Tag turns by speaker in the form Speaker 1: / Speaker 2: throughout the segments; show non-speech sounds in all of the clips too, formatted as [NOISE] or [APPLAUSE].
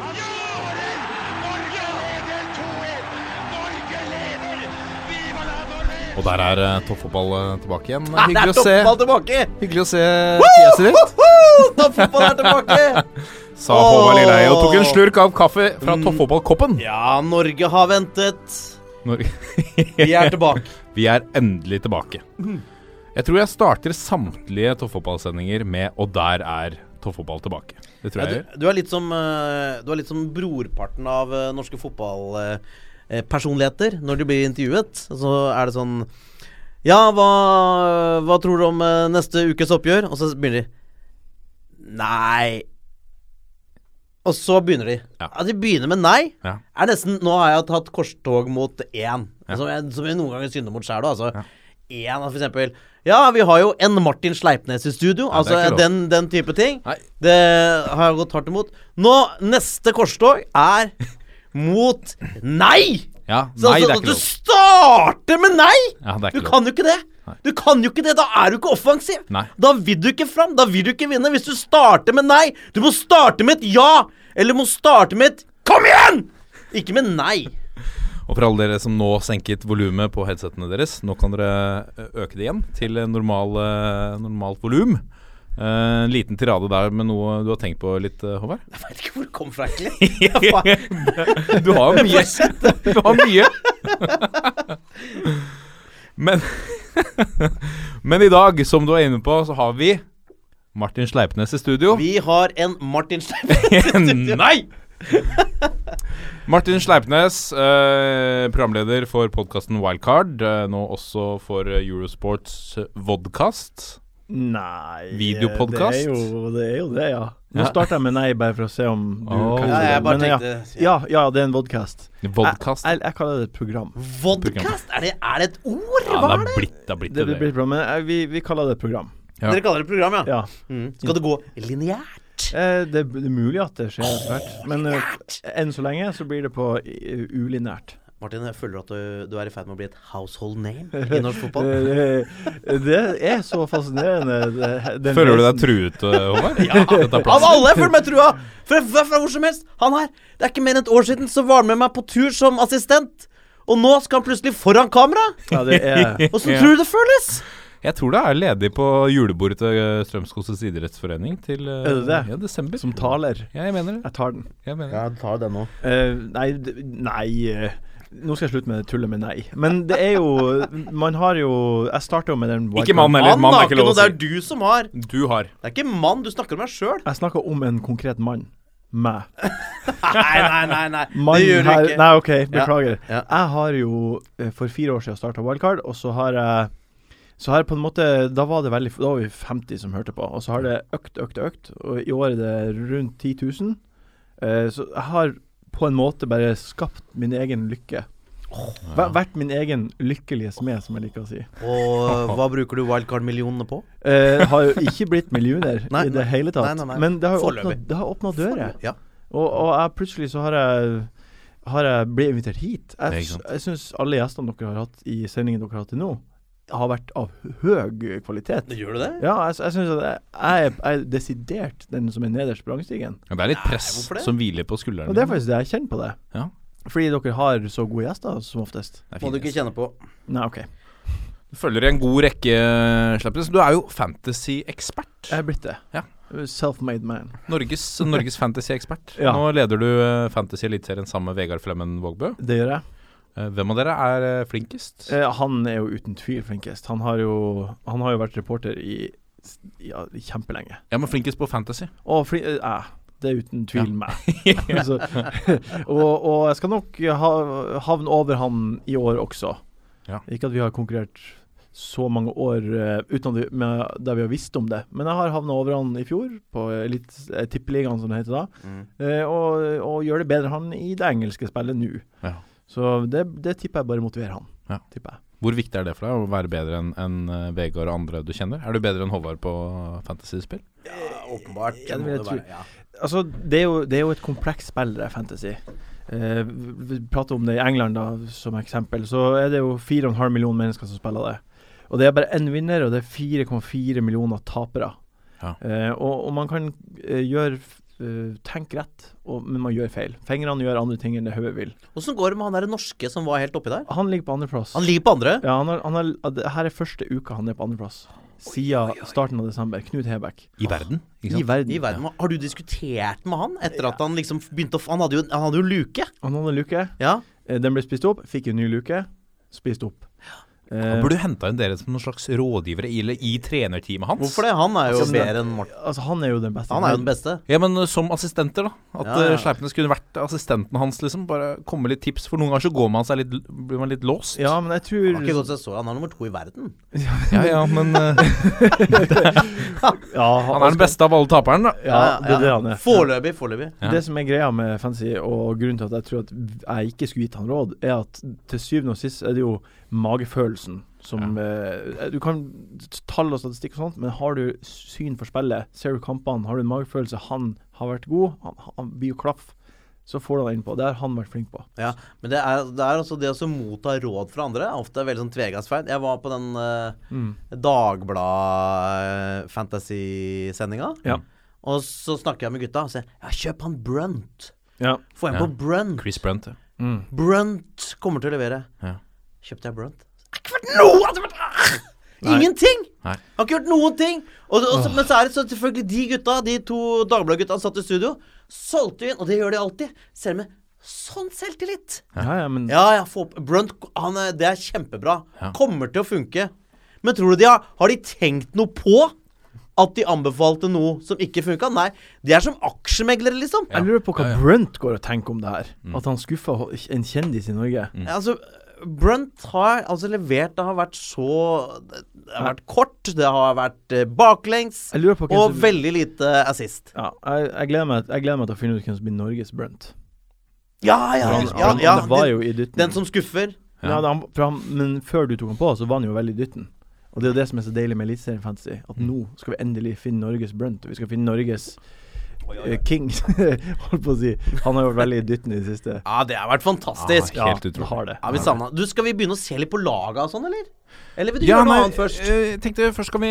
Speaker 1: Norge leder 2-1! Norge leder! Viva la Norge!
Speaker 2: Og der er eh, toppfotball eh, tilbake igjen.
Speaker 3: Ja, Ah, det er
Speaker 2: Hyggelig å se, eh,
Speaker 3: toppball tilbake!
Speaker 2: hyggelig å se fjeset ditt,
Speaker 3: Woho! Toppfotball er tilbake!
Speaker 2: sa Håvard Lilleheie og tok en
Speaker 3: Åh. Mm.
Speaker 2: slurk av kaffe fra toppfotballkoppen.
Speaker 3: Ja, Norge har ventet.
Speaker 2: Når-
Speaker 3: Vi er tilbake.
Speaker 2: Vi er endelig tilbake. Jeg tror jeg starter samtlige toppfotballsendinger [LAUGHS] med 'Og der er toppfotball tilbake'. Det tror
Speaker 3: Ja,
Speaker 2: jeg jeg gjør.
Speaker 3: du, du, er litt som, eh, du er litt som brorparten av eh, norske fotballpersonligheter. Når du blir intervjuet, så er det sånn Ja, hva, hva tror du om eh, neste ukes oppgjør? Og så begynner de Nei. Og så begynner de. Ja.
Speaker 2: Ja.
Speaker 3: de begynner med nei.
Speaker 2: Ja.
Speaker 3: Er nesten, nå har jeg tatt korstog mot én, som, jeg, som jeg noen ganger synder mot sjæl. Altså. Én, altså for eksempel. Ja, vi har jo en Martin Sleipnes i studio.
Speaker 2: det er
Speaker 3: altså
Speaker 2: ikke lov.
Speaker 3: den, den type ting.
Speaker 2: Nei.
Speaker 3: Det har jeg gått hardt imot. Nå, neste korstog er mot nei!
Speaker 2: Ja,
Speaker 3: Så
Speaker 2: nei,
Speaker 3: altså,
Speaker 2: det er
Speaker 3: at
Speaker 2: ikke
Speaker 3: Du
Speaker 2: lov.
Speaker 3: starter med nei!
Speaker 2: Ja, det er
Speaker 3: Du
Speaker 2: ikke lov.
Speaker 3: kan jo ikke det! Du kan jo ikke det, Da er du ikke offensiv!
Speaker 2: Nei.
Speaker 3: Da vil du ikke fram, da vil du ikke vinne hvis du starter med nei! Du må starte med et ja! Eller må starte med et kom igjen! Ikke med nei.
Speaker 2: Og for alle dere som nå senket volumet på headsetene deres, nå kan dere ø, øke det igjen til normal, ø, normalt volum. Eh, En liten tirade der med noe du har tenkt på litt, ø,
Speaker 3: [LAUGHS]
Speaker 2: Håvard?
Speaker 3: Jeg veit ikke hvor det kom fra,
Speaker 2: [LAUGHS]
Speaker 3: egentlig. Ja, faen.
Speaker 2: Du har jo mye. Du har mye. Men, men i dag, som du er inne på, så har vi Martin Sleipnes i studio.
Speaker 3: [LAUGHS] Vi har en Martin Stein.
Speaker 2: Nei! Martin Sleipnes, eh, programleder for podkasten Wildcard. Eh, nå også for eh, Eurosports vodkast.
Speaker 4: Nei
Speaker 2: Videopodcast?
Speaker 4: Det er jo det, er jo det ja. Nå starter jeg med nei, bare for å se om du
Speaker 2: Åh.
Speaker 4: kaller
Speaker 3: Ja,
Speaker 4: det
Speaker 3: jeg bare
Speaker 4: Men ja.
Speaker 3: tenkte-
Speaker 4: ja, ja, det er en vodcast.
Speaker 2: Vodkast.
Speaker 4: Jeg, jeg, jeg kaller det et program.
Speaker 3: Vodkast? Er det, er det et ord?
Speaker 2: Ja,
Speaker 3: Hva
Speaker 2: det
Speaker 3: er
Speaker 2: er
Speaker 3: det?
Speaker 2: blitt, det er blitt
Speaker 4: Det
Speaker 2: det.
Speaker 4: blir bra, men jeg, vi, vi kaller det et program.
Speaker 2: Ja.
Speaker 3: Dere kaller det program, ja?
Speaker 4: Ja.
Speaker 3: Mm. Skal det gå lineært?
Speaker 4: Eh, det, det er mulig at det skjer etter hvert, men eh, enn så lenge så blir det på eh,
Speaker 2: [LAUGHS]
Speaker 4: ulinært.
Speaker 3: Martin, jeg føler at du, du er i ferd med å bli et household
Speaker 4: [LAUGHS]
Speaker 3: name i norsk fotball.
Speaker 4: Eh, eh, det er så fascinerende. Det, den
Speaker 2: Føler du deg
Speaker 4: reisen.
Speaker 2: truet, eh, Håvard? ja. Dette er
Speaker 3: Av
Speaker 2: plassen.
Speaker 3: alle! Jeg føler meg trua! Fra, fra, fra hvor som helst. Han her. Det er ikke mer enn et år siden så var han med meg på tur som assistent. Og nå skal han plutselig foran kamera!
Speaker 4: Ja, det er
Speaker 3: Åssen tror du det føles?
Speaker 2: Jeg tror det er ledig på julebordet til eh, Strømskoses idrettsforening til eh,
Speaker 4: Er det det?
Speaker 2: Ja, desember.
Speaker 4: som taler.
Speaker 2: Ja, jeg mener det.
Speaker 4: Jeg tar den.
Speaker 2: Jeg mener det.
Speaker 3: Ja, du tar den nå.
Speaker 4: Eh, nei, d- nei eh, Nå skal jeg slutte med det tullet med nei. Men det er jo Man har jo Jeg starter jo med den
Speaker 2: Ikke mann heller.
Speaker 3: Han
Speaker 2: Mann er
Speaker 3: har ikke
Speaker 2: ikke lov
Speaker 3: noe,
Speaker 2: å
Speaker 3: det er
Speaker 2: si.
Speaker 3: du som har.
Speaker 2: Du har.
Speaker 3: Det er ikke mann, du snakker om deg sjøl.
Speaker 4: Jeg snakker om en konkret mann. Meg.
Speaker 3: [LAUGHS] Nei, nei, nei. nei.
Speaker 4: Mann
Speaker 3: Det gjør du
Speaker 4: her-
Speaker 3: ikke.
Speaker 4: Nei, OK, beklager.
Speaker 3: Ja.
Speaker 4: Jeg har jo eh, for fire år siden starta Wildcard, og så har jeg så har jeg på en måte, Da var det veldig, da var vi 50 som hørte på, og så har det økt, økt, økt. Og i år er det rundt 10 000. Eh, så jeg har på en måte bare skapt min egen lykke. Væ- Vært min egen lykkelige smed, som jeg liker å si.
Speaker 3: Og eh, hva bruker du wildcard-millionene på?
Speaker 4: Eh, har jo ikke blitt millioner
Speaker 3: Nei,
Speaker 4: i det
Speaker 3: nei.
Speaker 4: hele tatt.
Speaker 3: Nei, nei, nei.
Speaker 4: Men det har jo
Speaker 3: Foreløpig.
Speaker 4: åpnet- det har åpna dører.
Speaker 3: Ja.
Speaker 4: Og, og jeg, plutselig så har jeg har jeg blitt invitert hit.
Speaker 2: Det er
Speaker 4: Jeg,
Speaker 2: ikke sant.
Speaker 4: jeg syns alle gjestene dere har hatt i sendingen dere har hatt til nå, har vært av høy kvalitet.
Speaker 3: Gjør du det?
Speaker 4: Ja, jeg, jeg syns at jeg, jeg, er- jeg er desidert den som er nederst på rangstigen.
Speaker 2: Ja, Det er litt press
Speaker 3: hvorfor det?
Speaker 2: som hviler på skuldrene.
Speaker 4: Og det er faktisk det jeg kjenner på det.
Speaker 2: Ja.
Speaker 4: Fordi dere har så gode gjester som oftest.
Speaker 2: Det er
Speaker 3: Må
Speaker 2: fint,
Speaker 3: du ikke
Speaker 2: altså.
Speaker 3: kjenne på.
Speaker 4: Nei, OK.
Speaker 2: Du følger i en god rekke, Sleipnes. Du er jo fantasy-ekspert.
Speaker 4: Jeg er blitt det.
Speaker 2: Ja.
Speaker 4: Self-made man.
Speaker 2: Norges, Norges fantasy-ekspert.
Speaker 4: Ja.
Speaker 2: Nå leder du eh, Fantasy Eliteserien sammen med Vegard Flemmen Vågbø.
Speaker 4: Det gjør jeg.
Speaker 2: Eh, Hvem av dere er eh, flinkest?
Speaker 4: Eh, han er jo uten tvil flinkest. Han har jo, han har jo vært reporter i s- ja, kjempelenge.
Speaker 2: Ja, men flinkest på fantasy.
Speaker 4: Og fli, eh, jeg. det er uten tvil meg.
Speaker 2: [LAUGHS]
Speaker 4: Så, [LAUGHS] og, og jeg skal nok ha, havne over han i år også.
Speaker 2: Ja.
Speaker 4: Ikke at vi har konkurrert så mange år eh, uten at vi, med, der vi har visst om det. Men jeg har havna over han i fjor, på litt tippeligaen som det heter da. Eh, og, og gjør det bedre han i det engelske spillet nå.
Speaker 2: Ja.
Speaker 4: Så det, det tipper jeg bare motiverer han.
Speaker 2: Ja.
Speaker 4: Tipper jeg.
Speaker 2: Hvor viktig er det for deg å være bedre enn enn, eh, Vegard og andre du kjenner? Er du bedre enn Håvard på fantasyspill?
Speaker 3: Åpenbart.
Speaker 4: Ja, det
Speaker 3: må
Speaker 4: vil jeg
Speaker 3: det
Speaker 4: tro.
Speaker 3: være, ja.
Speaker 4: Altså, det er jo, det er jo et komplekst spill, det er fantasy. Eh, vi- vi prater om det i England da, som eksempel. Så er det jo 4,5 millioner mennesker som spiller det. Og det er bare én vinner, og det er 4,4 millioner tapere.
Speaker 2: Ja.
Speaker 4: Eh, og, og man kan eh, gjøre eh, Tenke rett, og, men man gjør feil. Fingrene gjør andre ting enn det hodet vil.
Speaker 3: Åssen går det med han der norske som var helt oppi der?
Speaker 4: Han ligger på andreplass.
Speaker 3: Han ligger på andre.
Speaker 4: Ja, han har, han har, det her er første uka han er på andreplass. Siden starten av desember. Knut Hebekk.
Speaker 2: I verden? Ikke
Speaker 4: I
Speaker 2: sant?
Speaker 4: verden.
Speaker 3: I verden. Har du diskutert med han etter at han liksom begynte å f- Han hadde jo, han hadde jo luke.
Speaker 4: Han hadde en luke.
Speaker 3: Ja.
Speaker 4: Eh, Den ble spist opp, fikk en ny luke, spist opp.
Speaker 2: Han
Speaker 4: Eh,
Speaker 2: burde henta inn dere som noen slags rådgivere i, eller i trenerteamet hans.
Speaker 3: Hvorfor det? Han er jo
Speaker 4: Altså,
Speaker 3: bedre enn Morten.
Speaker 4: altså, han er jo den beste.
Speaker 3: Han er jo den beste.
Speaker 2: Ja, men eh, som assistenter, da. At
Speaker 3: Ja, ja.
Speaker 2: eh, Sleipnes kunne vært assistenten hans, liksom. Bare komme litt tips. For noen ganger så går man seg litt Blir man litt låst.
Speaker 4: Ja, men jeg
Speaker 3: Han har ikke
Speaker 4: tror
Speaker 3: gått seg så Han er nummer to i verden.
Speaker 2: [LAUGHS] ja, ja, men
Speaker 3: [LAUGHS]
Speaker 2: eh,
Speaker 4: ja,
Speaker 2: han er den beste av alle taperne, da.
Speaker 4: Ja, det er det han er.
Speaker 3: Foreløpig, foreløpig.
Speaker 2: Ja.
Speaker 4: Det som er greia med fantasy, og grunnen til at jeg tror at jeg ikke skulle gitt han råd, er at til syvende og sist er det jo magefølelsen som eh, Du kan tall og statistikk og sånt, men har du syn for spillet, ser du kampene, har du en magefølelse han har vært god, han, han blir jo klaff, så får du han innpå. Det har han vært flink på.
Speaker 3: Ja, men det er, det er også det å så motta råd fra andre er ofte veldig sånn tvegassferd. Jeg var på den uh,
Speaker 4: Mm.
Speaker 3: Dagblad-fantasy-sendinga,
Speaker 4: Ja.
Speaker 3: og så snakker jeg med gutta og sier ja, kjøp han Brunt.
Speaker 4: Ja.
Speaker 3: Få en
Speaker 2: Ja.
Speaker 3: på Brunt.
Speaker 2: Chris Brunt. ja.
Speaker 3: Brunt kommer til å levere.
Speaker 2: Ja.
Speaker 3: Kjøpte jeg Brunt? Det har ikke vært noe! Det har vært... Ingenting!
Speaker 2: Nei.
Speaker 3: Jeg Har ikke gjort noen ting! Og, og, så- Men så er det så selvfølgelig de gutta, de to Dagbladet-gutta som satt i studio, solgte inn, og det gjør de alltid, selv med sånn selvtillit.
Speaker 4: Ja, ja, men
Speaker 3: Ja, ja, få opp Brunt han, er- Det er kjempebra.
Speaker 2: Mm. Ja.
Speaker 3: Kommer til å funke. Men tror du de har Har de tenkt noe på at de anbefalte noe som ikke funka? Nei. De er som aksjemeglere, liksom.
Speaker 4: Jeg lurer på hva Brunt går og tenker om det her. At han skuffa en kjendis i Norge.
Speaker 3: Altså, Brunt har altså levert Det har vært så Det har vært kort, det har vært eh, baklengs
Speaker 4: Jeg lurer på hvem
Speaker 3: og
Speaker 4: som-
Speaker 3: veldig lite assist.
Speaker 4: Ja, jeg, jeg, gleder meg, jeg gleder meg til å finne ut hvem som blir Norges Brunt.
Speaker 3: Ja, ja,
Speaker 4: For han,
Speaker 3: ja,
Speaker 4: han,
Speaker 3: ja
Speaker 4: han var
Speaker 3: den,
Speaker 4: jo i dytten.
Speaker 3: den som skuffer.
Speaker 4: ja, da han, for han, men før du tok han på, så var han jo veldig i dytten. Og det er jo det som er så deilig med Eliteserien Fantasy. At nå skal vi endelig finne Norges Brunt. Og vi skal finne Norges eh, King, [LAUGHS] holdt på å si. Han har jo vært veldig i dytten i det siste.
Speaker 3: Ja, det har vært fantastisk.
Speaker 2: Ah, Helt
Speaker 4: ja,
Speaker 2: utrolig.
Speaker 4: Har det.
Speaker 3: Ja, vi savna Du, skal vi begynne å se litt på laga og sånn, eller? Eller vil du
Speaker 2: Ja,
Speaker 3: gjøre noe
Speaker 2: nei,
Speaker 3: annet først?
Speaker 2: eh, Jeg tenkte først skal vi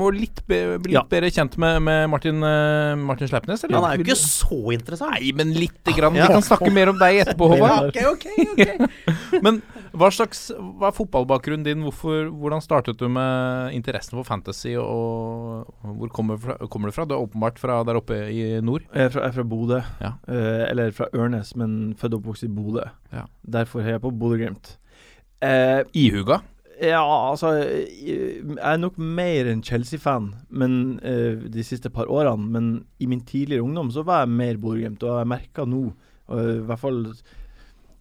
Speaker 2: må litt be, bli litt
Speaker 4: Ja.
Speaker 2: bedre kjent med, med Martin, eh, Martin Sleipnes, eller?
Speaker 3: Han er jo
Speaker 2: Vil du-
Speaker 3: ikke så interessant.
Speaker 2: Nei, men lite grann.
Speaker 3: Ah, Ja.
Speaker 2: Vi kan snakke mer om deg
Speaker 3: [LAUGHS]
Speaker 2: etterpå, Håvard.
Speaker 3: Ok, ok, ok.
Speaker 2: Men hva slags hva er fotballbakgrunnen din? Hvorfor, hvordan startet du med interessen for fantasy, og og hvor kommer, fra, kommer du fra? Du er åpenbart fra der oppe i nord.
Speaker 4: Jeg er fra, jeg er fra Bodø.
Speaker 2: Ja.
Speaker 4: Eh, eller fra Ørnes, men født og oppvokst i Bodø.
Speaker 2: Ja.
Speaker 4: Derfor heier jeg på Bodø-Glimt. Eh,
Speaker 2: Ihuga.
Speaker 4: ja, altså Jeg er nok mer en Chelsea-fan men eh, de siste par årene. Men i min tidligere ungdom så var jeg mer Bodø-Glimt, og jeg merker nå, eh, i hvert fall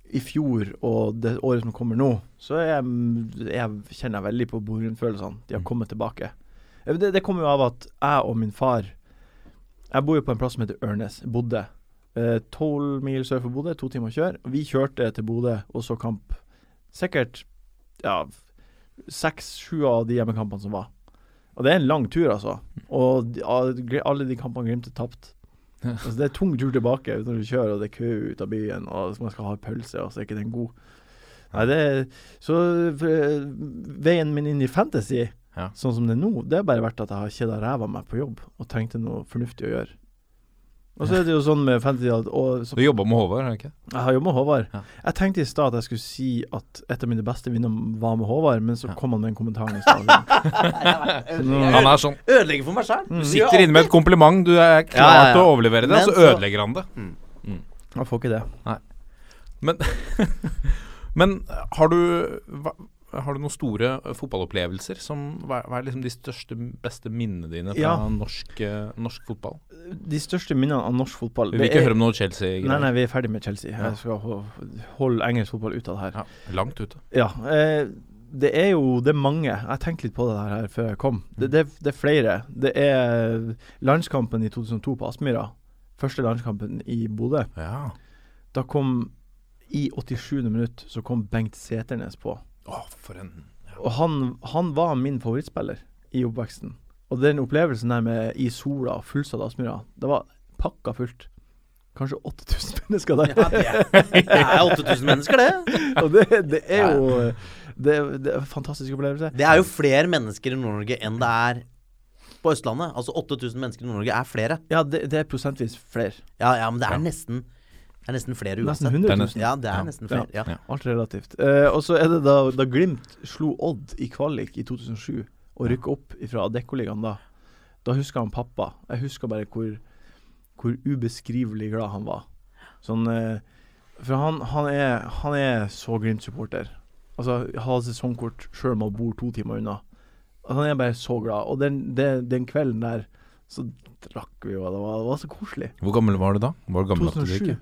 Speaker 4: i fjor og det året som kommer nå, så er jeg, jeg kjenner jeg veldig på Bodø-Glimt-følelsene. De har kommet tilbake. Eh, Det, det kommer jo av at jeg og min far Jeg bor jo på en plass som heter Ørnes. Bodde. Tolv mil sør for Bodø, to timer å kjøre. Vi kjørte til Bodø og så kamp. Sikkert ja, seks-sju av de hjemmekampene som var. Og det er en lang tur, altså. Og de, all- gl- alle de kampene Glimt har tapt. Altså, det er tung tur tilbake når du kjører, og det er kø ut av byen, og man skal ha pølse, og så er ikke den god. Nei, det er, Så eh, veien min inn i fantasy,
Speaker 2: Ja.
Speaker 4: sånn som det er nå, det har bare vært at jeg har kjeda ræva av meg på jobb og trengte noe fornuftig å gjøre. Og så er det jo sånn med fantasy at og, så,
Speaker 2: Du jobba med Håvard, er det ikke?
Speaker 4: jeg har jobba med Håvard.
Speaker 2: Ja.
Speaker 4: Jeg tenkte i stad at jeg skulle si at et av mine beste vinner var med Håvard, men så kom han med en kommentar i stad.
Speaker 2: Han er sånn.
Speaker 3: Ødelegger for meg sjæl.
Speaker 2: Du sitter inne med et kompliment, du er klar
Speaker 3: Ja, ja, ja.
Speaker 2: til å overlevere det,
Speaker 3: Men
Speaker 2: og så
Speaker 3: så-
Speaker 2: ødelegger han det.
Speaker 4: Jeg får ikke det.
Speaker 2: Men, men har du hva, har du noen store eh, fotballopplevelser? Som, hva, hva er liksom de største, beste minnene dine fra
Speaker 4: Ja.
Speaker 2: norsk, eh, norsk fotball?
Speaker 4: De største minnene av norsk fotball
Speaker 2: Vi vil
Speaker 4: det
Speaker 2: ikke
Speaker 4: er-
Speaker 2: høre om noe Chelsea.
Speaker 4: Nei, nei, vi er ferdig med Chelsea. Jeg skal ho- holde engelsk fotball ut av det her.
Speaker 2: Ja, langt ute.
Speaker 4: Ja. eh, det er jo det er mange. Jeg tenkte litt på det her her før jeg kom.
Speaker 2: Mm.
Speaker 4: Det, det, det er flere. Det er landskampen i 2002 på Aspmyra. Første landskampen i Bodø.
Speaker 2: Ja.
Speaker 4: Da kom I 87. minutt så kom Bengt Seternes på.
Speaker 2: Å, for en
Speaker 4: Og han, han var min favorittspiller i oppveksten. Og den opplevelsen der med i sola og fullsatt Aspmyra, det var pakka fullt. Kanskje 8000 [LAUGHS] mennesker der.
Speaker 3: Ja, det er- det er 8000 mennesker, det.
Speaker 4: og det, det er jo det, er- det er en fantastisk opplevelse.
Speaker 3: Det er jo flere mennesker i Nord-Norge enn det er på Østlandet. Altså 8000 mennesker i Nord-Norge er flere.
Speaker 4: Ja, det, det er prosentvis flere.
Speaker 3: Ja, ja, men det er nesten Det er nesten flere
Speaker 4: Nesten
Speaker 3: uansett.
Speaker 4: 100 000.
Speaker 3: Ja, det er nesten flere. Ja.
Speaker 4: Alt relativt. Eh, og så er det da, da Glimt slo Odd i kvalik i 2007 og rykka opp fra Adeccoligaen da. Da husker han pappa. Jeg husker bare hvor, hvor ubeskrivelig glad han var. Sånn eh, For han, han, er, han er så Glimt-supporter. Altså, ha sesongkort sjøl om han bor to timer unna. Altså, han er bare så glad. Og den, den, den kvelden der så drakk vi jo, og det var, det var så koselig.
Speaker 2: Hvor gammel var du da? Var du gammel at du
Speaker 4: 2007.
Speaker 2: ikke?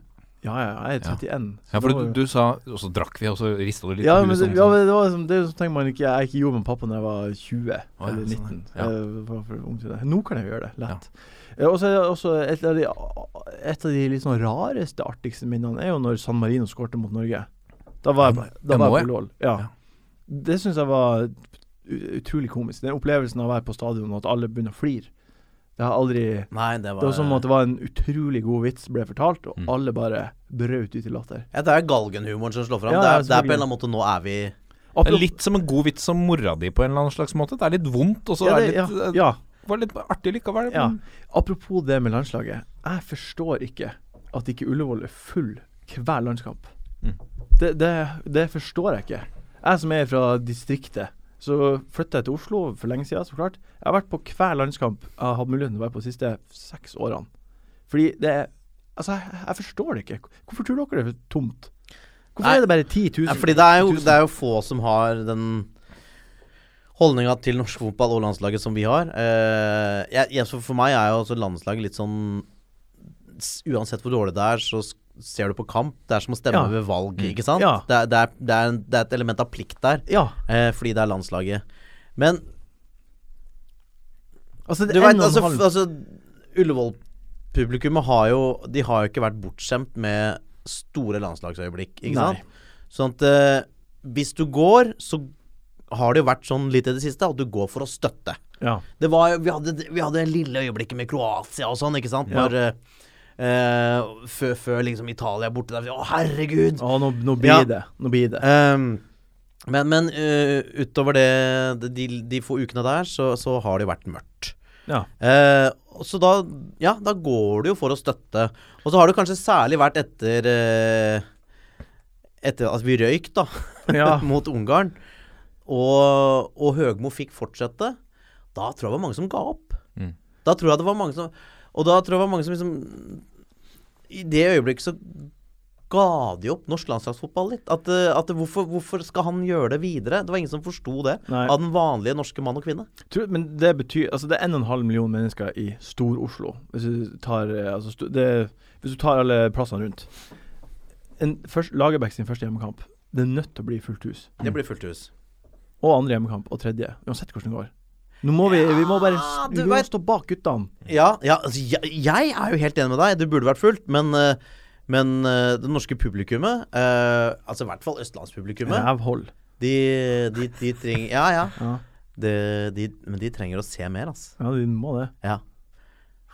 Speaker 4: Ja, ja, jeg er 31. så
Speaker 2: Ja,
Speaker 4: det
Speaker 2: for
Speaker 4: var
Speaker 2: du,
Speaker 4: jo-
Speaker 2: du sa Og så drakk vi, og så rista du litt
Speaker 4: ja,
Speaker 2: på
Speaker 4: men
Speaker 2: huet.
Speaker 4: det,
Speaker 2: sånn,
Speaker 4: ja,
Speaker 2: sånn.
Speaker 4: men det var liksom, det er sånn ting man ikke Jeg ikke gjorde med pappa da jeg var 20
Speaker 2: ja,
Speaker 4: eller
Speaker 2: sånn,
Speaker 4: 19.
Speaker 2: ja.
Speaker 4: Jeg var for ung til det. Nå kan jeg jo gjøre det lett. Eh, Og så er det også et av de, et av de litt sånn rareste, artigste minnene er jo når San Marino skårte mot Norge. Da var jeg, da
Speaker 2: Den
Speaker 4: var
Speaker 2: må
Speaker 4: jeg
Speaker 2: jeg.
Speaker 4: på LOL. Ja.
Speaker 2: E. Ja.
Speaker 4: Det syns jeg var ut- utrolig komisk. Den opplevelsen av å være på stadion og at alle begynner å flire. Det har jeg aldri
Speaker 3: Nei, det var,
Speaker 4: Det var som at det var en utrolig god vits ble fortalt, og
Speaker 2: Mm.
Speaker 4: alle bare brøt ut i latter.
Speaker 3: ja, Det er galgenhumoren som slår fram.
Speaker 4: Ja,
Speaker 3: det,
Speaker 4: ja,
Speaker 3: er, det er på en
Speaker 4: selvfølgelig.
Speaker 3: eller annen måte Nå er vi
Speaker 2: Det er litt som en god vits om mora di på en eller annen slags måte. Det er litt vondt, og så
Speaker 4: ja,
Speaker 2: er
Speaker 4: det,
Speaker 2: det litt,
Speaker 4: ja,
Speaker 2: eh,
Speaker 4: ja.
Speaker 2: var litt artig likevel.
Speaker 4: Ja. Apropos det med landslaget. Jeg forstår ikke at ikke Ullevål er full hver landskamp. Det, det, det forstår jeg ikke. Jeg som er fra distriktet, så flytta jeg til Oslo for lenge siden, så klart. Jeg har vært på hver landskamp jeg har hatt muligheten til å være på de siste seks årene. Fordi det er Altså, jeg, jeg forstår det ikke. Hvorfor tror dere det er tomt? Hvorfor
Speaker 3: Nei.
Speaker 4: er det bare 10 000?
Speaker 3: ja, Fordi det er, jo, det er jo få som har den holdninga til norsk fotball og landslaget som vi har. Eh, jeg, jeg, så for meg er jo også landslaget litt sånn s- Uansett hvor dårlig det er, så s- ser du på kamp. Det er som å stemme
Speaker 4: Ja. Mm.
Speaker 3: ved valg, ikke sant?
Speaker 4: Ja.
Speaker 3: Det, er- det, er, det, er, en- det er et element av plikt der,
Speaker 4: Ja.
Speaker 3: eh, fordi det er landslaget. Men
Speaker 4: Altså, det
Speaker 3: Du
Speaker 4: er
Speaker 3: vet,
Speaker 4: en og en
Speaker 3: altså,
Speaker 4: halv
Speaker 3: f- altså Ullevål-publikummet har jo De har jo ikke vært bortskjemt med store landslagsøyeblikk, ikke
Speaker 4: Nei.
Speaker 3: sant? Sånn at eh, hvis du går, så har det jo vært sånn litt i det siste at du går for å støtte.
Speaker 4: Ja.
Speaker 3: Det var, jo- vi, hadde, vi hadde det lille øyeblikket med Kroatia og sånn, ikke sant?
Speaker 4: Ja.
Speaker 3: Når, eh, eh, før, før liksom Italia er borte der. Å, herregud!
Speaker 4: Å, nå, nå blir
Speaker 3: Ja.
Speaker 4: det. Nå blir det.
Speaker 3: Ehm, men men eh, utover det, de- de, de få ukene der, så, så har det jo vært mørkt.
Speaker 4: Ja.
Speaker 3: Eh, og så da, ja, da går det jo for å støtte. Og så har det kanskje særlig vært etter eh, Etter at vi røyk, da, [LAUGHS]
Speaker 4: Ja.
Speaker 3: mot Ungarn, og, og Høgmo fikk fortsette. Da tror jeg det var mange som ga opp.
Speaker 2: Mm.
Speaker 3: Da tror jeg det var mange som Og da tror jeg det var mange som liksom I det øyeblikket så ga de opp norsk landslagsfotball litt. At, eh, at hvorfor, hvorfor skal han gjøre det videre? Det var ingen som forsto det
Speaker 4: Nei.
Speaker 3: av den vanlige norske mann og kvinne.
Speaker 4: Tror- Men det betyr Altså, det er 1,5 million mennesker i Stor-Oslo. Hvis du tar eh, altså, sto- det, Hvis du tar alle plassene rundt. En, først, Lagerbäck sin første hjemmekamp. Det er nødt til å bli fullt hus.
Speaker 3: Det blir fullt hus.
Speaker 4: Og andre hjemmekamp. Og tredje. Uansett hvordan det går. Nå må vi Vi må bare s-
Speaker 3: Ja,
Speaker 4: vi
Speaker 3: du
Speaker 4: må
Speaker 3: vet-
Speaker 4: stå bak guttene.
Speaker 3: Ja, ja altså, jeg, jeg er jo helt enig med deg. Det burde vært fullt, men eh, men eh, det norske publikummet, eh, altså i hvert fall østlandspublikummet,
Speaker 4: Rævhold.
Speaker 3: de, de, de trenger Ja, ja.
Speaker 4: Ja.
Speaker 3: Det- de, men de trenger å se mer, altså.
Speaker 4: Ja, de må det.
Speaker 3: Ja.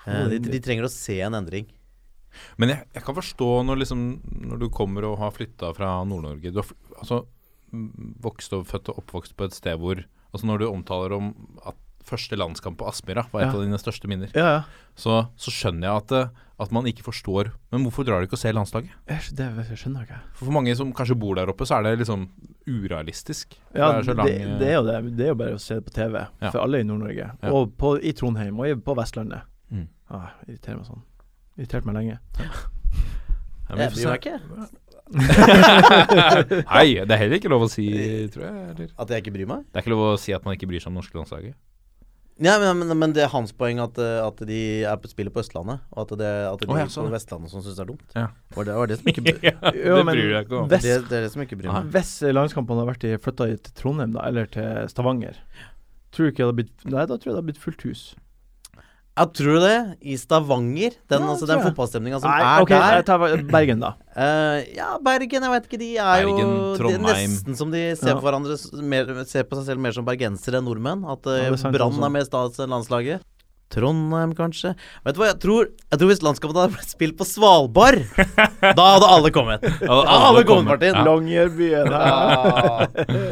Speaker 3: Eh, de, de trenger å se en endring.
Speaker 2: Men jeg, jeg kan forstå når, liksom, når du kommer og har flytta fra Nord-Norge Du har fl- altså, m, vokst og født og oppvokst på et sted hvor altså Når du omtaler om at første landskamp på Aspmyra var et
Speaker 4: Ja.
Speaker 2: av dine største minner,
Speaker 4: Ja, ja.
Speaker 2: så, så skjønner jeg at, eh, at man ikke forstår Men hvorfor drar du ikke og ser landslaget?
Speaker 4: Æsj, Det vet jeg- skjønner jeg ikke.
Speaker 2: For, for mange som kanskje bor der oppe, så er det liksom urealistisk. For
Speaker 4: Ja,
Speaker 2: det er så lang,
Speaker 4: det, det er jo det. Det er jo bare å se det på TV.
Speaker 2: Ja.
Speaker 4: For alle i Nord-Norge.
Speaker 2: Ja.
Speaker 4: Og på, i Trondheim, og i, på Vestlandet.
Speaker 2: Mm.
Speaker 4: Ah, irriterer meg sånn. Irritert meg lenge.
Speaker 2: Ja, men
Speaker 3: Jeg
Speaker 2: vi
Speaker 3: bryr
Speaker 2: får
Speaker 3: meg ikke.
Speaker 2: se. Hei, det er heller ikke lov å si, tror jeg. Eller?
Speaker 3: At jeg ikke bryr meg?
Speaker 2: Det er ikke lov å si at man ikke bryr seg om norske
Speaker 4: [LAUGHS]
Speaker 2: landslaget.
Speaker 3: Ja, men, men, men det er hans poeng at, eh, at de er på spillet på Østlandet, og at det, at det er
Speaker 2: Å, ja,
Speaker 3: de
Speaker 2: sånn,
Speaker 3: på
Speaker 2: ja.
Speaker 3: Vestlandet som syns det er dumt.
Speaker 2: Ja.
Speaker 3: Var det, var det,
Speaker 2: [LAUGHS]
Speaker 3: som ikke, bryr-
Speaker 4: Ja,
Speaker 2: det
Speaker 4: men
Speaker 2: bryr jeg ikke om.
Speaker 4: Vest,
Speaker 3: det, det er det som ikke bryr meg.
Speaker 4: Hvis landskampene hadde vært flytta til Trondheim da, eller til Stavanger, tror du ikke det hadde blitt Nei, da tror jeg det hadde blitt fullt hus.
Speaker 3: Ja, tror du det? I Stavanger? Den, altså, den
Speaker 4: tror jeg.
Speaker 3: fotballstemninga som
Speaker 4: Nei,
Speaker 3: er
Speaker 4: ok, jeg
Speaker 3: der?
Speaker 4: tar Bergen, da.
Speaker 3: Eh, ja, Bergen, jeg vet ikke. De er
Speaker 2: Bergen,
Speaker 3: jo de, er
Speaker 2: Trondheim.
Speaker 3: nesten som de ser på,
Speaker 4: Ja.
Speaker 3: hverandre, s- mer, ser på seg selv mer som bergensere enn nordmenn. At eh,
Speaker 4: Ja, det er sant
Speaker 3: Brann
Speaker 4: også.
Speaker 3: er mer stas enn landslaget. Trondheim, kanskje. Vet du hva, jeg tror Jeg tror hvis landskapet hadde blitt spilt på Svalbard, da hadde alle kommet. Da
Speaker 2: alle
Speaker 3: hadde alle kommet,
Speaker 2: kommet,
Speaker 3: Martin.
Speaker 2: Ja.
Speaker 4: Longyearbyen.
Speaker 3: Ja.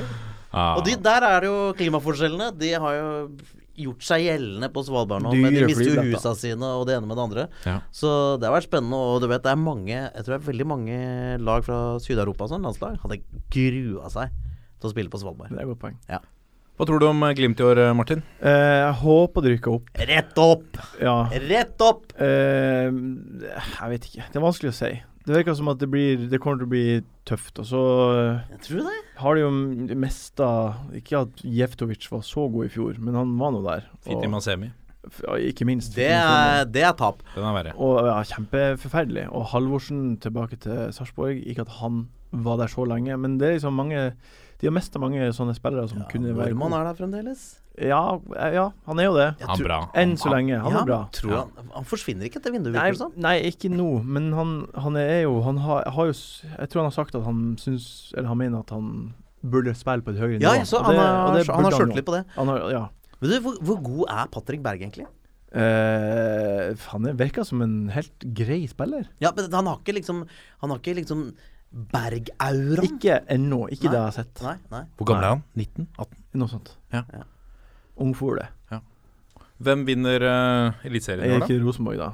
Speaker 2: Ah.
Speaker 3: Og de, der er det jo klimaforskjellene. De har jo gjort seg gjeldende på Svalbard nå. Men de
Speaker 4: Dyre
Speaker 3: mister jo
Speaker 4: flybilletter.
Speaker 3: husa sine og det ene med det andre.
Speaker 2: Ja.
Speaker 3: Så det har vært spennende. Og du vet, det er mange Jeg tror det er veldig mange lag fra Syd-Europa og sånn, landslag, hadde grua seg til å spille på Svalbard.
Speaker 4: Det er et godt poeng.
Speaker 2: Hva tror du om eh, Glimt i år, eh, Martin?
Speaker 4: Eh, jeg håper det rykker opp.
Speaker 3: Rett opp!
Speaker 4: Ja.
Speaker 3: Rett opp!
Speaker 4: Eh, jeg vet ikke. Det er vanskelig å si. Det virker som at det, blir, det kommer til å bli tøft. Og så eh,
Speaker 3: Jeg tror det.
Speaker 4: har de jo mista Ikke at Jevtovic var så god i fjor, men han var nå der.
Speaker 2: Fint i Masemi.
Speaker 4: ja, ikke minst.
Speaker 3: Det er, det er tap.
Speaker 2: Den er verre.
Speaker 4: Og ja, kjempeforferdelig. Og Halvorsen tilbake til Sarpsborg. Ikke at han var der så lenge, men det er liksom mange De har mista mange sånne spillere som kunne være
Speaker 3: Nordmann
Speaker 4: gode.
Speaker 3: er der fremdeles.
Speaker 4: Ja, ja, han er jo det.
Speaker 2: Han er bra. Ah,
Speaker 4: Enn så lenge. Han
Speaker 3: ja,
Speaker 4: er bra.
Speaker 3: Tror han, han forsvinner ikke etter vinduet,
Speaker 4: Nei,
Speaker 3: virker det som.
Speaker 4: nei, ikke nå, men han, han er jo Han har, har jo s- Jeg tror han har sagt at han syns Eller han mener at han burde spille på et høyere
Speaker 3: Ja,
Speaker 4: nivå.
Speaker 3: jeg så
Speaker 4: og
Speaker 3: han
Speaker 4: det- og
Speaker 3: har,
Speaker 4: det
Speaker 3: han
Speaker 4: burde
Speaker 3: har
Speaker 4: jo.
Speaker 3: sjøltillit på det.
Speaker 4: Han har, ja.
Speaker 3: Men du, hvor, hvor god er Patrick Berg, egentlig?
Speaker 4: Eh, han er- virker som en helt grei spiller.
Speaker 3: Ja, men han har ikke liksom Han har ikke liksom Berg-auraen.
Speaker 4: Ikke ennå. Ikke det jeg har sett.
Speaker 3: Nei, nei.
Speaker 2: Hvor gammel er han? 19? 18?
Speaker 4: Noe sånt.
Speaker 2: Ja.
Speaker 3: Ja.
Speaker 4: Ungfole.
Speaker 2: Hvem vinner uh, Eliteserien i
Speaker 4: Er
Speaker 2: år, da?
Speaker 4: ikke Rosenborg, da?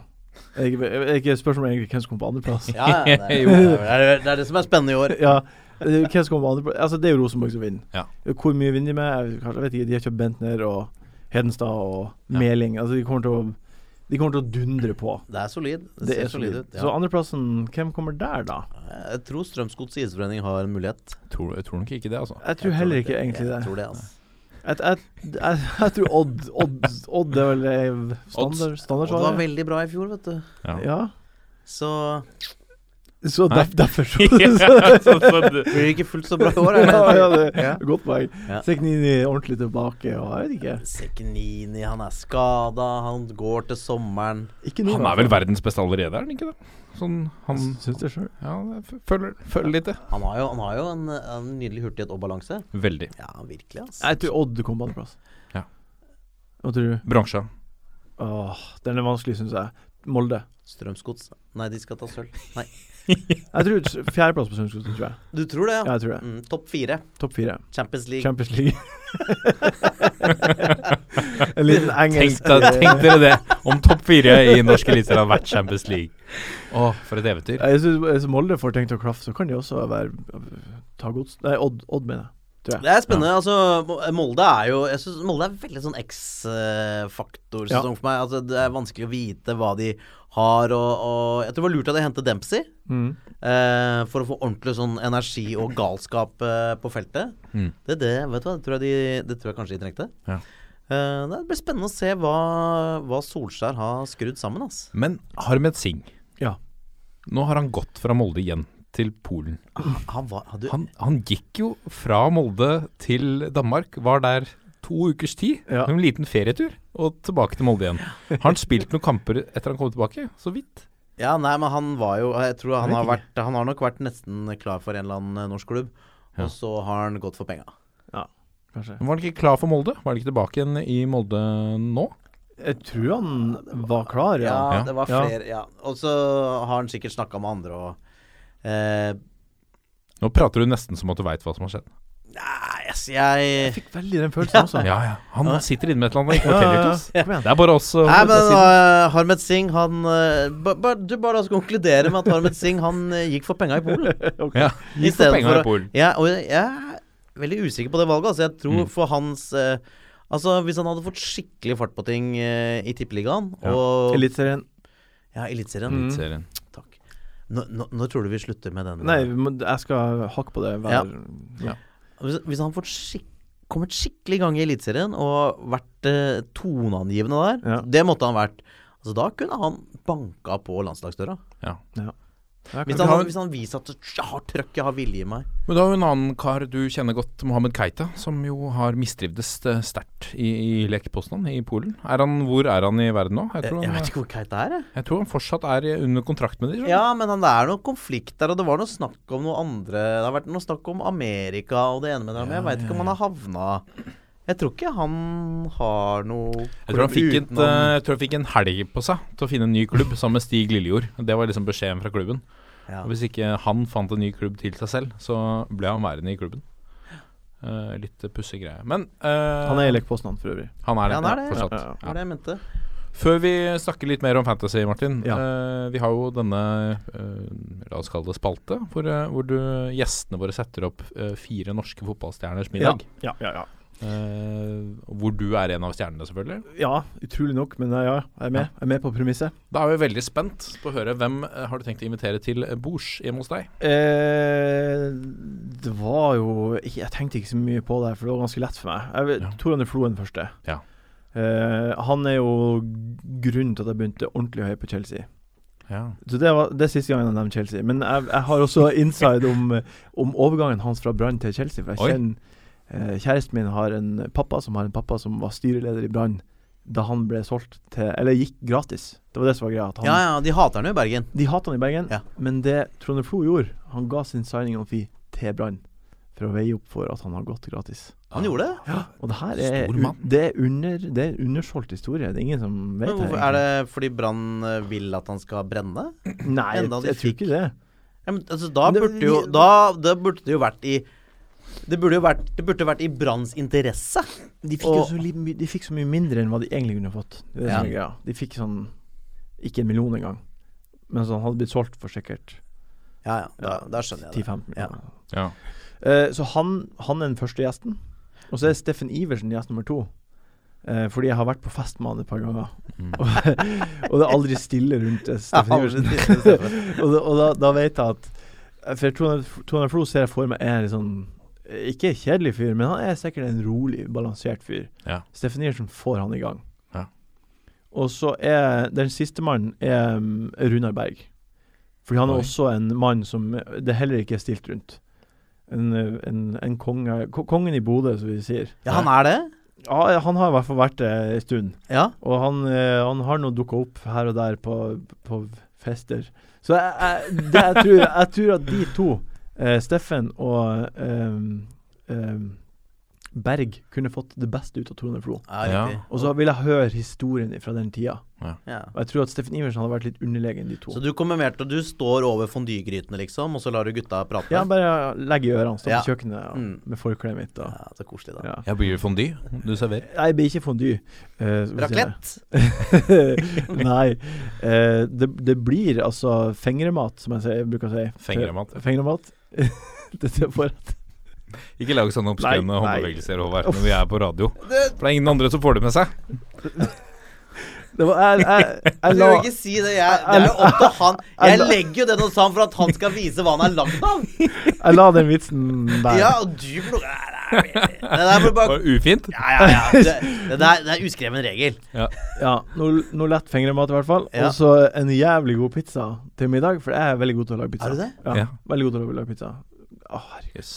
Speaker 4: Er ikke, er ikke spørsmålet egentlig hvem som kom på
Speaker 2: [LAUGHS]
Speaker 4: andreplass?
Speaker 3: Ja, ja, det, er, det, er, det er det som er spennende i år.
Speaker 4: ja. det er- Hvem som kom på andreplass? Altså, det er jo Rosenborg som vinner.
Speaker 2: Ja.
Speaker 4: Hvor mye vinner de med? Jeg vet- kanskje- jeg vet ikke. De har kjøpt Bentner og Hedenstad og
Speaker 2: Ja.
Speaker 4: Meling. Altså, de kommer til å De kommer til å dundre på.
Speaker 3: Det er solid. Det,
Speaker 4: Det
Speaker 3: ser
Speaker 4: er
Speaker 3: solid
Speaker 4: solid.
Speaker 3: ut.
Speaker 4: Så
Speaker 3: Ja.
Speaker 4: andreplassen, hvem kommer der, da?
Speaker 3: Jeg tror Strømsgods idrettsforening har en mulighet.
Speaker 2: Tror, jeg tror nok ikke det,
Speaker 4: [LAUGHS]
Speaker 2: altså. [LAUGHS]
Speaker 4: Jeg tror heller ikke egentlig
Speaker 3: Jeg
Speaker 4: det.
Speaker 3: tror det, altså.
Speaker 4: Jeg, jeg, jeg, jeg tror Odd Odd, Odd er vel eh, standard,
Speaker 3: Og det var
Speaker 4: standardsvaret.
Speaker 3: veldig bra i fjor, vet du.
Speaker 4: Ja.
Speaker 3: Så
Speaker 4: Så
Speaker 2: Nei.
Speaker 4: derf- derfor så,
Speaker 2: [LAUGHS] så, så, du-
Speaker 3: blir det ikke fullt så bra i
Speaker 4: [LAUGHS]
Speaker 3: år.
Speaker 4: ja, ja,
Speaker 3: er det?
Speaker 4: det Godt poeng.
Speaker 3: Ja.
Speaker 4: Seknini er ordentlig tilbake, og jeg vet ikke.
Speaker 3: Seknini, han er skada, han går til sommeren.
Speaker 4: ikke
Speaker 2: han er vel verdens beste allerede, er han ikke det? Sånn, han
Speaker 4: Syns det sjøl.
Speaker 2: Ja, jeg f- føler, føler litt det.
Speaker 3: Han har jo, han har jo en, en nydelig hurtighet og balanse.
Speaker 2: Veldig.
Speaker 3: Ja, virkelig, altså.
Speaker 4: Jeg tror Odd kom på andreplass.
Speaker 2: Ja.
Speaker 4: Hva tror du?
Speaker 2: Bransja.
Speaker 4: Åh, den er vanskelig, syns jeg. Molde.
Speaker 3: Strømsgods Nei, de skal ta sølv. Nei.
Speaker 4: Jeg tror s- fjerdeplass på Strømsgodset, tror jeg.
Speaker 3: Du tror det,
Speaker 4: Ja, jeg tror det.
Speaker 3: Mm, Topp fire.
Speaker 4: Topp fire.
Speaker 3: Champions League.
Speaker 4: Champions League. [LAUGHS] en liten
Speaker 2: Tenk,
Speaker 4: engelsk
Speaker 2: deg- tenk dere det! Om topp fire i norsk eliteserie har vært Champions League. Å, for et eventyr.
Speaker 4: Jeg synes, Hvis Molde får tenkt å klaffe, så kan de også være ta gods... Nei, Odd, Odd mener jeg.
Speaker 3: Det er spennende. altså Mo- Molde er jo Jeg synes Molde er veldig sånn X-faktor-sesong for meg. Altså Det er vanskelig å vite hva de har, og, og jeg tror det var lurt at jeg hentet Dempsey. Eh, for å få ordentlig sånn energi og galskap eh, på feltet.
Speaker 2: Mm.
Speaker 3: Det, det, vet du hva, det, tror jeg de, det tror jeg kanskje de trengte.
Speaker 2: Ja.
Speaker 3: Eh, det blir spennende å se hva, hva Solskjær har skrudd sammen. ass
Speaker 2: Men Harmed Singh,
Speaker 4: Ja.
Speaker 2: nå har han gått fra Molde igjen til Polen.
Speaker 3: Han var, hadde,
Speaker 2: Han, han gikk jo fra Molde til Danmark, var der to ukers tid,
Speaker 4: Ja.
Speaker 2: en liten ferietur, og tilbake til Molde igjen. Har han spilt noen kamper etter han kom tilbake? Så vidt.
Speaker 3: Ja, nei, men han var jo Jeg tror han
Speaker 4: Jeg
Speaker 3: har
Speaker 4: vet
Speaker 3: vært Han har nok vært nesten klar for en eller annen eh, norsk klubb. Og så har han gått for penga.
Speaker 4: Kanskje.
Speaker 2: Men Var han ikke klar for Molde? Var han ikke tilbake igjen i Molde nå?
Speaker 4: Jeg tror han var klar, ja.
Speaker 3: Ja,
Speaker 2: Ja.
Speaker 3: det var
Speaker 4: Ja.
Speaker 3: flere. Ja. Og så har han sikkert snakka med andre og eh,
Speaker 2: Nå prater du nesten som at du veit hva som har skjedd.
Speaker 3: Nei, altså, jeg
Speaker 4: Fikk veldig den følelsen også.
Speaker 2: Ja, ja. Han sitter inne med et eller annet han ikke
Speaker 4: Ja,
Speaker 2: forteller
Speaker 4: ja,
Speaker 2: til
Speaker 4: ja.
Speaker 2: oss.
Speaker 4: Kom igjen.
Speaker 2: Det er bare oss. og-
Speaker 3: Nei, men
Speaker 2: siden-
Speaker 3: eh, Harmet Singh, han eh, ba, ba, Du bare altså konkluderer med at Harmet Singh han eh, gikk for penga i Polen.
Speaker 2: ja,
Speaker 3: I
Speaker 2: gi for
Speaker 3: stedet
Speaker 2: penga
Speaker 3: for
Speaker 2: i
Speaker 3: å-
Speaker 2: Polen.
Speaker 3: Ja, og jeg er veldig usikker på det valget. Altså, jeg tror for hans eh, Altså, hvis han hadde fått skikkelig fart på ting eh, i Tippeligaen
Speaker 2: Ja. Mm.
Speaker 3: og
Speaker 4: Eliteserien.
Speaker 3: Ja, Eliteserien.
Speaker 2: Serien.
Speaker 3: Takk. Nå- nå- Når tror du vi slutter med den?
Speaker 4: Nei, vi må- jeg skal hakke på det hver ja.
Speaker 3: Hvis, hvis han får skikk, kommet skikkelig i gang i Eliteserien og vært eh, toneangivende der,
Speaker 4: Ja.
Speaker 3: det måtte han vært. Altså, da kunne han banka på landslagsdøra.
Speaker 2: Ja.
Speaker 4: Ja. Ja,
Speaker 3: Hvis
Speaker 4: kan-
Speaker 3: han,
Speaker 2: han-
Speaker 3: hvis han viser at jeg har trøkk, jeg har vilje i meg
Speaker 2: Men du har jo en annen kar du kjenner godt, Mohammed Keita, som jo har mistrivdes eh, sterkt i, i Lech Poznan i Polen. Er han, hvor er han i verden nå? Jeg
Speaker 3: Jeg,
Speaker 2: tror
Speaker 3: jeg
Speaker 2: han,
Speaker 3: vet ikke hvor Keita er, jeg.
Speaker 2: jeg tror han fortsatt er eh, under kontrakt med dem.
Speaker 3: Ja, men han, det er noe konflikt der, og det var noe snakk om noe andre Det har vært noe snakk om Amerika og det ene med det andre. men Jeg veit ikke om han har havna Jeg tror ikke han har noe
Speaker 2: Jeg tror, han fikk et,
Speaker 3: utenom-
Speaker 2: eh, jeg tror han fikk en helg på seg til å finne en ny klubb sammen med Stig Lillejord. Det var liksom beskjeden fra klubben.
Speaker 3: Ja.
Speaker 2: Og hvis ikke han fant en ny klubb til seg selv, så ble han værende i klubben. Eh, litt eh, pussig greie. Men eh,
Speaker 4: Han er i Lech Poznan for øvrig.
Speaker 2: han er det,
Speaker 3: Ja, han er det.
Speaker 2: fortsatt.
Speaker 4: Ja, ja, ja.
Speaker 3: Det var det jeg mente.
Speaker 2: Før vi snakker litt mer om fantasy, Martin.
Speaker 4: Ja.
Speaker 2: eh, vi har jo denne eh, la oss kalle det spalte, hvor, eh, hvor du, gjestene våre setter opp eh, fire norske fotballstjerners middag.
Speaker 4: Ja, ja, ja.
Speaker 2: Eh, hvor du er en av stjernene, selvfølgelig.
Speaker 4: ja, utrolig nok, men eh, ja, jeg er med. Jeg er med på premisset.
Speaker 2: Da er vi veldig spent på å høre hvem eh, har du tenkt å invitere til eh, bords hjemme hos deg?
Speaker 4: Eh, det var jo ikke, Jeg tenkte ikke så mye på det, for det var ganske lett for meg. Jeg, vet-
Speaker 2: Ja.
Speaker 4: Tor André Floen første.
Speaker 2: Ja.
Speaker 4: Eh, han er jo grunnen til at jeg begynte ordentlig høyt på Chelsea.
Speaker 2: Ja.
Speaker 4: Så Det, var, det er siste gangen jeg nevner Chelsea. Men jeg, jeg har også inside om, eh, om overgangen hans fra Brann til Chelsea. For jeg
Speaker 2: Oi.
Speaker 4: kjenner eh, Kjæresten min har en pappa som har en pappa som var styreleder i Brann da han ble solgt til Eller gikk gratis. Det var det som var greia. At han,
Speaker 3: Ja, ja, de hater han jo i Bergen.
Speaker 4: de hater han i Bergen,
Speaker 3: Ja.
Speaker 4: men det Trond Flo gjorde Han ga sin signing on fee til Brann for å veie opp for at han har gått gratis.
Speaker 3: Han gjorde det.
Speaker 4: Og det her er,
Speaker 2: Stor mann.
Speaker 4: u- det er, under, det er en undersolgt historie. Det er ingen som vet
Speaker 3: Men hvorfor,
Speaker 4: her,
Speaker 3: er det fordi Brann eh, vil at han skal brenne?
Speaker 4: egentlig. Nei, jeg,
Speaker 3: enda de
Speaker 4: jeg tror
Speaker 3: fikk-
Speaker 4: ikke det.
Speaker 3: Ja, men, altså, da,
Speaker 4: Men det-
Speaker 3: burde jo, da, da burde det jo vært i Det burde jo vært, det burde vært i Branns interesse.
Speaker 4: De fikk,
Speaker 3: jo
Speaker 4: så mye mindre enn hva de egentlig kunne fått. Det er det som er greia. De fikk sånn Ikke en million engang. Mens han hadde blitt solgt for sikkert
Speaker 3: Ja, ja, da, da skjønner jeg det.
Speaker 4: 10-15
Speaker 3: Ja.
Speaker 4: millioner.
Speaker 2: Ja.
Speaker 4: Eh, så han, han er den første gjesten. Og så er Steffen Iversen gjest nummer to. Eh, fordi jeg har vært på fest med han et par ganger. og, [LAUGHS] og det er aldri stille rundt eh, Steffen Iversen. [LAUGHS] og da, og da, da vet jeg at For Tone Tone Flo ser jeg for meg er en sånn eh, Ikke kjedelig fyr, men han er sikkert en rolig, balansert fyr.
Speaker 2: Ja.
Speaker 4: Steffen Iversen får han i gang.
Speaker 2: Ja.
Speaker 4: Og så er den siste mannen er mm, Runar Berg. Fordi han er
Speaker 2: Oi.
Speaker 4: også en mann som det heller ikke er stilt rundt. En, eh, en, en konge ko- Kongen i Bodø, som vi sier.
Speaker 3: Ja, han er det.
Speaker 4: Ja, han har i hvert fall vært det en stund.
Speaker 3: Ja.
Speaker 4: Og han, eh, han har nå dukka opp her og der på, på fester. Så jeg, jeg, det, jeg, tror, jeg tror at de to, eh, Steffen og eh, eh, Berg, kunne fått det beste ut av Tone Flo.
Speaker 3: Ja, riktig.
Speaker 4: Og så vil jeg høre historien fra den tida.
Speaker 3: Ja.
Speaker 4: Og jeg tror at Steffen Iversen hadde vært litt underlegen de to.
Speaker 3: Så du kommer mer til at du står over fondygrytene, liksom, og så lar du gutta prate?
Speaker 4: Ja, bare legge i ørene, stå
Speaker 3: Ja.
Speaker 4: på kjøkkenet ja,
Speaker 3: Mm.
Speaker 4: med forkleet mitt. Og,
Speaker 3: Ja, så koselig, da.
Speaker 4: ja.
Speaker 2: Jeg blir fondy. Du serverer.
Speaker 4: Nei, det blir ikke fondy. Uh,
Speaker 3: Raclette.
Speaker 4: [LAUGHS] Nei. Eh, det, det blir altså fengremat, som jeg sier- bruker å si.
Speaker 2: Fengremat.
Speaker 4: Fe- Fengremat. [LAUGHS] Dette får
Speaker 2: Ikke lag sånne obskøne
Speaker 4: Nei, nei.
Speaker 2: håndbevegelser Håvard, når vi er på radio. For det er ingen andre som får det med seg.
Speaker 4: det var, jeg, jeg, jeg
Speaker 3: Du
Speaker 4: la
Speaker 3: må ikke si det. Jeg, det er jo opp til
Speaker 4: [LAUGHS]
Speaker 3: han. Jeg legger jo den hos han for at han skal vise hva han er lagd av.
Speaker 4: [LAUGHS] Jeg la den vitsen der.
Speaker 3: Ja, og du plukker Nei, nei, nei. Det der må du
Speaker 2: Det
Speaker 3: bare
Speaker 2: var ufint.
Speaker 3: Ja, ja, ja. Det, det, der, det er uskreven regel.
Speaker 4: Ja, noe, noe lett fengremat, i hvert fall.
Speaker 3: Ja.
Speaker 4: Og så en jævlig god pizza til middag, for jeg er veldig god til å lage pizza.
Speaker 3: Er du det?
Speaker 4: Ja,
Speaker 2: Ja.
Speaker 4: Veldig god til å lage pizza. Å, herregud.
Speaker 2: Yes.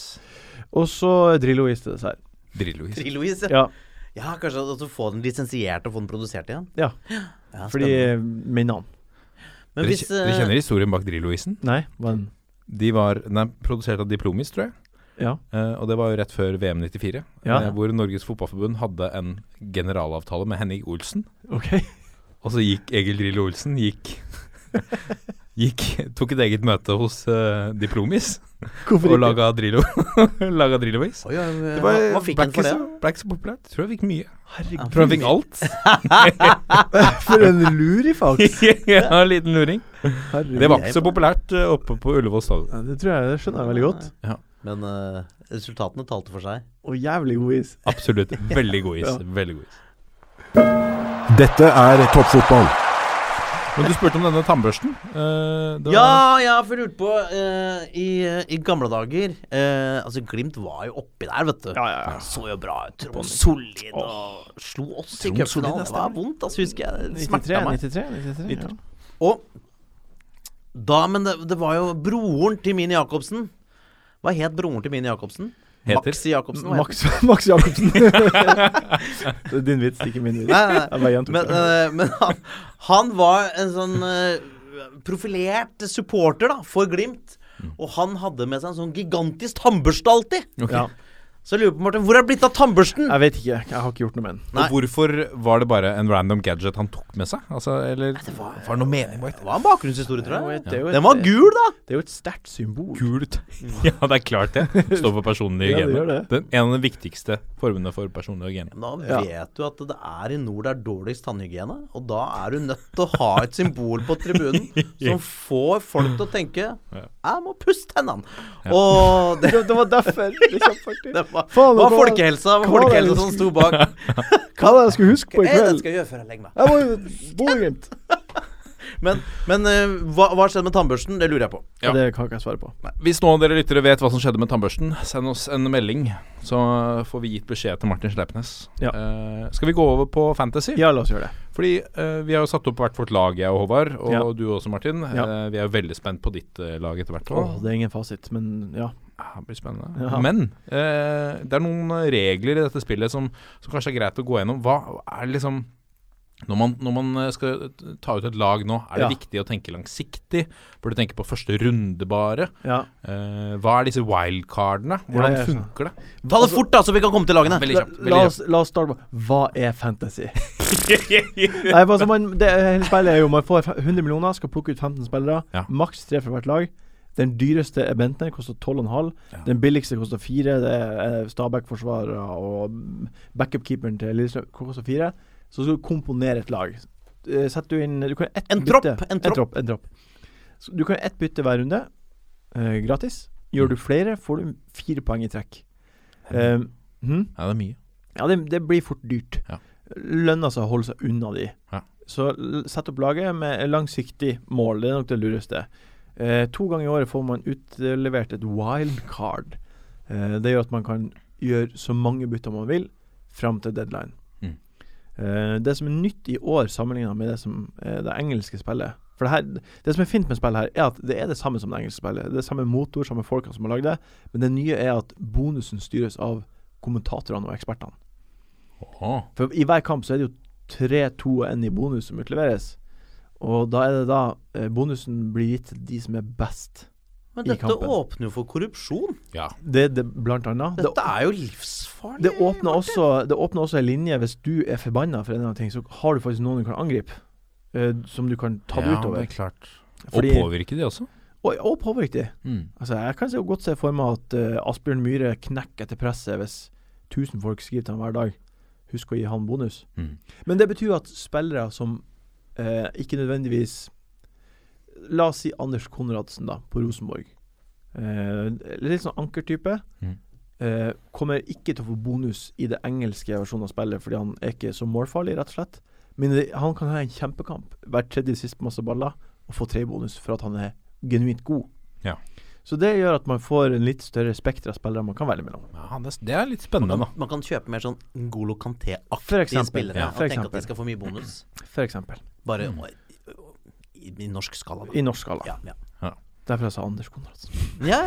Speaker 4: Og så Drillo-is til dessert.
Speaker 2: Drillo.
Speaker 3: Trilois. Ja.
Speaker 4: Ja,
Speaker 3: ja, kanskje at du får den lisensiert og får den produsert igjen.
Speaker 4: Ja.
Speaker 3: ja
Speaker 4: fordi
Speaker 3: spennende.
Speaker 4: Min navn.
Speaker 3: Men
Speaker 2: Dere,
Speaker 3: hvis,
Speaker 2: kje- dere
Speaker 3: eh,
Speaker 2: kjenner historien bak Drillo-isen?
Speaker 4: Nei, var den
Speaker 2: De var den er produsert av Diplomis, tror jeg.
Speaker 4: Ja.
Speaker 2: Eh, og det var jo rett før VM 94,
Speaker 4: Ja.
Speaker 2: eh, hvor Norges Fotballforbund hadde en generalavtale med Henning Olsen.
Speaker 4: OK.
Speaker 2: Og så gikk Egil Drillo Olsen gikk, [LAUGHS] gikk Tok et eget møte hos eh, Diplomis
Speaker 4: Hvorfor
Speaker 2: og
Speaker 4: ikke?
Speaker 2: laga Drillo [LAUGHS] laga Drillo-is.
Speaker 3: Oi, oi, oi,
Speaker 2: Det
Speaker 3: hva,
Speaker 2: var-
Speaker 3: hva fikk han for
Speaker 2: ikke
Speaker 3: det?
Speaker 2: så- Ble ikke så populært. Tror jeg fikk mye.
Speaker 4: Herregud,
Speaker 2: Tror jeg fikk alt.
Speaker 4: for en lurifaks!
Speaker 2: [LAUGHS] ja, en liten luring.
Speaker 4: Herregud.
Speaker 2: Det var ikke så populært eh, oppe på Ullevål stadion.
Speaker 4: Ja, det tror jeg, det skjønner jeg veldig godt.
Speaker 3: Men eh, resultatene talte for seg.
Speaker 4: Og jævlig god is.
Speaker 2: Absolutt. Veldig [LAUGHS] god is.
Speaker 4: Ja.
Speaker 2: Veldig god is.
Speaker 5: Dette er toppfotball.
Speaker 2: Men du spurte om denne tannbørsten. Eh, det var-
Speaker 3: Ja, jeg har lurt på eh, i, I gamle dager eh, Altså, Glimt var jo oppi der, vet du. Så jo bra ut. Trond Solid og slo oss i
Speaker 4: Solid,
Speaker 3: cupfinalen.
Speaker 4: det
Speaker 3: Det var vondt, altså, husker jeg. Det
Speaker 4: 93,
Speaker 3: smerta meg.
Speaker 4: 93, 93, ja.
Speaker 3: Og Da, men det, det var jo broren til Mini Jacobsen. Hva het broren til Mini Jacobsen?
Speaker 2: Heter?
Speaker 3: Maxi Jacobsen. hva
Speaker 2: [LAUGHS]
Speaker 3: het
Speaker 4: Max, [LAUGHS] Max Jacobsen. Det er din vits, ikke min
Speaker 3: Nei,
Speaker 4: vits.
Speaker 3: nei, nei.
Speaker 4: Jeg bare gjentok
Speaker 3: Men,
Speaker 4: det.
Speaker 3: eh, men han, han var en sånn eh, profilert supporter da, for Glimt.
Speaker 2: Mm.
Speaker 3: Og han hadde med seg en sånn gigantisk tannbørste alltid.
Speaker 4: Ja.
Speaker 3: Så jeg lurer på, Martin, hvor er det blitt av tannbørsten?
Speaker 4: Jeg vet ikke. Jeg har ikke gjort noe med den.
Speaker 3: Nei.
Speaker 2: Og hvorfor var det bare en random gadget han tok med seg? Altså, eller
Speaker 3: Det var,
Speaker 2: var det noe mening bak det?
Speaker 3: det var en bakgrunnshistorie, tror jeg.
Speaker 4: Det er jo
Speaker 3: Den var
Speaker 4: et,
Speaker 3: gul, da!
Speaker 4: det er jo et sterkt symbol.
Speaker 2: Kult. [LAUGHS] Ja, det er klart det. Står for personlig
Speaker 4: Ja, det
Speaker 2: hygiene.
Speaker 4: gjør det.
Speaker 2: Den, en av de viktigste formene for personlig hygiene.
Speaker 3: Da
Speaker 4: Ja.
Speaker 3: vet du at det er i nord det er dårligst tannhygiene, og da er du nødt til å ha et symbol på tribunen
Speaker 4: [LAUGHS]
Speaker 3: som får folk til å tenke 'jeg må pusse tennene'. Og det,
Speaker 4: Det, det var derfor. [LAUGHS] Liksom, faktisk.
Speaker 3: det var,
Speaker 4: Faen,
Speaker 3: var
Speaker 4: hva-
Speaker 3: folkehelsa, var
Speaker 4: hva var det
Speaker 3: folkehelsa
Speaker 4: du
Speaker 3: som sto
Speaker 4: [LAUGHS]
Speaker 3: bak.
Speaker 4: Hva var det jeg skulle huske på i
Speaker 3: Hva er det jeg
Speaker 4: kveld?
Speaker 3: skal gjøre før jeg legger meg?
Speaker 4: Jeg var jo Bodø-Glimt.
Speaker 3: Men, men eh, hva, hva skjedde med tannbørsten? Det lurer jeg på.
Speaker 2: Ja.
Speaker 4: Det kan ikke jeg svare på.
Speaker 2: Hvis noen av dere lyttere vet hva som skjedde med tannbørsten, send oss en melding, så får vi gitt beskjed til Martin Sleipnes.
Speaker 4: Ja.
Speaker 2: Eh, skal vi gå over på Fantasy?
Speaker 4: Ja, la oss gjøre det.
Speaker 2: Fordi eh, vi har jo satt opp hvert vårt lag, jeg og Håvard, og
Speaker 4: Ja.
Speaker 2: du også, Martin.
Speaker 4: Ja.
Speaker 2: Eh, vi er jo veldig spent på ditt eh, lag etter hvert.
Speaker 4: Åh, det er ingen fasit, men ja.
Speaker 2: Ja, Ah, det blir spennende.
Speaker 4: Ja.
Speaker 2: Men eh, det er noen regler i dette spillet som, som kanskje er greit å gå gjennom. Hva er liksom når man, når man eh, skal ta ut et lag nå, er det
Speaker 4: Ja.
Speaker 2: viktig å tenke langsiktig? Bør du tenke på første runde bare?
Speaker 4: ja.
Speaker 2: Eh, hva er disse wildcardene? Hvordan
Speaker 4: Ja, jeg skjønner.
Speaker 2: funker det?
Speaker 3: Ta
Speaker 4: Altså-
Speaker 3: det fort, da, så vi kan komme til lagene.
Speaker 2: Veldig
Speaker 4: La,
Speaker 2: kjapt.
Speaker 4: la,
Speaker 2: Veldig kjapt.
Speaker 4: oss, la oss starte på Hva er
Speaker 2: [LAUGHS]
Speaker 4: fantasy? Nei, men altså man, det hele spillet er jo Man får 100 millioner, skal plukke ut 15 spillere.
Speaker 2: Ja.
Speaker 4: Maks tre fra hvert lag. Den dyreste er Bentner, koster 12,5.
Speaker 2: Ja.
Speaker 4: Den billigste koster 4. Det er eh, Stabæk-forsvarere og backup-keeperen til Lillestrøm koster 4. Så skal du komponere et lag. Eh, Setter du inn du kan ett
Speaker 3: En
Speaker 4: bytte-
Speaker 3: tropp, en
Speaker 4: En
Speaker 3: tropp.
Speaker 4: tropp, en tropp. Så du kan ett bytte hver runde, eh, gratis. Gjør
Speaker 2: Mm.
Speaker 4: du flere, får du fire poeng i trekk. Eh, hm?
Speaker 2: Ja, det er mye.
Speaker 4: Ja, det, det blir fort dyrt.
Speaker 2: Ja.
Speaker 4: Lønner seg å holde seg unna de.
Speaker 2: Ja.
Speaker 4: Så l- sett opp laget med langsiktig mål. Det er nok det lureste. Eh, to ganger i året får man utlevert et wildcard. Eh, det gjør at man kan gjøre så mange bytter man vil fram til deadline.
Speaker 2: Mm.
Speaker 4: Eh, det som er nytt i år sammenligna med det som er det engelske spillet For det, her, det som er fint med spillet her, er at det er det samme som det engelske spillet. Det er samme motor, samme folka som har lagd det. Men det nye er at bonusen styres av kommentatorene og ekspertene.
Speaker 2: Åh.
Speaker 4: For i hver kamp så er det jo tre, to og en i bonus som utleveres. Og da er det da eh, bonusen blir gitt til de som er best.
Speaker 3: Men
Speaker 4: i
Speaker 3: dette
Speaker 4: kampen.
Speaker 3: åpner jo for korrupsjon.
Speaker 2: Ja.
Speaker 4: Det er det blant annet. Det,
Speaker 3: Dette er jo livsfarlig.
Speaker 4: det, åpner også, det åpner også en linje hvis du er forbanna for en eller annen ting, så har du faktisk noen du kan angripe. eh, som du kan ta det
Speaker 2: ja,
Speaker 4: utover.
Speaker 2: Det er klart.
Speaker 4: Fordi-
Speaker 2: Og påvirke de også.
Speaker 4: Og, og påvirke de.
Speaker 2: Mm.
Speaker 4: Altså, jeg kan se godt se for meg at eh, Asbjørn Myhre knekker etter presset hvis 1000 folk skriver til ham hver dag. Husk å gi han bonus.
Speaker 2: Mm.
Speaker 4: Men det betyr at spillere som eh, ikke nødvendigvis La oss si Anders Konradsen, da, på Rosenborg. Eh, litt sånn ankertype.
Speaker 2: Mm.
Speaker 4: Eh, kommer ikke til å få bonus i det engelske versjonen av spillet fordi han er ikke så målfarlig, rett og slett. Men det, han kan ha en kjempekamp hver tredje sist på masse baller og få tre bonus for at han er genuint god.
Speaker 2: Ja.
Speaker 4: Så det gjør at man får en litt større spekter av spillere man kan velge mellom.
Speaker 2: Ja, det, det er litt spennende, da.
Speaker 3: Man kan kjøpe mer sånn Ngolo
Speaker 4: For
Speaker 3: Kanté-aktige
Speaker 4: eksempel,
Speaker 3: spillere
Speaker 4: ja,
Speaker 3: og
Speaker 4: for
Speaker 3: tenke at
Speaker 4: eksempel.
Speaker 3: de skal få mye bonus.
Speaker 4: For eksempel.
Speaker 3: Bare i, i norsk skala. da.
Speaker 4: Mm. I norsk skala.
Speaker 3: Ja, ja.
Speaker 4: Derfor jeg sa Anders Konradsen.
Speaker 3: ja,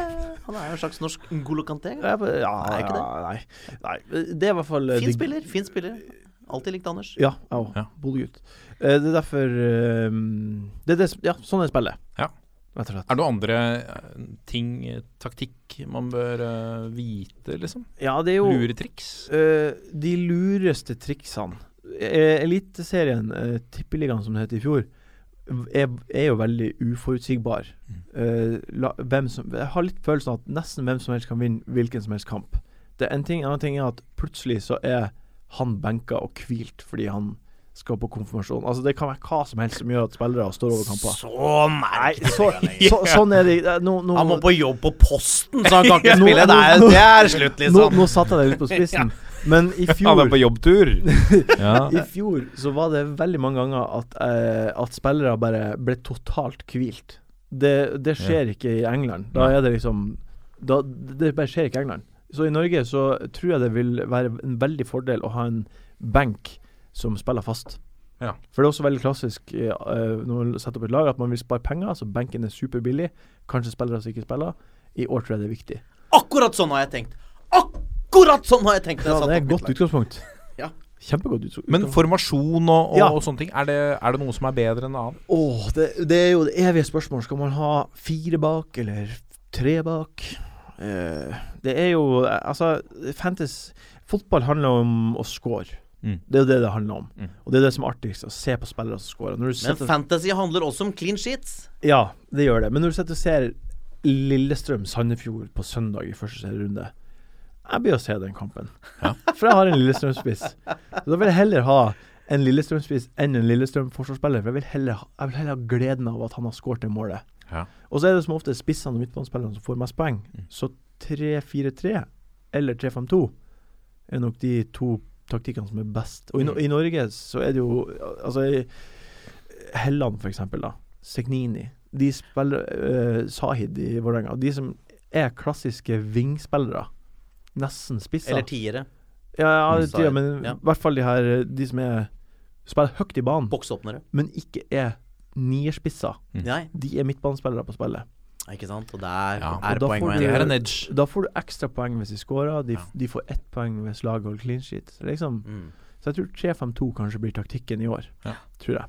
Speaker 3: han er jo en slags norsk Ngolo Kanté.
Speaker 4: Ja,
Speaker 3: Nei, ikke det.
Speaker 4: nei, nei. Det er i hvert fall eh,
Speaker 3: Fin
Speaker 4: det-
Speaker 3: spiller, fin spiller. Alltid likt Anders.
Speaker 4: Ja, jeg òg.
Speaker 2: Ja.
Speaker 4: Bodø-gutt. Eh, Det er derfor eh, det er det, som- Ja, sånn er spillet.
Speaker 2: Ja.
Speaker 4: Rett og slett.
Speaker 2: Er det noen andre eh, ting, eh, taktikk, man bør eh, vite, liksom?
Speaker 4: Ja, det er jo
Speaker 2: Luretriks?
Speaker 4: Eh, de lureste triksene Eh, Eliteserien, eh, Tippeligaen som det het i fjor, er, er jo veldig uforutsigbar. Eh, la, hvem som, jeg har litt følelsen av at nesten hvem som helst kan vinne hvilken som helst kamp. Det er en ting, en annen ting er at plutselig så er han benka og hvilt fordi han skal på konfirmasjon. Altså Det kan være hva som helst som gjør at spillere står over kamper.
Speaker 3: Sånn er det
Speaker 4: Så, så, sånn er det. Eh, Nå, nå,
Speaker 3: Han må på jobb på Posten, så han kan ikke
Speaker 4: [LAUGHS] Ja, nå-
Speaker 3: spille. Det er,
Speaker 4: nå-
Speaker 3: det er slutt,
Speaker 4: nå,
Speaker 3: liksom.
Speaker 4: nå satte jeg deg litt på
Speaker 2: [LAUGHS]
Speaker 4: spissen, men i [LAUGHS] fjor
Speaker 2: Han er på jobbtur!
Speaker 4: [LAUGHS]
Speaker 2: ja.
Speaker 4: I fjor så var det veldig mange ganger at, eh, at spillere bare ble totalt hvilt. Det, det skjer ikke i England. Da er det liksom da, Det bare skjer ikke i England. Så i Norge så tror jeg det vil være en veldig fordel å ha en benk som spiller fast.
Speaker 2: Ja.
Speaker 4: For det er også veldig klassisk eh, eh, når man setter opp et lag, at man vil spare penger, så benken er superbillig. Kanskje spillere som ikke spiller. I år tror jeg det er viktig.
Speaker 3: Akkurat sånn har jeg tenkt! Akkurat sånn har jeg tenkt! når
Speaker 4: Ja,
Speaker 3: jeg
Speaker 4: det
Speaker 3: satte opp
Speaker 4: er et
Speaker 3: mitt
Speaker 4: godt
Speaker 3: lag.
Speaker 4: utgangspunkt.
Speaker 3: Ja.
Speaker 4: Kjempegodt utgangspunkt.
Speaker 2: Men formasjon og, og,
Speaker 4: Ja.
Speaker 2: og sånne ting, er det, er det noe som er bedre enn annet?
Speaker 4: Åh, det, det er jo det evige spørsmålet. Skal man ha fire bak, eller tre bak? Eh, det er jo eh, Altså, fantasy Fotball handler om å score.
Speaker 2: Mm.
Speaker 4: Det er jo det det handler om.
Speaker 2: Mm.
Speaker 4: Og det er det som er artigst, å se på spillere som scorer. Når
Speaker 3: Men
Speaker 4: du setter,
Speaker 3: fantasy handler også om clean sheets.
Speaker 4: ja, det gjør det. Men når du sitter og ser Lillestrøm-Sandefjord på søndag i første serierunde Jeg blir å se den kampen. For jeg har en Lillestrøm-spiss. Så da vil jeg heller ha en Lillestrøm-spiss enn en Lillestrøm-forsvarsspiller. For jeg vil, heller ha, jeg vil heller ha gleden av at han har skåret det målet.
Speaker 2: Ja.
Speaker 4: Og så er det som ofte spissene og midtbanespillerne som får mest poeng. Så 3-4-3 eller 3-5-2 er nok de to taktikkene som er best. Og i, no i Norge så er det jo Altså i Helland, for eksempel, da. Segnini. De spiller eh, Sahid i Vålerenga. De som er klassiske vingspillere. Nesten spisser.
Speaker 3: Eller tiere.
Speaker 4: Ja, ja,
Speaker 3: Mm.
Speaker 4: det tror jeg, men i
Speaker 3: Ja.
Speaker 4: hvert fall de her eh, De som er spiller høyt i banen,
Speaker 3: Boksåpnere.
Speaker 4: men ikke er nierspisser.
Speaker 3: Nei,
Speaker 4: De er midtbanespillere på spillet.
Speaker 3: ikke sant? Og der
Speaker 2: Ja, og
Speaker 3: er
Speaker 4: da får
Speaker 3: poenget
Speaker 4: du-
Speaker 2: Det
Speaker 3: igjen.
Speaker 2: er en edge.
Speaker 4: Da får du ekstra poeng hvis de scorer. De,
Speaker 2: Ja.
Speaker 4: de får ett poeng hvis laget holder clean sheet. Liksom.
Speaker 3: Mm.
Speaker 4: Så jeg tror 3-5-2 kanskje blir taktikken i år.
Speaker 2: Ja.
Speaker 4: Tror jeg.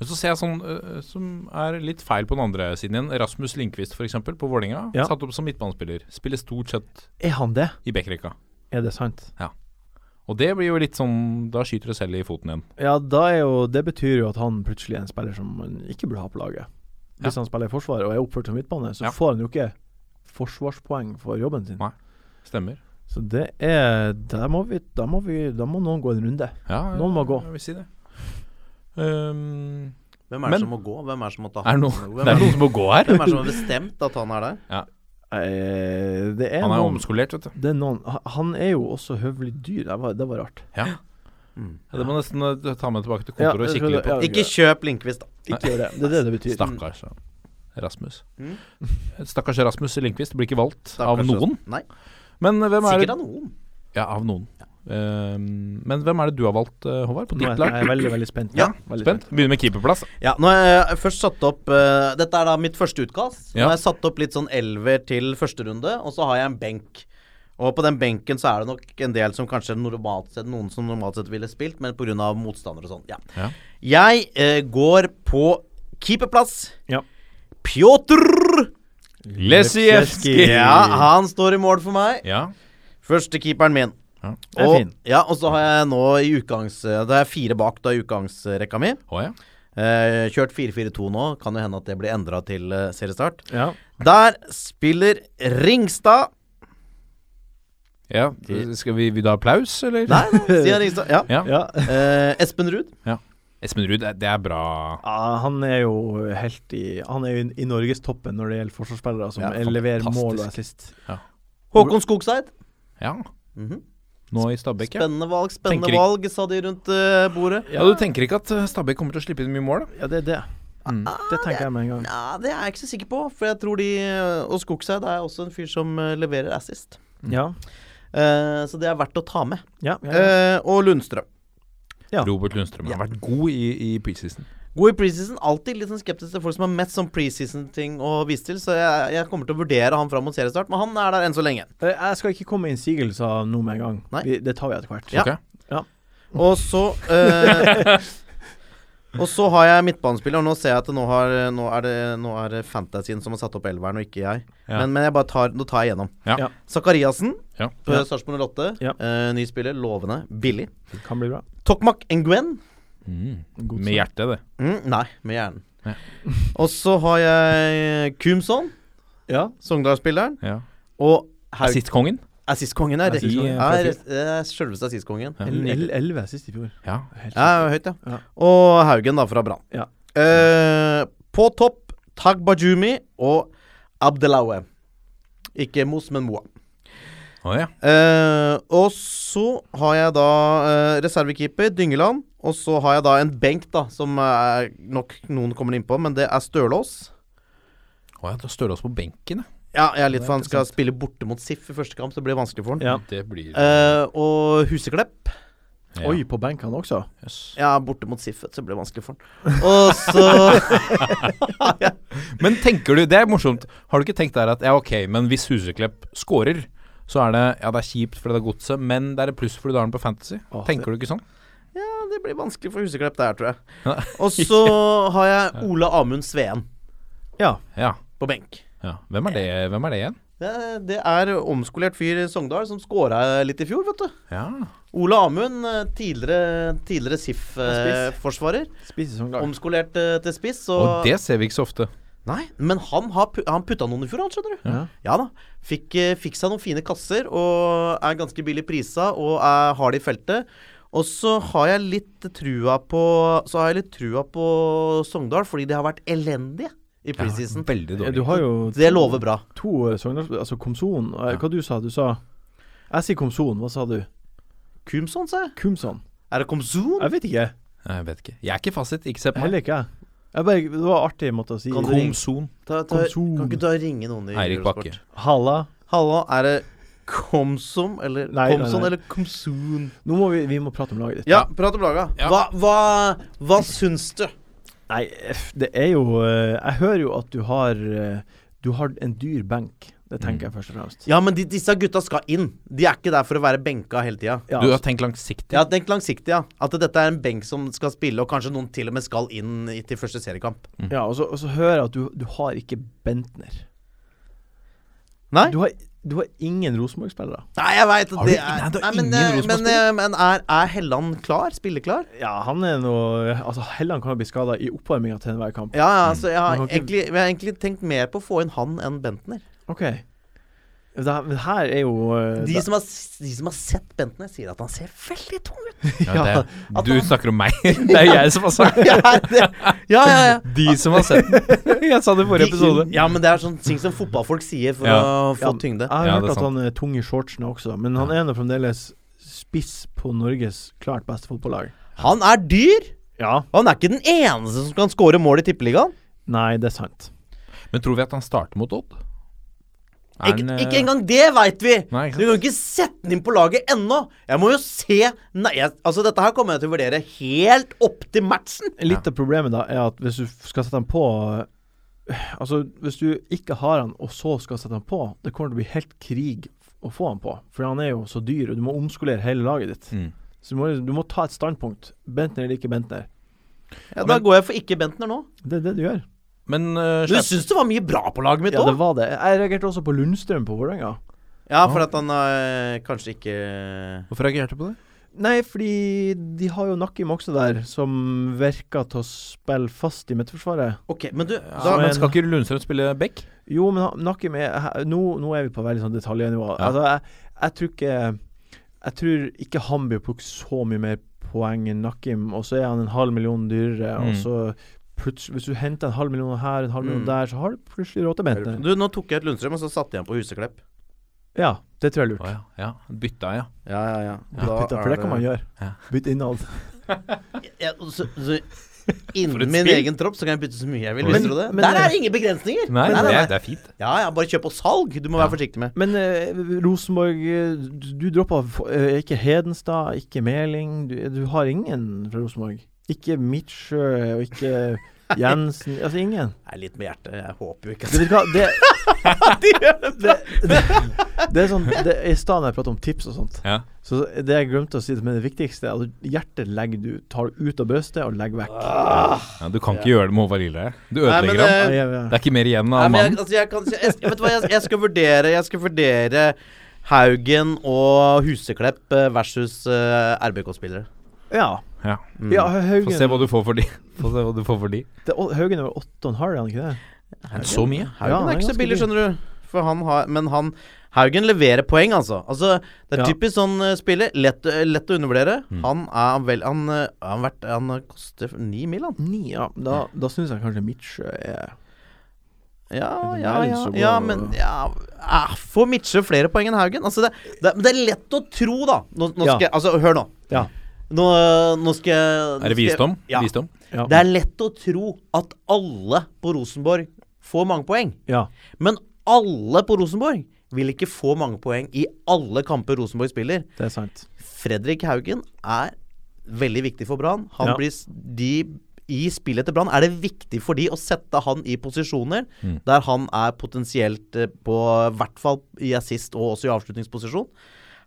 Speaker 2: Men så ser jeg sånn eh, som er litt feil på den andre siden igjen. Rasmus Lindqvist f.eks. på Vålerenga.
Speaker 4: Ja.
Speaker 2: Satt opp som midtbanespiller. Spiller stort sett
Speaker 4: Er han det?
Speaker 2: i backrekka.
Speaker 4: Er det sant?
Speaker 2: Og det blir jo litt sånn Da skyter det selv i foten igjen.
Speaker 4: Ja, da er jo Det betyr jo at han plutselig er en spiller som man ikke burde ha på laget. Hvis
Speaker 2: Ja.
Speaker 4: han spiller i forsvaret og er oppført som midtbane, så
Speaker 2: Ja.
Speaker 4: får han jo ikke forsvarspoeng for jobben sin.
Speaker 2: Nei. Stemmer.
Speaker 4: Så det er Da må vi Da må, vi, da må noen gå en runde.
Speaker 2: Ja,
Speaker 4: Noen må gå.
Speaker 2: Jeg vil si det. Um,
Speaker 3: Hvem er det
Speaker 2: Men-
Speaker 3: som må gå? Hvem er det som må ta
Speaker 2: er det noen,
Speaker 3: Hvem
Speaker 2: det
Speaker 3: er
Speaker 2: er
Speaker 3: det
Speaker 2: noen som må gå [LAUGHS] her?
Speaker 3: hvem er det som har bestemt at han er der?
Speaker 4: Eh, det er
Speaker 2: Han er jo
Speaker 4: noen
Speaker 2: omskolert, vet du.
Speaker 4: det er noen, ha- Han er jo også høvelig dyr. Det var, det var rart.
Speaker 2: Ja, det må nesten eh, ta med tilbake til kontoret
Speaker 4: Ja,
Speaker 2: og
Speaker 4: jeg
Speaker 2: kikke
Speaker 4: tror
Speaker 2: litt på.
Speaker 4: det-
Speaker 3: Ikke kjøp Lindqvist, da.
Speaker 4: Ikke gjør det. Det er det det betyr.
Speaker 2: Stakkars ja. Rasmus. [LAUGHS] Stakkars Rasmus Lindqvist blir ikke valgt
Speaker 3: Da er
Speaker 2: av
Speaker 3: kanskje-
Speaker 2: noen.
Speaker 3: Nei,
Speaker 2: Men eh, hvem er det
Speaker 3: sikkert av noen.
Speaker 2: Ja, av noen. Um, men hvem er det du har valgt, eh, Håvard? På
Speaker 4: Nå
Speaker 2: ditt
Speaker 4: er jeg
Speaker 2: lag?
Speaker 4: er veldig, veldig spent.
Speaker 3: Ja,
Speaker 4: veldig
Speaker 2: Spent? Begynner med keeperplass.
Speaker 3: Ja, nå har jeg først satt opp eh, Dette er da mitt første utkast. Så
Speaker 2: Ja.
Speaker 3: Nå har jeg satt opp litt sånn elver til første runde, og så har jeg en benk. Og på den benken så er det nok en del som kanskje normalt sett, noen som normalt sett ville spilt, men pga. motstandere og sånn. Ja.
Speaker 2: Ja.
Speaker 3: Jeg eh, går på keeperplass.
Speaker 4: Ja.
Speaker 3: Pjotr!
Speaker 2: Lesijevskij.
Speaker 3: Ja, han står i mål for meg.
Speaker 2: Ja.
Speaker 3: Første keeperen min.
Speaker 2: Ja.
Speaker 4: er
Speaker 3: Og,
Speaker 4: fin.
Speaker 3: ja, og så har jeg nå i utgangs... Det er fire bak da i utgangsrekka mi.
Speaker 2: Å ja.
Speaker 3: Eh, kjørt 4-4-2 nå, kan jo hende at det blir endra til eh, seriestart.
Speaker 4: Ja.
Speaker 3: Der spiller Ringstad
Speaker 2: ja. Skal vi, vi da ha applaus, eller?
Speaker 3: Nei, nei, sier Ringstad. Ja.
Speaker 2: Ja.
Speaker 4: ja.
Speaker 3: Eh, Espen Ruud.
Speaker 2: Espen Ruud, det- det er bra.
Speaker 4: Ja, han er jo helt i Han er jo i- i norgestoppen når det gjelder forsvarsspillere som
Speaker 2: Ja,
Speaker 4: leverer
Speaker 2: fantastisk.
Speaker 4: mål og assist.
Speaker 3: Håkon Skogseid.
Speaker 2: Ja.
Speaker 3: Mhm.
Speaker 2: Nå i Stabæk, ja.
Speaker 3: Spennende valg, spennende
Speaker 2: Tenker ikke-
Speaker 3: valg, sa de rundt eh, bordet.
Speaker 2: Ja, Du tenker ikke at eh, Stabæk kommer til å slippe inn mye mål? da?
Speaker 4: Ja, det er det. Det tenker jeg med en gang.
Speaker 3: Nei, det er jeg ikke så sikker på, for jeg tror de eh, Og Skogseid er også en fyr som eh, leverer assist.
Speaker 4: Ja.
Speaker 3: Eh, så det er verdt å ta med.
Speaker 4: Ja, ja, ja.
Speaker 3: Eh, og Lundstrøm.
Speaker 4: Ja.
Speaker 2: Robert Lundstrøm har vært god i, i preseason.
Speaker 3: God i preseason. Alltid litt sånn skeptisk til folk som har mest sånn preseason-ting å vise til, så jeg, jeg kommer til å vurdere han fram mot seriestart, men han er der enn så lenge.
Speaker 4: Eh, Jeg skal ikke komme med innsigelser nå med en gang.
Speaker 3: Nei.
Speaker 4: Vi, det tar vi etter hvert.
Speaker 3: Ja.
Speaker 2: Ok.
Speaker 3: Og så eh, Og så har jeg midtbanespiller, og nå ser jeg at det nå, har, nå, er det, nå er det Fantasyen som har satt opp elveren, og ikke jeg.
Speaker 2: Ja.
Speaker 3: Men, men jeg bare tar, nå tar jeg gjennom.
Speaker 2: Ja.
Speaker 4: Ja.
Speaker 3: Zakariassen,
Speaker 2: Ja.
Speaker 3: på Sarpsborg 08.
Speaker 4: Ja.
Speaker 3: Eh, ny spiller, lovende, billig.
Speaker 4: Kan bli bra.
Speaker 3: Tokmak Nguyen.
Speaker 2: Mm.
Speaker 4: God
Speaker 2: Med
Speaker 4: sak.
Speaker 2: hjertet, det.
Speaker 3: Mm, nei, med hjernen.
Speaker 2: Ja.
Speaker 3: Og så har jeg Kumson,
Speaker 4: Ja.
Speaker 3: Sogndal-spilleren,
Speaker 2: Ja.
Speaker 3: og Haug...
Speaker 2: Assistkongen.
Speaker 3: Assistkongen er rett.
Speaker 4: Assistkongen,
Speaker 3: Er, er, selveste assistkongen.
Speaker 2: Ja.
Speaker 4: El- el- Elleve sist i fjor.
Speaker 2: Ja.
Speaker 4: Helt
Speaker 3: Ja, høyt, ja.
Speaker 4: Ja.
Speaker 3: Og Haugen, da, fra Brann.
Speaker 4: Ja.
Speaker 3: Eh, på topp Tag Bajumi og Abdelaue. Ikke Mos, men Moa.
Speaker 2: Å ja.
Speaker 3: Eh, og så har jeg da eh, reservekeeper Dyngeland. Og så har jeg da en benk, da, som er nok noen kommer innpå, men det er Stølås.
Speaker 2: Å ja, da Stølås på benken, ja.
Speaker 3: Ja, jeg er litt for han skal
Speaker 2: Eh,
Speaker 3: spille borte mot Sif i første kamp, så det blir vanskelig for han.
Speaker 4: Ja.
Speaker 2: Det blir
Speaker 3: Eh, og Huseklepp.
Speaker 2: Ja.
Speaker 4: Oi, på benken også?
Speaker 2: Yes.
Speaker 3: Ja, borte mot Sif, vet du, så blir det vanskelig for han. Og
Speaker 2: [LAUGHS]
Speaker 3: så
Speaker 2: Men tenker du, det er morsomt, har du ikke tenkt der at ja, ok, men hvis Huseklepp scorer, så er det ja, det er kjipt fordi det er godset, men det er et pluss fordi du har den på Fantasy?
Speaker 4: Å,
Speaker 2: tenker du ikke sånn?
Speaker 3: Ja, det blir vanskelig for Huseklepp der, tror
Speaker 2: Ja.
Speaker 3: jeg. Og så har jeg Ole Amund Sveen
Speaker 4: Ja.
Speaker 2: Ja.
Speaker 3: på benk.
Speaker 2: ja. Hvem, er det, hvem er det igjen?
Speaker 3: Det, det er omskolert fyr i Sogndal som scora litt i fjor, vet du.
Speaker 2: Ja.
Speaker 3: Ole Amund, eh, tidligere, tidligere SIF-forsvarer.
Speaker 4: Spiser som lag.
Speaker 3: Omskolert eh, til spiss. Så
Speaker 2: Og det ser vi ikke så ofte.
Speaker 3: Nei, men han, har, pu- han putta noen i fjor, han, skjønner du. Ja, da. Fikk, eh, fikk seg noen fine kasser, og er ganske billig prisa, og er hard i feltet. Og så har jeg litt trua på Så har jeg litt trua på Sogndal, fordi de har vært elendige i preseason.
Speaker 2: Veldig
Speaker 4: Ja,
Speaker 2: dårlig.
Speaker 4: du har jo
Speaker 3: det lover bra.
Speaker 4: to eh, Sogndals... Altså Komson. Eh, Hva du sa du? sa Jeg sier Komson, hva sa du?
Speaker 3: Kumson, sa jeg.
Speaker 4: Kumson?
Speaker 3: Er det Komsun?
Speaker 4: Jeg vet ikke.
Speaker 2: Nei, Jeg vet ikke. Jeg er ikke fasit. Ikke se på meg.
Speaker 4: Heller ikke jeg. jeg bare, det var artig måte å si.
Speaker 3: Kan du ringe?
Speaker 2: Komson.
Speaker 3: Ta, ta,
Speaker 4: Komsun.
Speaker 3: kan ikke du ringe noen i
Speaker 2: Eirik
Speaker 3: Eurosport?
Speaker 2: Bakke.
Speaker 4: Halla.
Speaker 3: Hallo, er det Komsom eller
Speaker 4: Nei, nei,
Speaker 3: Komson
Speaker 4: nei.
Speaker 3: eller Komsun?
Speaker 4: Nå må vi, vi må prate om laget ditt.
Speaker 3: Ja, prat om laga.
Speaker 2: Ja.
Speaker 3: Hva, hva, hva syns du?
Speaker 4: Nei, f- det er jo eh, Jeg hører jo at du har eh, Du har en dyr benk. Det
Speaker 3: Mm.
Speaker 4: tenker jeg først og fremst.
Speaker 3: Ja, men de, disse gutta skal inn. De er ikke der for å være benka hele tida.
Speaker 4: Ja,
Speaker 2: Du har tenkt langsiktig.
Speaker 3: Jeg har tenkt langsiktig, ja. At dette er en benk som skal spille, og kanskje noen til og med skal inn i- til første seriekamp.
Speaker 4: ja og, så, og så hører jeg at du, du har ikke Bentner.
Speaker 3: Nei.
Speaker 4: Du har, du har ingen Rosenborg-spillere.
Speaker 3: Nei, jeg veit at
Speaker 2: Har du
Speaker 3: det
Speaker 2: ingen-
Speaker 3: er
Speaker 2: Nei, du har
Speaker 3: men,
Speaker 2: ingen
Speaker 3: eh,
Speaker 2: Rosenborg
Speaker 3: men, eh, men er, er Helland klar? Spilleklar?
Speaker 4: Ja, han er noe Altså, Helland kan jo bli skada i oppvarminga til enhver kamp.
Speaker 3: Ja,
Speaker 2: Mm.
Speaker 3: ja, så jeg har,
Speaker 4: Men han har ikke-
Speaker 3: egentlig, jeg har egentlig tenkt mer på å få inn han enn Bentner.
Speaker 4: OK. Det, her- det her er jo eh,
Speaker 3: De
Speaker 4: det-
Speaker 3: som har, s- de som har sett Bentner, sier at han ser veldig tung ut.
Speaker 2: [LAUGHS] [LAUGHS] Ja, det, du snakker om meg. [LAUGHS] Det er jeg som har sagt
Speaker 3: Ja, det, ja, ja, ja.
Speaker 2: De som har sett den. [LAUGHS] Jeg sa det i forrige episode.
Speaker 3: Ja, men det er sånne ting som fotballfolk sier for
Speaker 2: Ja.
Speaker 3: å få tyngde.
Speaker 4: Jeg har
Speaker 2: Ja, det
Speaker 4: hørt
Speaker 2: er
Speaker 4: at
Speaker 2: sant.
Speaker 4: han er tung i shortsene også, men han er nå fremdeles spiss på Norges klart beste fotballag.
Speaker 3: Han er dyr!
Speaker 4: Ja.
Speaker 3: Og han er ikke den eneste som kan skåre mål i Tippeligaen.
Speaker 4: Nei, det er sant.
Speaker 2: Men tror vi at han starter mot Odd? Er
Speaker 3: Ikke,
Speaker 2: han, eh,
Speaker 3: ikke engang det veit vi!
Speaker 2: Nei, ikke
Speaker 3: du kan jo ikke sette den inn på laget ennå! Jeg må jo se Nei, jeg, altså Dette her kommer jeg til å vurdere helt opp til matchen.
Speaker 4: Litt av problemet da er at hvis du f- skal sette han på Altså, hvis du ikke har han, og så skal sette han på, det kommer til å bli helt krig f- å få han på. For han er jo så dyr, og du må omskolere hele laget ditt.
Speaker 2: Mm.
Speaker 4: Så du må, du må ta et standpunkt. Bentner eller ikke Bentner.
Speaker 3: Ja, da går jeg for ikke Bentner nå.
Speaker 4: Det er det du gjør.
Speaker 2: Men eh,
Speaker 3: Du
Speaker 2: Skjerp-
Speaker 3: syns det var mye bra på laget mitt
Speaker 4: Ja,
Speaker 3: òg?
Speaker 4: det var det. Jeg reagerte også på Lundstrøm på Vålerenga.
Speaker 3: Ja, for at han eh, kanskje ikke eh,
Speaker 2: Hvorfor reagerte du på det?
Speaker 4: Nei, fordi de har jo Nakim også der, som virker til å spille fast i midtforsvaret.
Speaker 3: Ok, men du
Speaker 2: Ja,
Speaker 3: da,
Speaker 2: men
Speaker 4: men-
Speaker 2: skal ikke Lundstrøm spille back?
Speaker 4: Jo, men han- Nakim er he- nå, nå er vi på veldig sånn detaljnivå.
Speaker 2: Ja.
Speaker 4: Altså, jeg, jeg tror ikke Jeg tror ikke han blir plukket så mye mer poeng enn Nakim, og så er han en halv million dyrere, og
Speaker 2: Mm.
Speaker 4: så plutselig Hvis du henter en halv million her, en halv million
Speaker 3: Mm.
Speaker 4: der, så har du plutselig råd til Bentner.
Speaker 3: Du, nå tok jeg ut Lundstrøm, og så satte jeg han på Huseklepp.
Speaker 4: Ja, det tror jeg
Speaker 2: Å
Speaker 4: er lurt.
Speaker 2: ja. ja. Bytta, ja.
Speaker 3: Ja, ja, ja.
Speaker 4: Bytte, for det kan man gjøre.
Speaker 2: Ja.
Speaker 4: Bytte innhold.
Speaker 3: Ja, så, så Innen
Speaker 2: et
Speaker 3: min
Speaker 2: spill.
Speaker 3: egen tropp så kan jeg bytte så mye jeg vil.
Speaker 4: Men-
Speaker 3: Visste du det?
Speaker 4: men-
Speaker 3: Der er det ingen begrensninger!
Speaker 2: Nei,
Speaker 3: Nei, nei,
Speaker 2: det,
Speaker 3: nei.
Speaker 2: er- det er fint.
Speaker 3: Ja, ja, bare kjøp og salg. Du må være forsiktig med.
Speaker 4: Men eh, Rosenborg eh, Du, du droppa eh, ikke Hedenstad, ikke Meling. Du, du har ingen fra Rosenborg. Ikke Midtsjø og
Speaker 2: [LAUGHS]
Speaker 4: ikke Jensen. Altså ingen.
Speaker 3: Jeg er litt med hjertet. Jeg håper jo ikke
Speaker 4: Du vet hva, det [LAUGHS] det, det, det er sånn det, I stedet når jeg prater om tips og sånt,
Speaker 2: Ja.
Speaker 4: så det jeg glemte å si, men det viktigste er at hjertet legger du tar du ut av brystet og legger vekk.
Speaker 2: Ja, du kan ikke gjøre det med Håvard Lille. her. Du
Speaker 3: Nei, men,
Speaker 2: ødelegger ham.
Speaker 3: eh,
Speaker 4: Ja, ja,
Speaker 2: Det
Speaker 4: ja.
Speaker 2: er ikke mer igjen
Speaker 3: Nei,
Speaker 2: av
Speaker 3: men jeg,
Speaker 2: mannen.
Speaker 3: altså, jeg, kan, jeg, jeg vet du hva, jeg, jeg skal vurdere Jeg skal vurdere Haugen og Huseklepp eh, versus eh, RBK-spillere.
Speaker 4: ja.
Speaker 2: Ja.
Speaker 3: Mm.
Speaker 4: ja
Speaker 2: Få se
Speaker 4: Haugen
Speaker 2: hva du får for de. Få se hva du får for de.
Speaker 4: det, Haugen er vel åtte og en halv, er han ikke det?
Speaker 2: Så mye?
Speaker 4: Ja,
Speaker 3: Haugen
Speaker 4: han
Speaker 3: er
Speaker 4: er
Speaker 3: ikke så
Speaker 4: ganske
Speaker 3: billig,
Speaker 4: dyr.
Speaker 3: skjønner du. For han har, men han Haugen leverer poeng, altså. altså det er
Speaker 4: Ja. Mm.
Speaker 3: typisk sånn eh, spiller. Lett, eh, lett å undervurdere. Han er vel Han, eh, han, vært, han koster ni mil, han.
Speaker 4: Ni, ja. Da, da syns jeg kanskje Midtsjø er
Speaker 3: Ja,
Speaker 4: det
Speaker 3: ja,
Speaker 4: er
Speaker 3: ja,
Speaker 4: så god-
Speaker 3: ja men ja, ah, Får Midtsjø flere poeng enn Haugen? Altså, det, det, men det er lett å tro, da. Nå, nå
Speaker 4: Ja.
Speaker 3: skal jeg Altså, hør nå.
Speaker 4: Ja.
Speaker 3: Nå, nå skal jeg nå
Speaker 2: Er det
Speaker 3: skal jeg-
Speaker 2: visdom?
Speaker 3: Ja.
Speaker 2: Visdom?
Speaker 4: Ja.
Speaker 3: Det er lett å tro at alle på Rosenborg får mange poeng.
Speaker 4: ja.
Speaker 3: Men alle på Rosenborg vil ikke få mange poeng i alle kamper Rosenborg spiller.
Speaker 4: Det er sant.
Speaker 3: Fredrik Haugen er veldig viktig for Brann. Han
Speaker 4: Ja.
Speaker 3: blir s- de i spillet til Brann er det viktig for de å sette han i posisjoner
Speaker 2: Mm.
Speaker 3: der han er potensielt eh, på hvert fall i assist og også i avslutningsposisjon.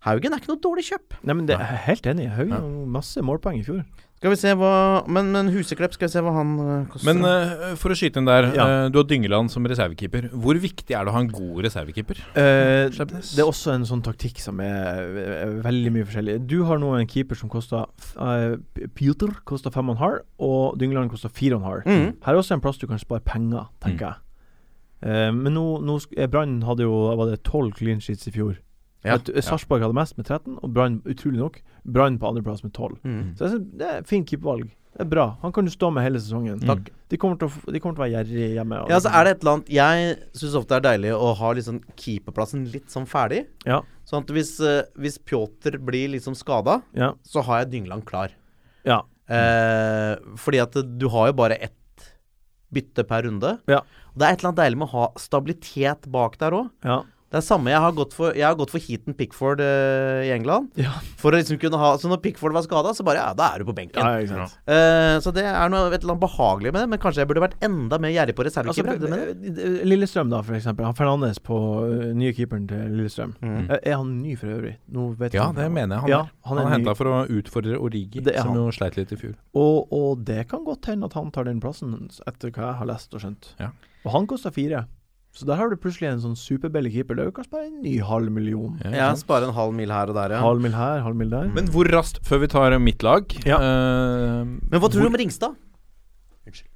Speaker 3: Haugen er ikke noe dårlig kjøp.
Speaker 4: Nei, men det er jeg helt enig. i. Haugen
Speaker 2: Ja.
Speaker 4: har masse målpoeng i fjor.
Speaker 3: Skal vi se hva Men, men Huseklepp, skal vi se hva han eh, koster.
Speaker 2: Men eh, for å skyte inn der,
Speaker 4: Ja.
Speaker 2: eh, du har Dyngeland som reservekeeper. Hvor viktig er det å ha en god reservekeeper?
Speaker 4: Eh,
Speaker 2: Sleipnes.
Speaker 4: det er også en sånn taktikk som er, er veldig mye forskjellig. Du har nå en keeper som koster uh, Pjotr koster fem og en halv, og Dyngeland koster fire og en halv.
Speaker 3: Mhm.
Speaker 4: Her er også en plass du kan spare penger,
Speaker 3: Mm.
Speaker 4: tenker jeg. Eh, men nå, nå sk- eh, Brann hadde jo var det tolv clean sheets i fjor.
Speaker 3: Ja,
Speaker 4: At, eh, Sarpsborg hadde mest med 13, og Brann utrolig nok Brann på andreplass med 12.
Speaker 3: Mm.
Speaker 4: Så jeg synes det er fint keepervalg. Det er bra. Han kan du stå med hele sesongen.
Speaker 2: Takk.
Speaker 4: De, kommer til å, f- de kommer til å være gjerrige hjemme. og
Speaker 3: Ja, altså, så
Speaker 4: liksom-
Speaker 3: er det et eller annet Jeg syns ofte det er deilig å ha liksom keeperplassen litt sånn ferdig.
Speaker 4: Ja.
Speaker 3: Sånn at hvis, eh, hvis Pjotr blir liksom skada,
Speaker 4: ja.
Speaker 3: så har jeg Dyngland klar.
Speaker 4: Ja.
Speaker 3: Eh, fordi at du har jo bare ett bytte per runde.
Speaker 4: Ja.
Speaker 3: Og det er et eller annet deilig med å ha stabilitet bak der òg.
Speaker 4: Ja.
Speaker 3: Det er samme jeg har gått for Jeg har gått for Heaton Pickford eh, i England.
Speaker 4: Ja.
Speaker 3: For å liksom kunne ha Så når Pickford var skada, så bare Ja, da er du på benken.
Speaker 4: ja, ikke sant.
Speaker 3: Eh, så det er noe et eller annet behagelig med det, men kanskje jeg burde vært enda mer gjerrig på
Speaker 4: Altså,
Speaker 3: reservekeepere. det mener jeg.
Speaker 4: eh, Lillestrøm, da, for eksempel. Han Fernandes på eh, nye keeperen til Lillestrøm.
Speaker 3: Mm.
Speaker 4: Eh, Er han ny for øvrig? Nå vet
Speaker 2: Ja,
Speaker 4: jeg ikke.
Speaker 2: det mener jeg. Han,
Speaker 4: Ja,
Speaker 2: er. han,
Speaker 4: han er
Speaker 2: er
Speaker 4: ny.
Speaker 2: henta for å utfordre Origi,
Speaker 4: Det er
Speaker 2: som
Speaker 4: han.
Speaker 2: jo sleit litt i fjor.
Speaker 4: Og, og det kan godt hende at han tar den plassen, etter hva jeg har lest og skjønt.
Speaker 2: Ja.
Speaker 4: Og han koster fire. Så der har du plutselig en sånn superbillig keeper. Det er jo kanskje bare en ny halv million.
Speaker 2: Ja, ikke
Speaker 3: Ja,
Speaker 2: sant?
Speaker 3: spare en halv mil her og der, ja.
Speaker 4: Halv mil her, halv mil der.
Speaker 2: Men hvor raskt, før vi tar eh, mitt lag
Speaker 4: Ja.
Speaker 2: eh,
Speaker 3: Men hva tror
Speaker 2: hvor-
Speaker 3: du om Ringstad?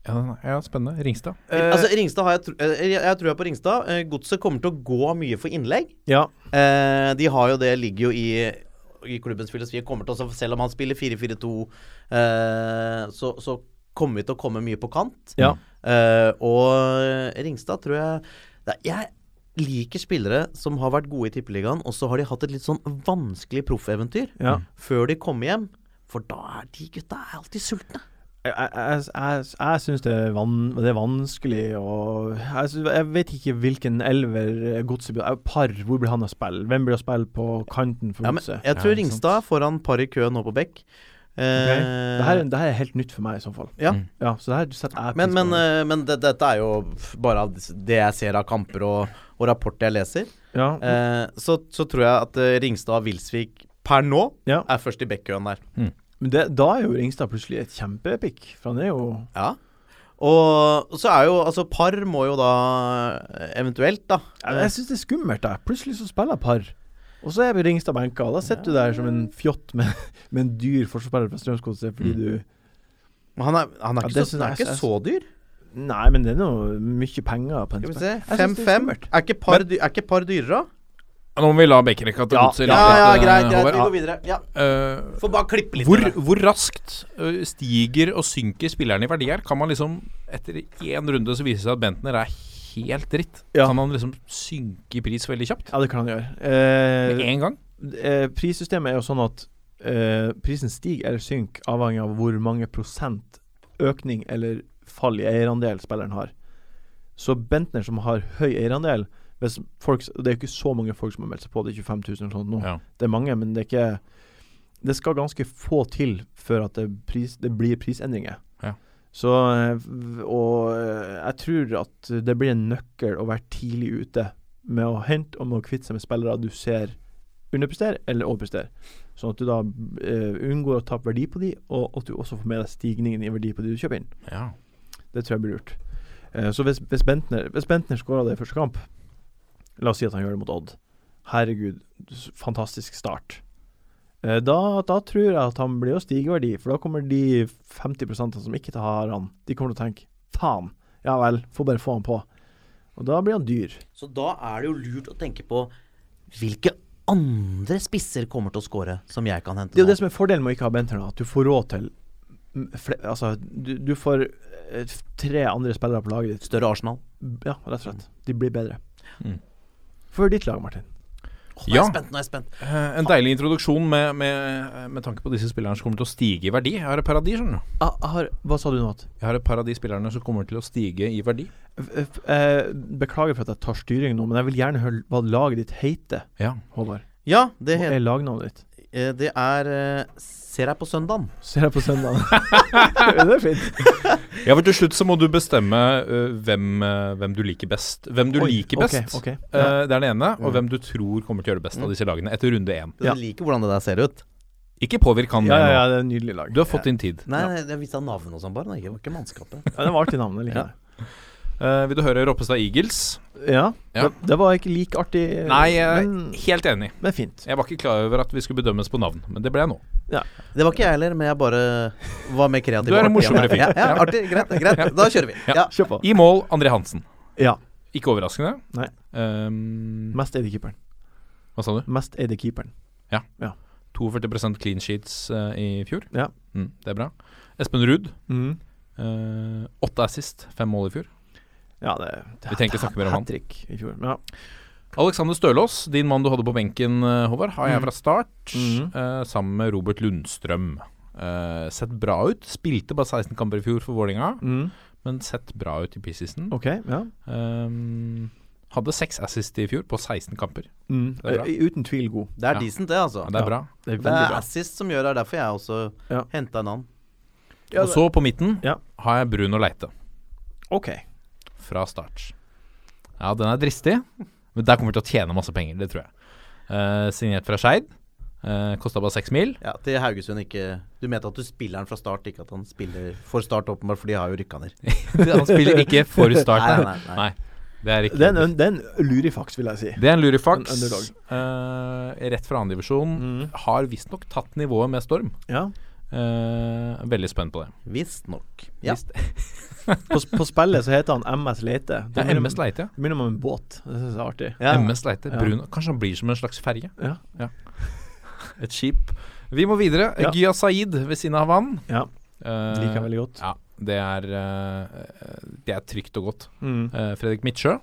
Speaker 2: Ja, den er- ja, spennende. Ringstad.
Speaker 4: Eh,
Speaker 3: altså, Ringstad har jeg, tro- eh, jeg, jeg tror jeg på Ringstad. Eh, Godset kommer til å gå mye for innlegg.
Speaker 4: Ja.
Speaker 3: Eh, de har jo det, ligger jo i i klubbens filosofi kommer til å, Selv om han spiller 4-4-2, eh, så, så kommer vi til å komme mye på kant.
Speaker 4: Ja.
Speaker 3: Eh, og Ringstad tror jeg Nei, Jeg liker spillere som har vært gode i Tippeligaen, og så har de hatt et litt sånn vanskelig proffeventyr
Speaker 4: ja.
Speaker 3: før de kommer hjem. For da er de gutta er alltid sultne.
Speaker 4: Jeg, jeg, jeg, jeg syns det, er van- det er vanskelig å jeg, synes, jeg vet ikke hvilken elver Godset blir eh, Par, hvor blir han å spille? Hvem blir å spille på kanten for
Speaker 3: Ja, men eh,
Speaker 4: Godset?
Speaker 2: Ja,
Speaker 3: jeg tror
Speaker 2: ikke sant.
Speaker 3: Ringstad er foran par i køen nå på bekk. Eh,
Speaker 4: det, her, det her er helt nytt for meg, i så fall.
Speaker 3: ja.
Speaker 2: Mm.
Speaker 4: Ja, så det her setter jeg
Speaker 3: Men,
Speaker 4: pris
Speaker 3: men,
Speaker 4: på.
Speaker 3: eh, men det, dette er jo f- bare av dis- det jeg ser av kamper og, og rapporter jeg leser.
Speaker 4: ja.
Speaker 3: Eh, så, så tror jeg at eh, Ringstad og Wilsvik per nå
Speaker 4: Ja.
Speaker 3: er først i bekk-køen der.
Speaker 4: men det, da er jo Ringstad plutselig et kjempepick, for han er jo
Speaker 3: Ja. Og så er jo altså Par må jo da eh, eventuelt, da
Speaker 4: Jeg, jeg syns det er skummelt, da. Plutselig så spiller jeg par. Og så er vi Ringstad benka, og da sitter du der som en fjott med, [LAUGHS] med en dyr forsvarsspiller fra Strømsgodset fordi
Speaker 3: Mm.
Speaker 4: du
Speaker 3: Men Eh, Han er, han er
Speaker 4: Ja,
Speaker 3: ikke,
Speaker 4: det
Speaker 3: så,
Speaker 4: synes
Speaker 3: han er
Speaker 4: jeg-
Speaker 3: ikke så dyr.
Speaker 4: Nei, men det er nå mye penger på en
Speaker 3: Skal vi
Speaker 4: spiller.
Speaker 3: se.
Speaker 4: Jeg synes det er
Speaker 3: 5-5.
Speaker 4: skummelt.
Speaker 3: Er ikke par, dy- er ikke par dyrere?
Speaker 2: Ja, Nå må vi la Bekkerekka til
Speaker 4: Ja,
Speaker 2: godset
Speaker 3: Ja, ja, greit. greit Vi
Speaker 2: Håvard.
Speaker 3: går videre. Ja.
Speaker 2: Eh,
Speaker 3: Får bare klippe litt.
Speaker 2: hvor,
Speaker 3: i det.
Speaker 2: hvor raskt ø, stiger og synker spilleren i verdi her? Kan man liksom etter én runde så viser det seg at Bentner er helt dritt?
Speaker 4: Ja.
Speaker 2: Kan han liksom synke i pris veldig kjapt?
Speaker 4: Ja, det kan han gjøre.
Speaker 2: Med
Speaker 4: Eh,
Speaker 2: én gang?
Speaker 4: eh, prissystemet er jo sånn at eh, prisen stiger eller synker avhengig av hvor mange prosent økning eller fall i eierandel spilleren har. Så Bentner som har høy eierandel hvis folk, Det er jo ikke så mange folk som har meldt seg på, det er 25 000 eller sånt nå.
Speaker 2: Ja.
Speaker 4: Det er mange, men det er ikke Det skal ganske få til før at det, pris, det blir prisendringer.
Speaker 2: Ja.
Speaker 4: Så eh, v- Og eh, jeg tror at det blir en nøkkel å være tidlig ute med å hente og med å kvitte seg med spillere du ser underpresterer eller overpresterer. Sånn at du da eh, unngår å tape verdi på de, og at du også får med deg stigningen i verdi på de du kjøper inn.
Speaker 2: Ja.
Speaker 4: Det tror jeg blir lurt. Eh, så hvis, hvis Bentner, hvis Bentner skåra det i første kamp La oss si at han gjør det mot Odd. Herregud, s- fantastisk start. Eh, da, da tror jeg at han blir å stige i verdi, for da kommer de 50 som ikke har han, de kommer til å tenke faen, ja vel, får bare få han på. Og da blir han dyr.
Speaker 3: Så da er det jo lurt å tenke på hvilke andre spisser kommer til å score som jeg kan hente
Speaker 4: Det er jo
Speaker 3: nå.
Speaker 4: det som er fordelen med å ikke ha Bentner, da, at du får råd til mm, fle- Altså, du, du får eh, f- tre andre spillere på laget ditt.
Speaker 3: Større Arsenal.
Speaker 4: Ja, rett og slett. De blir bedre.
Speaker 2: Mm.
Speaker 4: For ditt lag, Martin.
Speaker 3: Åh, nå er
Speaker 2: Ja.
Speaker 3: jeg spent, nå er jeg spent.
Speaker 2: Eh, En deilig introduksjon med, med, med tanke på disse spillerne som kommer til å stige i verdi. Jeg har et paradis, skjønner du.
Speaker 4: Ah, jeg har, hva sa du nå? at-
Speaker 2: Jeg har et paradis spillerne som kommer til å stige i verdi.
Speaker 4: f- f- eh, Beklager for at jeg tar styring nå, men jeg vil gjerne høre hva laget ditt heter,
Speaker 2: Ja.
Speaker 4: Håvard.
Speaker 3: Ja, det
Speaker 4: Hva
Speaker 3: heter
Speaker 4: er lagnavnet ditt?
Speaker 3: eh, det er eh, Ser deg på søndagen.
Speaker 4: Ser jeg på [LAUGHS] søndag. det er fint.
Speaker 2: Ja, for til slutt så må du bestemme øh, hvem, øh, hvem du liker best. Hvem du
Speaker 4: Oi,
Speaker 2: liker
Speaker 4: ok,
Speaker 2: best,
Speaker 4: ok.
Speaker 2: øh, det er det ene. Og hvem du tror kommer til å gjøre det
Speaker 4: Mm.
Speaker 2: best av disse lagene etter runde én.
Speaker 3: Du liker hvordan det der ser ut.
Speaker 2: Ikke påvirk han
Speaker 4: Ja, ja,
Speaker 2: nå.
Speaker 4: ja, det er en nydelig lag.
Speaker 2: Du har fått din tid.
Speaker 3: Nei, jeg visste han navnet og sånn bare. Nei, det var ikke mannskapet.
Speaker 4: Ja, det var artig navn. jeg liker det.
Speaker 2: Eh, vil du høre Roppestad Eagles?
Speaker 4: Ja,
Speaker 2: Ja.
Speaker 4: Det, det var ikke like artig,
Speaker 2: Nei, jeg
Speaker 4: Eh, men,
Speaker 2: er helt enig.
Speaker 4: men fint.
Speaker 2: Jeg var ikke klar over at vi skulle bedømmes på navn, men det ble jeg nå.
Speaker 3: Det var ikke jeg heller, men jeg bare var mer kreativ.
Speaker 2: Du er en
Speaker 3: og artig.
Speaker 2: morsommere fyr.
Speaker 3: Ja, ja, artig. Greit. greit Da kjører vi.
Speaker 2: Ja.
Speaker 3: Ja.
Speaker 4: Kjør på.
Speaker 2: I mål André Hansen.
Speaker 4: Ja.
Speaker 2: Ikke overraskende.
Speaker 4: Nei.
Speaker 2: Ehm,
Speaker 4: Mest eide keeperen.
Speaker 2: hva sa du?
Speaker 4: Mest eide keeperen.
Speaker 2: 42 clean sheets eh, i fjor.
Speaker 4: Ja.
Speaker 2: Mm, det er bra. Espen Ruud. eh, Åtte assist, fem mål i fjor.
Speaker 4: Ja, det, det
Speaker 2: Vi trenger ikke snakke mer om han.
Speaker 4: Hat trick i fjor. Ja.
Speaker 2: Alexander Stølås, din mann du hadde på benken, eh, Håvard, har jeg
Speaker 4: Mm.
Speaker 2: fra start.
Speaker 4: Mhm.
Speaker 2: eh, sammen med Robert Lundstrøm. Eh, sett bra ut. Spilte bare 16 kamper i fjor for Vålinga,
Speaker 4: Mm.
Speaker 2: men sett bra ut i preseason.
Speaker 4: OK. Ja.
Speaker 2: Ehm, hadde seks assist i fjor på 16 kamper.
Speaker 4: Mm.
Speaker 2: Det er bra.
Speaker 4: Eh, Uten tvil god.
Speaker 3: Det er
Speaker 2: Ja.
Speaker 3: decent, det, altså.
Speaker 2: Ja, det er bra.
Speaker 4: Det er
Speaker 3: Det
Speaker 4: veldig
Speaker 3: er
Speaker 4: bra.
Speaker 3: assist som gjør det. er Derfor jeg også
Speaker 4: Ja.
Speaker 3: hentet henta en annen.
Speaker 4: Ja,
Speaker 2: Og så på midten
Speaker 4: Ja.
Speaker 2: har jeg Brun og Leite
Speaker 4: OK.
Speaker 2: fra start. Ja, den er dristig, men der kommer vi til å tjene masse penger, det tror jeg. Eh, signert fra Skeid. Uh, Kosta bare seks mil.
Speaker 3: Ja, til Haugesund ikke Du mente at du spiller han fra start, ikke at han spiller for Start, åpenbart, for de har jo rykka ned.
Speaker 2: Han spiller ikke for start.
Speaker 3: Nei, nei, nei.
Speaker 2: Det er ikke
Speaker 4: Det er en, det er en lurifaks, vil jeg si.
Speaker 2: Det er en lurifax.
Speaker 4: En underdog.
Speaker 2: Eh, rett fra andredivisjon. divisjon
Speaker 3: Mm.
Speaker 2: Har visstnok tatt nivået med Storm.
Speaker 4: Ja.
Speaker 2: Eh, veldig spent på det.
Speaker 3: Visstnok. Ja.
Speaker 4: På, s- på spillet så heter han MS Leite.
Speaker 2: Det er MS Leite.
Speaker 4: Det minner meg om en båt. Det syns jeg er artig.
Speaker 3: Ja.
Speaker 2: MS Leite brun. Kanskje han blir som en slags ferge?
Speaker 4: Ja.
Speaker 2: Et skip. Vi må videre.
Speaker 4: Ja.
Speaker 2: Gya Saeed ved siden av han.
Speaker 4: Ja,
Speaker 2: Eh,
Speaker 4: Liker jeg veldig godt.
Speaker 2: Ja, det er eh, Det er trygt og godt.
Speaker 4: Mm.
Speaker 2: Eh, Fredrik Midtsjø.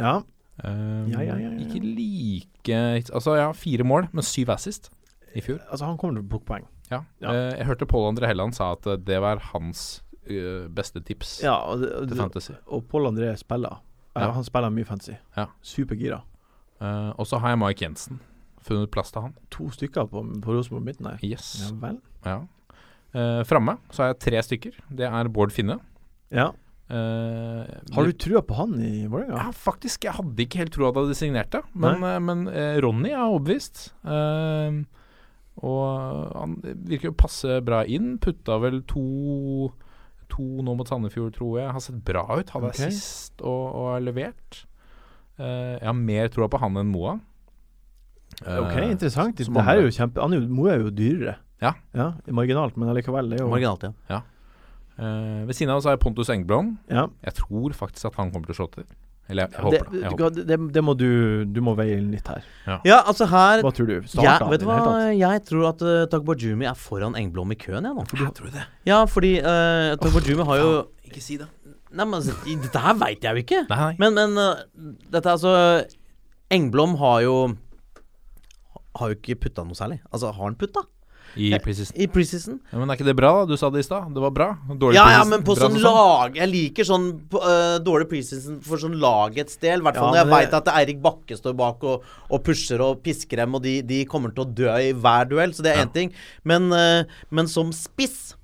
Speaker 4: Ja.
Speaker 2: Eh,
Speaker 4: Ja, ja, ja, ja, ja.
Speaker 2: Ikke like Altså, ja, fire mål, men syv assist i fjor.
Speaker 4: Altså, han kommer til å plukke poeng.
Speaker 2: Ja.
Speaker 4: Ja.
Speaker 2: Eh, jeg hørte Pål André Helland sa at eh, det var hans eh, beste tips
Speaker 4: Ja, og, det- og
Speaker 2: til
Speaker 4: det-
Speaker 2: Fantasy.
Speaker 4: og Pål André spiller. Ja.
Speaker 2: Ja.
Speaker 4: Han spiller mye fancy.
Speaker 2: Ja.
Speaker 4: Supergira.
Speaker 2: Eh, og så har jeg Mike Jensen. Funnet plass til han.
Speaker 4: To stykker på, på Rosenborg midten her. Ja
Speaker 2: Yes.
Speaker 4: vel.
Speaker 2: Ja. Eh, Framme så har jeg tre stykker. Det er Bård Finne.
Speaker 4: Ja.
Speaker 2: Eh,
Speaker 4: Har du trua på han i Vålerenga?
Speaker 2: ja, faktisk. Jeg hadde ikke helt troa da de signerte, men, eh, men eh, Ronny er overbevist. Eh, og han virker å passe bra inn. Putta vel to To nå mot Sandefjord, tror jeg. Har sett bra ut. Hadde
Speaker 4: Ok.
Speaker 2: jeg sist og, og har levert. Eh, jeg har mer troa på han enn Moa. Eh,
Speaker 4: Ok, interessant. Det
Speaker 2: som
Speaker 4: her er
Speaker 2: andre.
Speaker 4: jo kjempe Han er jo, Moe er jo dyrere.
Speaker 2: Ja.
Speaker 4: ja. Marginalt, men allikevel. Det er jo
Speaker 3: Marginalt, ja.
Speaker 2: eh, ved siden av så har jeg Pontus Engblom.
Speaker 4: Ja.
Speaker 2: Jeg tror faktisk at han kommer til å slå til. Eller jeg, jeg
Speaker 4: Det,
Speaker 2: håper det. Jeg håper.
Speaker 4: det, det, det må du Du må veie litt her.
Speaker 3: Ja, altså her
Speaker 4: Hva tror du? Starter
Speaker 3: jeg,
Speaker 4: han i
Speaker 3: Vet
Speaker 4: det
Speaker 3: du
Speaker 4: hele
Speaker 3: hva,
Speaker 4: tatt?
Speaker 3: jeg tror at uh, Tagbajumi er foran Engblom i køen, jeg nå.
Speaker 2: tror du det?
Speaker 3: Ja, fordi uh, Tagbajumi har jo Ikke si det. Nei, men altså, i- dette her veit jeg jo ikke.
Speaker 2: Nei, nei.
Speaker 3: Men, men uh, dette er altså Engblom har jo Har jo ikke putta noe særlig. Altså, har han putta?
Speaker 2: I preseason.
Speaker 3: I preseason?
Speaker 2: Ja, men er ikke det bra, da? Du sa det i stad. Det var bra. Dårlig
Speaker 3: Ja, ja,
Speaker 2: preseason,
Speaker 3: men på
Speaker 2: bra
Speaker 3: sånn
Speaker 2: sesong.
Speaker 3: lag Jeg liker sånn på, øh, dårlig preseason for sånn lagets del. I hvert fall når
Speaker 4: Ja,
Speaker 3: jeg
Speaker 4: men det-
Speaker 3: veit at Eirik Bakke står bak og, og pusher og pisker dem, og de, de kommer til å dø i hver duell, så det er én ting. Men, øh, men som spiss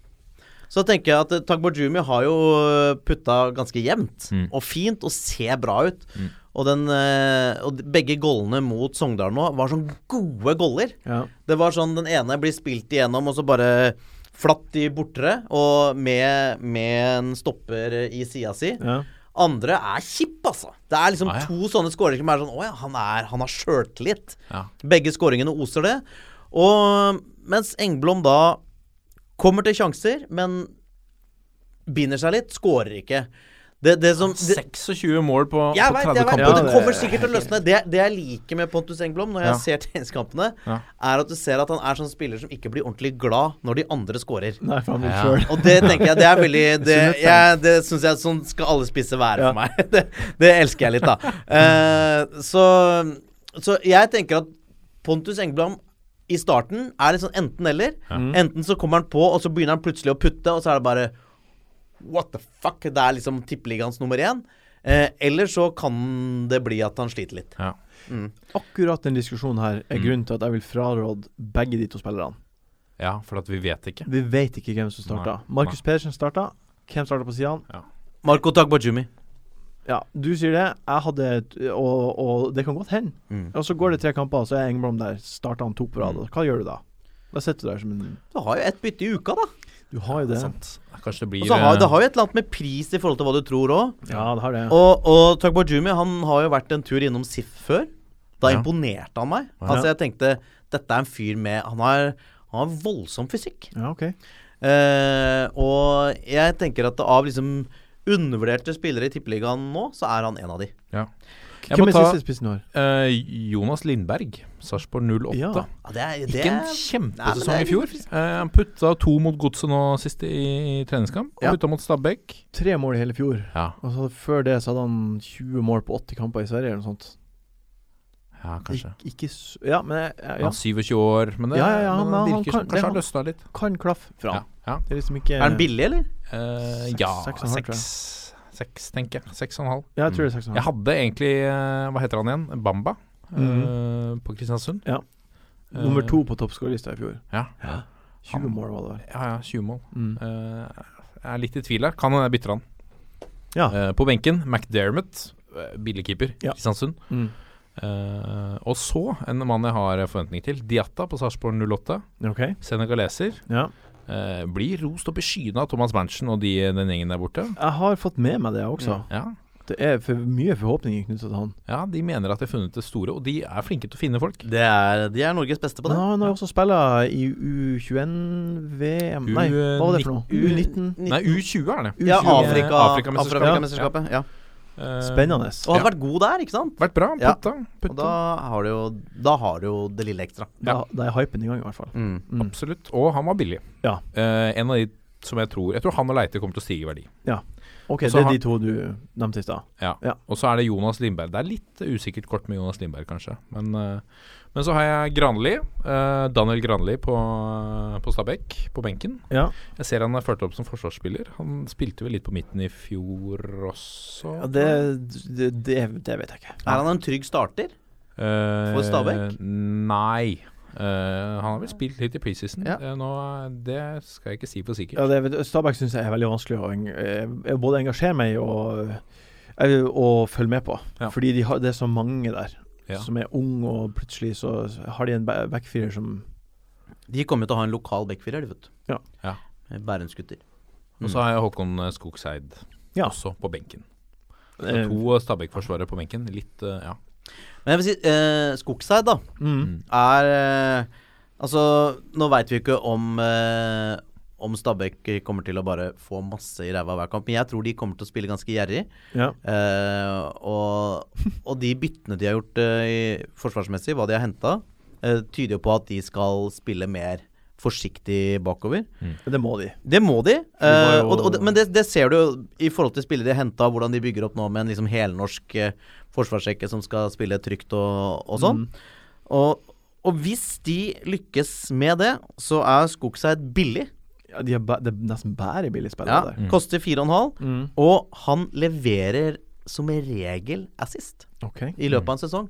Speaker 3: så tenker jeg at eh, Tagbajumi har jo eh, putta ganske jevnt og fint og ser bra ut. Og, den, eh, og de- begge gollene mot Sogndal nå var sånn gode goller.
Speaker 4: Ja.
Speaker 3: Det var sånn den ene blir spilt igjennom, og så bare flatt i bortere, og med, med en stopper i sida si.
Speaker 4: Ja.
Speaker 3: Andre er kjipp, altså. Det er liksom
Speaker 2: Ah, ja.
Speaker 3: to sånne skåringer som er sånn Å ja, han, er, han har sjøltillit.
Speaker 2: Ja.
Speaker 3: Begge skåringene oser det. Og mens Engblom da kommer til sjanser, men binder seg litt, skårer ikke. Det, det som det,
Speaker 2: 26 mål på,
Speaker 3: jeg
Speaker 2: på
Speaker 3: vet,
Speaker 2: 30
Speaker 3: jeg vet,
Speaker 2: kamper.
Speaker 3: og
Speaker 4: Ja,
Speaker 3: det
Speaker 4: det
Speaker 3: kommer
Speaker 4: er
Speaker 3: sikkert til å løsne. Det, det jeg liker med Pontus Engblom når jeg
Speaker 2: Ja.
Speaker 3: ser [LAUGHS] tenniskampene,
Speaker 2: Ja.
Speaker 3: er at du ser at han er sånn spiller som ikke blir ordentlig glad når de andre scorer.
Speaker 4: Nei, for han vil
Speaker 2: Ja.
Speaker 4: sjøl.
Speaker 3: Og det tenker jeg, det er veldig Det, jeg, det syns jeg sånn skal alle spisse være for meg. [LAUGHS] Det, det elsker jeg litt, da. Eh, så, så jeg tenker at Pontus Engblom i starten er litt sånn enten-eller. Enten så kommer han på, og så begynner han plutselig å putte, og så er det bare What the fuck? Det er liksom tippeligaens nummer én. Eh, eller så kan det bli at han sliter litt.
Speaker 2: Ja.
Speaker 3: Mm.
Speaker 4: Akkurat den diskusjonen her er
Speaker 2: Mm.
Speaker 4: grunnen til at jeg vil fraråde begge de to spillerne.
Speaker 2: Ja, for at vi vet ikke.
Speaker 4: Vi vet ikke hvem som starta.
Speaker 2: Nei.
Speaker 4: Markus Pedersen starta. Hvem starta på sidene?
Speaker 3: Marco Tagbajumi.
Speaker 4: Ja, du sier det. Jeg hadde et, og, og det kan godt hende.
Speaker 3: Mm.
Speaker 4: Og så går det tre kamper, så er Engblom der. Starter han to på rad.
Speaker 2: Mm.
Speaker 4: Hva gjør du da? Da sitter du der som en
Speaker 3: Du har jo ett bytte i uka, da.
Speaker 4: Du har jo det.
Speaker 2: Sant. Kanskje det
Speaker 3: Og
Speaker 2: blir
Speaker 4: Altså,
Speaker 3: så har
Speaker 2: eh,
Speaker 3: det har jo et eller annet med pris i forhold til hva du tror òg.
Speaker 4: Ja, det har det.
Speaker 3: Og, og Tagbajumi han har jo vært en tur innom SIF før. Da
Speaker 2: Ja.
Speaker 3: imponerte han meg.
Speaker 2: Ja.
Speaker 3: Altså Jeg tenkte dette er en fyr med Han har, han har voldsom fysikk.
Speaker 4: Ja, OK.
Speaker 3: Eh, og jeg tenker at av liksom undervurderte spillere i Tippeligaen nå, så er han en av de.
Speaker 2: eh, Jeg
Speaker 4: Hvem
Speaker 2: må
Speaker 4: er
Speaker 2: ta
Speaker 4: siste spissen i år?
Speaker 2: eh, Jonas Lindberg, Sarpsborg 08.
Speaker 4: Ja.
Speaker 3: Ja, det er, det
Speaker 2: Ikke en
Speaker 3: er, Nei,
Speaker 2: kjempesesong
Speaker 3: men det
Speaker 2: i
Speaker 3: er
Speaker 2: fjor.
Speaker 3: litt-
Speaker 2: Eh, han putta to mot Godset nå sist i, i treningskamp, og
Speaker 4: Ja.
Speaker 2: putta mot Stabæk.
Speaker 4: Tre mål i hele fjor.
Speaker 2: Ja,
Speaker 4: Og så før det så hadde han 20 mål på 80 kamper i Sverige eller noe sånt.
Speaker 2: ja kanskje.
Speaker 4: Ik ikke s Ja, men jeg, jeg,
Speaker 2: Han
Speaker 4: ja.
Speaker 2: er 27 år, men det,
Speaker 4: Ja, ja, ja,
Speaker 2: men
Speaker 4: men
Speaker 2: det
Speaker 4: han
Speaker 2: virker
Speaker 4: kan-
Speaker 2: som
Speaker 4: det
Speaker 2: kanskje
Speaker 4: han-
Speaker 2: har løsna litt.
Speaker 4: kan klaffe fra.
Speaker 2: Ja. ja.
Speaker 4: Det er liksom ikke
Speaker 3: er han billig, eller?
Speaker 2: Eh,
Speaker 4: Seks-
Speaker 2: ja,
Speaker 4: seks og en halv, tror jeg.
Speaker 2: seks, seks, tenker jeg. Seks og en halv.
Speaker 4: Ja, jeg tror det er 6,5.
Speaker 2: Jeg hadde egentlig eh, Hva heter han igjen? Bamba eh,
Speaker 4: Mhm.
Speaker 2: på Kristiansund.
Speaker 4: Ja.
Speaker 2: Eh,
Speaker 4: Nummer to på toppskårerlista i fjor.
Speaker 2: Ja.
Speaker 4: Ja. 20
Speaker 2: Han-
Speaker 4: mål var det vel.
Speaker 2: Ja, ja, 20 mål.
Speaker 4: Mm.
Speaker 2: Eh, jeg er litt i tvil her. Kan hende jeg bytter han.
Speaker 4: Ja.
Speaker 2: Eh, på benken, McDermott, eh, billig keeper,
Speaker 4: Ja.
Speaker 2: Kristiansund.
Speaker 4: Mm.
Speaker 2: Eh, og så en mann jeg har forventning til. Diatta på Sarpsborg 08.
Speaker 4: OK.
Speaker 2: Senegaleser.
Speaker 4: Ja.
Speaker 2: Eh, blir rost opp i skyene av Thomas Berntsen og de, den gjengen der borte.
Speaker 4: Jeg har fått med meg det også.
Speaker 2: Ja.
Speaker 4: Det er for mye forhåpninger knyttet til han.
Speaker 2: ja, de mener at de har funnet det store, og de er flinke til å finne folk.
Speaker 3: Det er, de er Norges beste på
Speaker 4: Men
Speaker 3: det.
Speaker 4: han har jo også spilt i U21-VM Nei, hva var det for noe? U19?
Speaker 2: Nei, U20 er det.
Speaker 3: Ja,
Speaker 4: U20.
Speaker 3: Afrika,
Speaker 2: Afrikamesterskapet.
Speaker 3: Afrikamesterskapet. Ja.
Speaker 2: Eh,
Speaker 4: Spennende.
Speaker 3: Og hadde vært god der, ikke sant?
Speaker 2: Vært bra.
Speaker 3: Ja.
Speaker 2: Putta.
Speaker 3: Og
Speaker 2: putta.
Speaker 3: da har du jo, da har du jo det lille ekstra.
Speaker 4: Da, da er hypen i gang, i hvert fall.
Speaker 3: Mm.
Speaker 4: Mm.
Speaker 2: Absolutt. Og han var billig.
Speaker 4: Ja.
Speaker 2: Eh, en av de som jeg tror Jeg tror han og Leite kommer til å stige i verdi.
Speaker 4: OK,
Speaker 2: Og så
Speaker 4: det er
Speaker 2: har-
Speaker 4: de to du nevnte i stad.
Speaker 2: Og så er det Jonas Lindberg. Det er litt usikkert kort med Jonas Lindberg, kanskje. Men, eh, men så har jeg Granli. eh, Daniel Granli på, på Stabæk, på benken.
Speaker 4: Ja.
Speaker 2: Jeg ser han er ført opp som forsvarsspiller. Han spilte vel litt på midten i fjor også.
Speaker 4: Ja, det, det, det, det vet jeg ikke.
Speaker 3: Er han en trygg starter?
Speaker 2: Eh,
Speaker 3: For Stabæk?
Speaker 2: Nei. Eh, han har vel spilt litt i preseason.
Speaker 3: Ja.
Speaker 2: Eh, nå, det skal jeg ikke si for sikkert.
Speaker 4: Ja, det, vet- Stabæk syns jeg er veldig vanskelig å eng- eh, både engasjere meg i og, eh, og følge med på.
Speaker 2: Ja.
Speaker 4: Fordi de har, det er så mange der
Speaker 2: Ja.
Speaker 4: som er unge, og plutselig så har de en ba- backfirer som
Speaker 3: De kommer jo til å ha en lokal backfirer, de, vet du.
Speaker 4: Ja.
Speaker 2: Ja.
Speaker 3: Med Bærumsgutter.
Speaker 2: Og så har jeg Håkon eh, Skogseid
Speaker 4: Ja.
Speaker 2: også på benken. Så
Speaker 4: eh,
Speaker 2: to eh, Stabæk-forsvarere på benken. Litt, eh, ja.
Speaker 3: Men jeg vil si, eh, Skogseid, da,
Speaker 4: mm,
Speaker 3: er eh, Altså, nå veit vi ikke om eh, om Stabæk kommer til å bare få masse i ræva hver kamp. Men jeg tror de kommer til å spille ganske gjerrig.
Speaker 4: ja.
Speaker 3: Eh, og, og de byttene de har gjort eh, i- forsvarsmessig, hva de har henta, eh, tyder jo på at de skal spille mer forsiktig bakover.
Speaker 4: Det må de.
Speaker 3: Det må de.
Speaker 4: må
Speaker 3: eh,
Speaker 4: jo-
Speaker 3: og, og, det- men det, det ser du jo i forhold til spillere de har henta, hvordan de bygger opp nå med en liksom helnorsk eh, forsvarsrekke som skal spille trygt og, og sånn.
Speaker 4: Mm.
Speaker 3: Og, og hvis de lykkes med det, så er Skogseid billig.
Speaker 4: Ja, de er ba- det er nesten bare
Speaker 2: Mm.
Speaker 3: Ja,
Speaker 4: billige spillere der.
Speaker 3: Koster fire og en halv.
Speaker 4: Mm.
Speaker 3: Og han leverer som regel assist
Speaker 4: OK.
Speaker 3: i løpet av
Speaker 4: Mm.
Speaker 3: en sesong.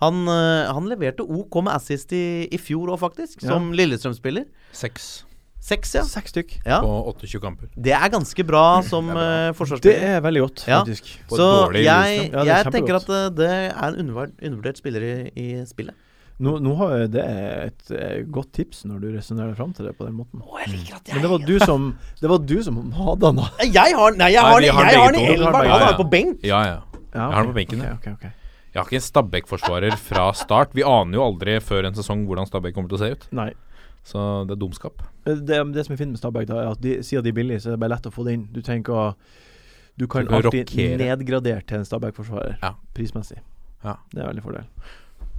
Speaker 3: Han, eh, han leverte OK med assist i, i fjor òg, faktisk, som Lillestrøm-spiller.
Speaker 2: Seks
Speaker 3: Seks, ja.
Speaker 4: Seks stykk.
Speaker 3: ja.
Speaker 2: på 28 kamper.
Speaker 3: Det er ganske bra som eh,
Speaker 4: Det
Speaker 3: forsvarsspiller.
Speaker 4: er veldig godt,
Speaker 3: Ja.
Speaker 4: faktisk.
Speaker 2: På et
Speaker 3: Så
Speaker 2: dårlig
Speaker 3: jeg,
Speaker 4: Lillestrøm. Ja, det er
Speaker 3: jeg tenker at
Speaker 4: kjempegodt.
Speaker 3: eh, det er en undervurdert, undervurdert spiller i, i spillet.
Speaker 4: Nå, nå har jeg- det er et eh, godt tips når du resonnerer deg fram til det på den måten.
Speaker 3: Å, jeg liker at
Speaker 4: Men det var du som Det var du som
Speaker 2: [LAUGHS]
Speaker 4: hadde han, da.
Speaker 3: Jeg har Nei, jeg
Speaker 2: Nei,
Speaker 3: har,
Speaker 2: vi
Speaker 3: den-
Speaker 2: har
Speaker 3: jeg
Speaker 2: begge
Speaker 3: har den i
Speaker 2: to.
Speaker 3: elveren.
Speaker 2: Ja,
Speaker 3: Han
Speaker 2: ja.
Speaker 3: er på benk.
Speaker 2: Ja, ja. Jeg
Speaker 4: Ja,
Speaker 2: har
Speaker 4: ok.
Speaker 2: den på benken, ja.
Speaker 4: Ok, ok, ok.
Speaker 2: Jeg har ikke en Stabæk-forsvarer fra start. Vi aner jo aldri før en sesong hvordan Stabæk kommer til å se ut.
Speaker 4: Nei. Eh,
Speaker 2: Så det er dumskap.
Speaker 4: Det, det som er fint med Stabæk, da, er at de, siden de er billige, så er det bare lett å få det inn. Du trenger ikke å Du kan
Speaker 2: Du kan
Speaker 4: alltid
Speaker 2: rokere.
Speaker 4: nedgradere til en Stabæk-forsvarer,
Speaker 2: Ja.
Speaker 4: prismessig.
Speaker 2: Ja.
Speaker 4: Det er veldig fordel.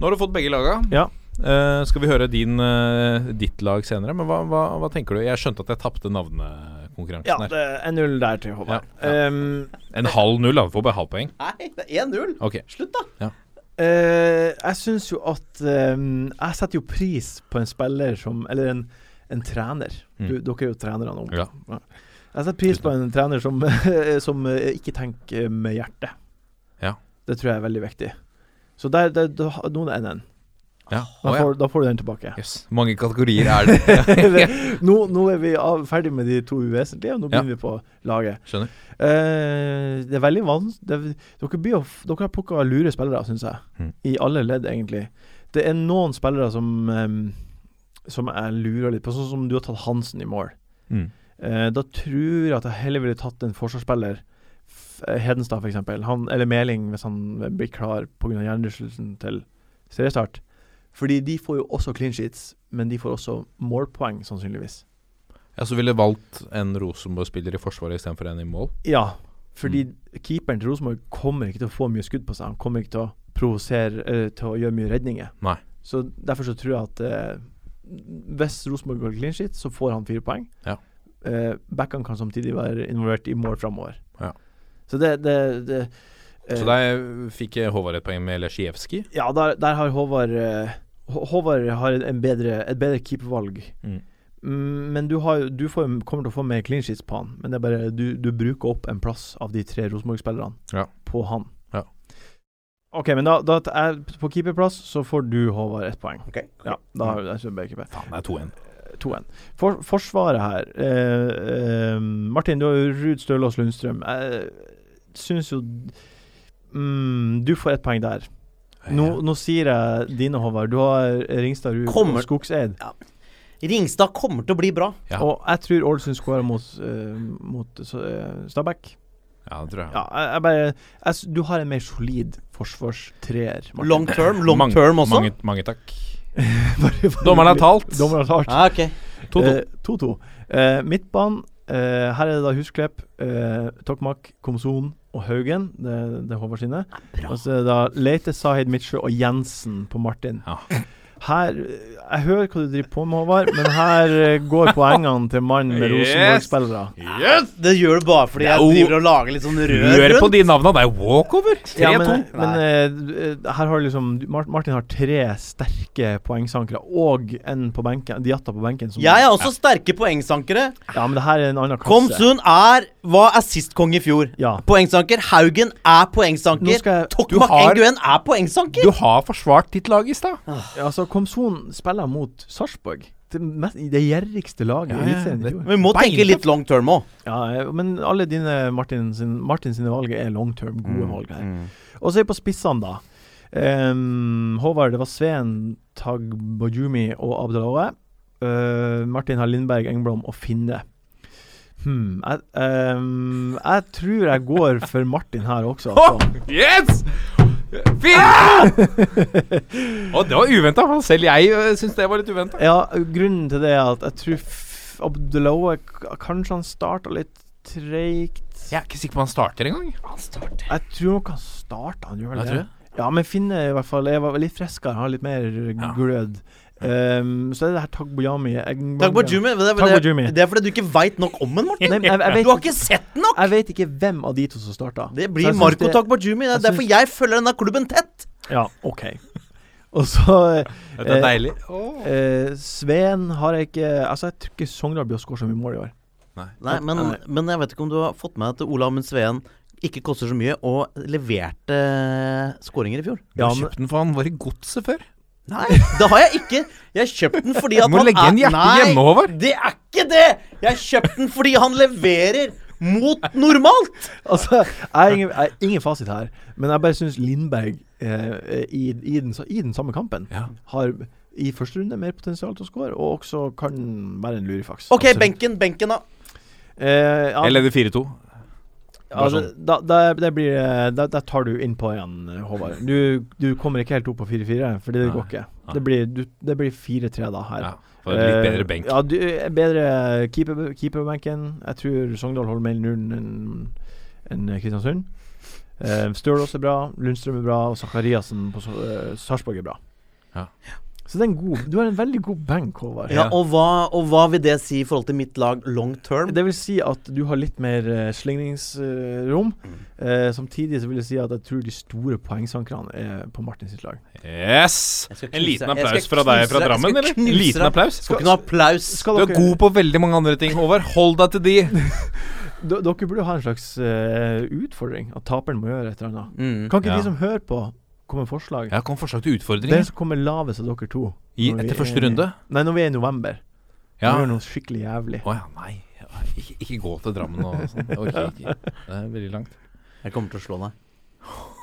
Speaker 2: Nå har du fått begge laga.
Speaker 4: Ja.
Speaker 2: Eh, skal vi høre din, eh, ditt lag senere, men hva, hva, hva tenker du? Jeg skjønte at jeg tapte navnekonkurransen
Speaker 4: Ja,
Speaker 2: her.
Speaker 4: det er 1-0 der til Håvard. Ehm,
Speaker 2: Ja, En halv null, da. Du får bare halvt poeng.
Speaker 3: Nei, det er 1-0.
Speaker 2: Ok.
Speaker 3: Slutt, da.
Speaker 4: Eh, jeg syns jo at ehm, Jeg setter jo pris på en spiller som Eller en, en trener.
Speaker 2: Mm.
Speaker 4: Du, dere er jo trenere nå.
Speaker 2: Ja.
Speaker 4: Jeg setter pris på en trener som, [LAUGHS] som eh, ikke tenker med hjertet.
Speaker 2: Ja.
Speaker 4: Det tror jeg er veldig viktig. Så der, der, da har- noen er 1-1.
Speaker 2: Ja.
Speaker 4: Da,
Speaker 2: Å, ja.
Speaker 4: får- da får du den
Speaker 2: [LAUGHS]
Speaker 4: tilbake. [LAUGHS]
Speaker 2: Jøss. Mange kategorier er
Speaker 3: [LAUGHS]
Speaker 2: det.
Speaker 4: nå, nå er vi av, ferdig med de to uvesentlige, og nå
Speaker 2: Ja.
Speaker 4: begynner vi på laget.
Speaker 2: Skjønner.
Speaker 4: Eh, det er veldig vanskelig Dere, blir jo f- dere har plukka lure spillere, syns jeg.
Speaker 2: Mm.
Speaker 4: I alle ledd, egentlig. Det er noen spillere som eh, Som jeg lurer litt på, sånn som du har tatt Hansen i mål.
Speaker 2: Mm.
Speaker 4: Eh, da tror jeg at jeg heller ville tatt en forsvarsspiller. F- eh, Hedenstad, f.eks. Han, eller Meling, hvis han blir klar pga. hjernerystelsen til seriestart. Fordi de får jo også clean sheets, men de får også målpoeng, sannsynligvis.
Speaker 2: Ja, så ville valgt en Rosenborg-spiller i forsvaret istedenfor en i mål.
Speaker 4: Ja, fordi
Speaker 2: Mm.
Speaker 4: keeperen til Rosenborg kommer ikke til å få mye skudd på seg. Han kommer ikke til å provosere eller til å gjøre mye redninger.
Speaker 2: Nei.
Speaker 4: Så derfor så tror jeg at eh, hvis Rosenborg går clean sheet, så får han fire poeng.
Speaker 2: Ja.
Speaker 4: Eh, Backene kan samtidig være involvert i mål framover.
Speaker 2: Ja.
Speaker 4: Så det, det, det eh,
Speaker 2: Så der fikk Håvard et poeng med Lesjijevskij.
Speaker 4: Ja, der, der har Håvard eh, Hå- Håvard har en bedre, et bedre keepervalg.
Speaker 2: Mm.
Speaker 4: Mm, Men du, har, jo- du får, kommer til å få mer clean sheets på han. Men det er bare du, du bruker opp en plass av de tre Rosenborg-spillerne
Speaker 2: Ja.
Speaker 4: på han.
Speaker 2: Ja.
Speaker 4: OK, men da, da er, på keeperplass så får du, Håvard, ett poeng.
Speaker 3: Ok.
Speaker 4: Ja, da har jeg skjønner begge
Speaker 2: Faen, det er 2-1.
Speaker 4: 2-1. For, forsvaret her eh, eh, Martin, du har jo Ruud Stølås Lundstrøm. Jeg syns jo mm, Du får ett poeng der. Nå, nå sier jeg dine, Håvard. Du har Ringstad Ruud og
Speaker 3: Kommer-
Speaker 4: Skogseid.
Speaker 3: Ringstad kommer til å bli bra.
Speaker 2: Ja.
Speaker 4: Og jeg tror Ålesund skårer mot, eh, mot eh, Stabæk.
Speaker 2: Ja, det tror jeg.
Speaker 4: Ja, jeg, jeg bare jeg, s- Du har en mer solid forsvarstreer. Martin.
Speaker 3: Long term, long
Speaker 2: Mange-
Speaker 3: term også.
Speaker 2: Mange, mange takk.
Speaker 4: [LAUGHS] Bare- bare-
Speaker 2: Dommeren har talt.
Speaker 4: Dommeren har talt.
Speaker 3: Ja, ok.
Speaker 2: 2-2.
Speaker 4: Eh, 2-2. Eh, midtbanen, eh, her er det da Husklepp, eh, Tokmak, Komson og Haugen. Det, det er Håvard sine. Og så er det da Leite, Sahid Mitsjø og Jensen på Martin.
Speaker 2: Ja.
Speaker 4: Her eh, Jeg hører hva du driver på med, Håvard, men her eh, går poengene til mannen med
Speaker 2: Yes!
Speaker 4: Rosenborg-spillere.
Speaker 2: Yes!
Speaker 3: Det gjør du bare fordi jeg
Speaker 2: Jo.
Speaker 3: driver og lager litt sånn rør
Speaker 2: Rør på
Speaker 3: rundt.
Speaker 2: de navna, det er walkover! 3-2.
Speaker 4: Ja, men men eh, eh, her har du liksom du- Mar- Martin har tre sterke poengsankere og en på benken, Diatta på benken. Som,
Speaker 3: Jeg er også sterke poengsankere.
Speaker 2: altså.
Speaker 4: ja, men det her er en annen klasse.
Speaker 3: Komsun er var assistkonge i fjor.
Speaker 4: Ja.
Speaker 3: Poengsanker. Haugen er
Speaker 4: Nå
Speaker 3: poengsanker.
Speaker 4: skal jeg-
Speaker 3: Tokmak
Speaker 2: Du har-
Speaker 3: Nguyen er
Speaker 2: Du
Speaker 3: poengsanker.
Speaker 2: har forsvart ditt lag i stad.
Speaker 4: Ja, altså, Komson spiller mot Sarpsborg. Det, mest, det gjerrigste laget
Speaker 2: Ja,
Speaker 4: i
Speaker 2: ja,
Speaker 4: Eliteserien i
Speaker 2: det-
Speaker 4: fjor.
Speaker 3: Vi må tenke
Speaker 2: Beintøff.
Speaker 3: litt long term òg.
Speaker 4: Ja, men alle dine Martin, sin, Martin sine valg er long term gode
Speaker 2: Mm,
Speaker 4: valg her. Og så er vi på spissene, da. Ehm, Håvard, det var Sveen, Tag Bojumi og Abdelawe. Eh, Martin har Lindberg, Engblom og Finne. Hmm, jeg, ehm, jeg tror jeg går for Martin her
Speaker 2: [LAUGHS]
Speaker 4: også. Altså.
Speaker 2: Yes! Fint! Og det var uventa. Selv jeg syns det var litt uventa.
Speaker 4: Ja, grunnen til det er at jeg tror f- Abdelawe k- Kanskje han starta litt treigt.
Speaker 2: Jeg er ikke sikker på om han starter engang.
Speaker 4: Jeg tror nok han starta, han gjør vel
Speaker 2: Jeg tror
Speaker 4: det. Ja, men Finne i hvert fall er litt friskere, har litt mer glød. Ehm, så er det her Tagbojami jeg-
Speaker 3: Takk på Jimmy. Det,
Speaker 4: Takk på
Speaker 3: det,
Speaker 4: Jimmy.
Speaker 3: det er fordi du ikke veit nok om den, Morten.
Speaker 4: Nei, men jeg, jeg, vet,
Speaker 3: Du har ikke sett den nok!
Speaker 4: jeg vet ikke hvem av de to som starta.
Speaker 3: Det blir Marco Takbajumi. Det
Speaker 4: jeg
Speaker 3: er derfor
Speaker 4: synes-
Speaker 3: jeg følger denne klubben tett.
Speaker 4: Ja, OK. Og så
Speaker 2: Det er
Speaker 4: Eh,
Speaker 2: deilig. Åh.
Speaker 4: eh, Sveen har jeg ikke Altså, jeg tror ikke Sogndal blir å skåre så mye mål i år.
Speaker 3: Nei, men, men jeg vet ikke om du har fått med deg at Ola Amund Sveen ikke koster så mye, og leverte eh, skåringer i fjor.
Speaker 2: Du har
Speaker 4: men-
Speaker 2: kjøpt den for han var i godset før.
Speaker 3: Nei, det har jeg ikke. Jeg kjøpte den fordi at
Speaker 2: Du må
Speaker 3: han
Speaker 2: legge igjen hjertet
Speaker 3: Nei,
Speaker 2: hjemme, Håvard.
Speaker 3: Det er ikke det! Jeg kjøpte den fordi han leverer mot normalt!
Speaker 4: Altså, jeg har ingen, jeg har ingen fasit her, men jeg bare syns Lindberg eh, i, i, den, sa- i den samme kampen
Speaker 2: Ja.
Speaker 4: har i første runde mer potensial til å skåre, og også kan være en lurifaks.
Speaker 3: OK, benken, benken, da.
Speaker 4: Eh, ja,
Speaker 2: Jeg leder 4-2.
Speaker 4: altså, da, da, det blir, eh, da, da tar du innpå igjen, eh, Håvard. Du, du kommer ikke helt opp på 4-4, fordi det
Speaker 2: Nei,
Speaker 4: går ikke.
Speaker 2: nei.
Speaker 4: Det blir, du, det blir 4-3 da her.
Speaker 2: Ja, for en litt
Speaker 4: Eh,
Speaker 2: bedre benk.
Speaker 4: Ja, du, bedre keeper, keeper på benken. Jeg tror Sogndal holder mer nullen enn enn Kristiansund. Uh, Stølås er bra, Lundstrøm er bra, og Zakariassen på uh, Sarpsborg er bra.
Speaker 2: Ja.
Speaker 4: Så det er en god, du har en veldig god benk, Håvard.
Speaker 3: Ja, og, hva, og hva vil det si i forhold til mitt lag long term?
Speaker 4: Det vil si at du har litt mer eh, slingringsrom.
Speaker 3: Mm.
Speaker 4: Eh, samtidig så vil jeg si at jeg tror de store poengsankerne er på Martin sitt lag.
Speaker 2: Yes!
Speaker 3: Jeg skal
Speaker 2: En
Speaker 3: knuse
Speaker 2: liten
Speaker 3: deg. Jeg
Speaker 2: applaus
Speaker 3: skal
Speaker 2: fra deg fra
Speaker 3: knuse deg. Jeg
Speaker 2: Drammen,
Speaker 3: skal
Speaker 2: eller? En
Speaker 3: knuse
Speaker 2: liten
Speaker 3: deg.
Speaker 2: applaus?
Speaker 3: Får ikke noe applaus.
Speaker 4: Skal
Speaker 2: Du er god på veldig mange andre ting, Håvard. Hold deg til de.
Speaker 4: D dere burde ha en slags eh, utfordring at taperen må gjøre et eller annet.
Speaker 3: Mm.
Speaker 4: Kan ikke
Speaker 2: Ja.
Speaker 4: de som hører på, komme forslag.
Speaker 2: Jeg kom forslag til
Speaker 4: Den
Speaker 2: utfordringer
Speaker 4: som kommer lavest av dere to
Speaker 2: i,
Speaker 4: når vi
Speaker 2: etter
Speaker 4: er-
Speaker 2: første runde.
Speaker 4: Nei, når vi er i november.
Speaker 2: Ja.
Speaker 4: Ja. Når vi gjør noe skikkelig jævlig.
Speaker 2: Å ja, nei. Ikke, ikke gå til Drammen og sånn. Jeg orker ikke. Det er veldig langt.
Speaker 3: Jeg kommer til å slå deg.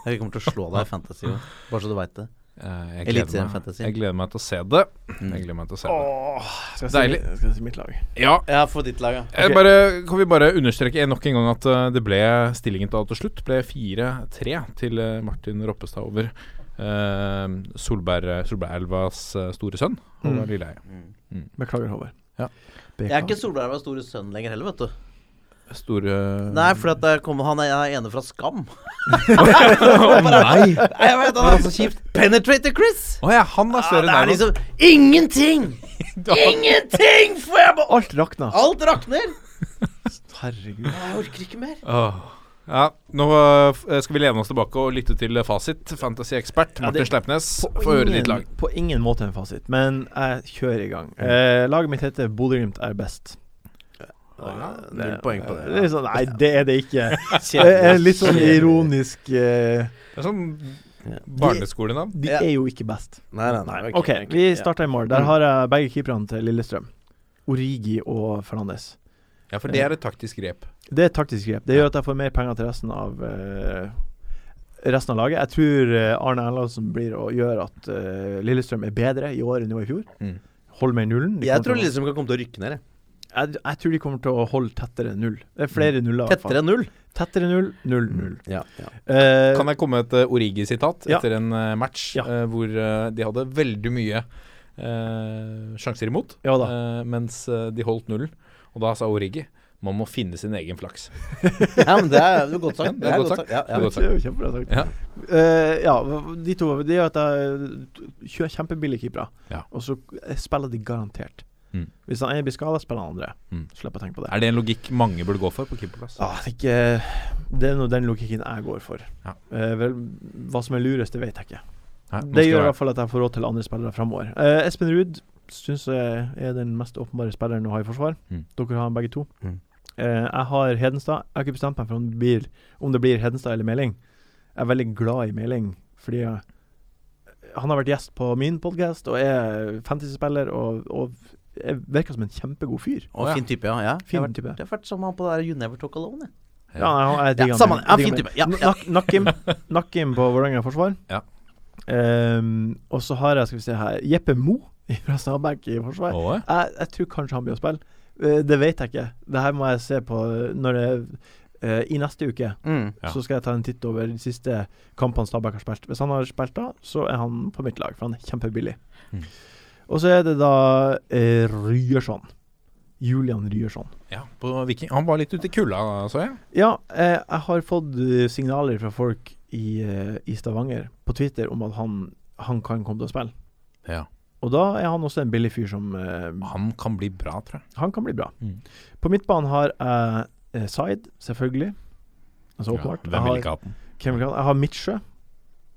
Speaker 3: Jeg kommer til å slå deg i Fantasy også. bare så du veit det.
Speaker 2: Eh, Jeg
Speaker 3: Eliteserien
Speaker 2: gleder, meg,
Speaker 3: Fantasy. Mm.
Speaker 2: jeg gleder meg til å se det. Jeg gleder meg til å se det.
Speaker 4: Åh, skal jeg
Speaker 2: Deilig.
Speaker 4: Si, skal jeg si mitt lag?
Speaker 2: Ja,
Speaker 3: Ja, for ditt lag, ja.
Speaker 2: jeg Eh, bare, kan vi bare understreke nok en gang at eh, det ble stillingen da til slutt. Ble 4-3 til eh, Martin Roppestad over eh, Solberg, Solbergelvas eh, store sønn,
Speaker 3: Mm.
Speaker 2: Håvard Lilleheie.
Speaker 4: Beklager, Håvard.
Speaker 2: Ja.
Speaker 4: Beklager.
Speaker 3: Jeg er ikke Solbergs store sønn lenger heller, vet du.
Speaker 2: Store
Speaker 3: Nei, for at der kommer- han er han er ene fra Skam.
Speaker 2: Å nei!
Speaker 3: [LAUGHS] Nei, jeg vet, han er så kjipt. Penetrator Chris!
Speaker 2: Å ja, han er
Speaker 3: Ja,
Speaker 2: større
Speaker 3: det
Speaker 2: enn
Speaker 3: er
Speaker 2: Erlend.
Speaker 3: liksom [LAUGHS] ingenting! Ingenting! For jeg bare
Speaker 4: Alt rakna.
Speaker 3: Alt [LAUGHS] rakner!
Speaker 4: Herregud.
Speaker 3: Å, Jeg orker ikke mer.
Speaker 2: Åh. Ja, nå eh, f- eh, skal vi lene oss tilbake og lytte til eh, fasit. Fantasy-ekspert Martin Sleipnes, få høre ditt lag. Mm.
Speaker 4: på ingen måte en fasit, men jeg kjører i gang. Eh, laget mitt heter Bodø-Glimt er best.
Speaker 3: Null poeng på
Speaker 4: Det er
Speaker 3: det. liksom-
Speaker 4: sånn, nei, det er
Speaker 2: [LAUGHS]
Speaker 4: det ikke. Det er litt sånn ironisk eh,
Speaker 2: Det er sånn barneskolenavn.
Speaker 4: De
Speaker 3: Ja.
Speaker 4: er jo ikke best.
Speaker 3: Nei, nei, nei.
Speaker 4: OK, vi starter i mål.
Speaker 2: Mm.
Speaker 4: Der har jeg begge keeperne til Lillestrøm. Origi og Fernandes.
Speaker 2: Ja, for det er et taktisk grep.
Speaker 4: Det er et taktisk grep. Det gjør at jeg får mer penger til resten av eh, Resten av laget. Jeg tror eh, Arne Erlandsen blir å gjøre at eh, Lillestrøm er bedre i år enn de var i fjor.
Speaker 2: Mm.
Speaker 4: Hold meg i nullen. De
Speaker 3: Jeg
Speaker 4: kommer
Speaker 3: tror
Speaker 4: til å-
Speaker 3: Lillestrøm kan komme til å rykke ned. jeg.
Speaker 4: jeg, jeg tror de kommer til å holde tettere enn null. Det er flere
Speaker 2: Mm.
Speaker 4: nuller. i hvert fall.
Speaker 3: Tettere enn null.
Speaker 4: tettere null, null, null.
Speaker 3: Ja,
Speaker 4: Eh,
Speaker 2: Kan jeg komme med et eh, Origi-sitat
Speaker 4: Ja.
Speaker 2: etter en eh, match
Speaker 4: Ja.
Speaker 2: eh, hvor eh, de hadde veldig mye eh, sjanser imot,
Speaker 4: Ja da.
Speaker 2: eh, mens eh, de holdt nullen? Og da sa Origi man må finne sin egen flaks.
Speaker 3: men det er jo godt sagt.
Speaker 2: Det er godt sagt.
Speaker 3: Ja,
Speaker 2: Det
Speaker 3: ja.
Speaker 2: er godt
Speaker 4: det
Speaker 2: sagt.
Speaker 4: er jo kjempebra sagt.
Speaker 2: Ja.
Speaker 4: Eh, ja, de to Det gjør at jeg kjører kjempebillige keepere,
Speaker 2: Ja.
Speaker 4: og så eh, spiller de garantert.
Speaker 2: Mm.
Speaker 4: Hvis han ene blir skada, spiller han andre.
Speaker 2: Mm.
Speaker 4: Slipper å tenke på det.
Speaker 2: Er det en logikk mange burde gå for på keeperplass?
Speaker 4: Ah, det, er ikke, det er nå den logikken jeg går for.
Speaker 2: Ja.
Speaker 4: Eh, vel, hva som er lurest, det vet jeg ikke.
Speaker 2: Nei, nå
Speaker 4: Det
Speaker 2: skal
Speaker 4: gjør i
Speaker 2: jeg-
Speaker 4: hvert fall at jeg får råd til andre spillere framover. Eh, Espen Ruud syns jeg er den mest åpenbare spilleren å ha i forsvar.
Speaker 2: Mm.
Speaker 4: Dere har han begge to.
Speaker 3: Mm.
Speaker 4: Eh, jeg har Hedenstad. Jeg har ikke bestemt meg for om det blir, om det blir Hedenstad eller Meling. Jeg er veldig glad i Meling, fordi jeg, han har vært gjest på min podkast og er fantasyspiller og, og er- virker som en kjempegod fyr.
Speaker 3: Og fin type, ja. ja. Jeg
Speaker 4: Fin
Speaker 3: har vært-
Speaker 4: type.
Speaker 3: Jeg har vært som han på det der You Never Talk Alone. jeg.
Speaker 4: Ja, jeg, jeg digger
Speaker 3: Ja,
Speaker 4: han.
Speaker 3: samme det. Ja,
Speaker 4: Jeg digger
Speaker 3: fin
Speaker 4: han.
Speaker 3: type. Ja, ja.
Speaker 4: Nak- Nakkim Nakkim på Vålerenga forsvar.
Speaker 2: Ja.
Speaker 4: Ehm, og så har jeg skal vi se her Jeppe Mo fra Stabæk i forsvar.
Speaker 2: Åh,
Speaker 4: Jeg, jeg tror kanskje han blir å spille. Eh, det vet jeg ikke. Det her må jeg se på når det eh, I neste uke
Speaker 3: Mm.
Speaker 2: Ja.
Speaker 4: så skal jeg ta en titt over de siste kampene Stabæk har spilt. Hvis han har spilt da, så er han på mitt lag, for han er kjempebillig.
Speaker 2: Mm.
Speaker 4: Og så er det da eh, Ryerson. Julian Ryerson.
Speaker 2: ja, på Viking. Han var litt ute i kulda, så jeg.
Speaker 4: Ja, eh, jeg har fått eh, signaler fra folk i, eh, i Stavanger på Twitter om at han, han kan komme til å spille.
Speaker 2: Ja.
Speaker 4: Og da er han også en billig fyr som eh,
Speaker 2: Han kan bli bra, tror jeg.
Speaker 4: Han kan bli bra.
Speaker 2: Mm.
Speaker 4: På midtbanen har jeg eh, Zaid, selvfølgelig. Altså
Speaker 2: Ja,
Speaker 4: åpenbart.
Speaker 2: hvem
Speaker 4: jeg,
Speaker 2: vil
Speaker 4: har,
Speaker 2: ikke ha den?
Speaker 4: hvem vil ikke ha han? jeg har Midtsjø.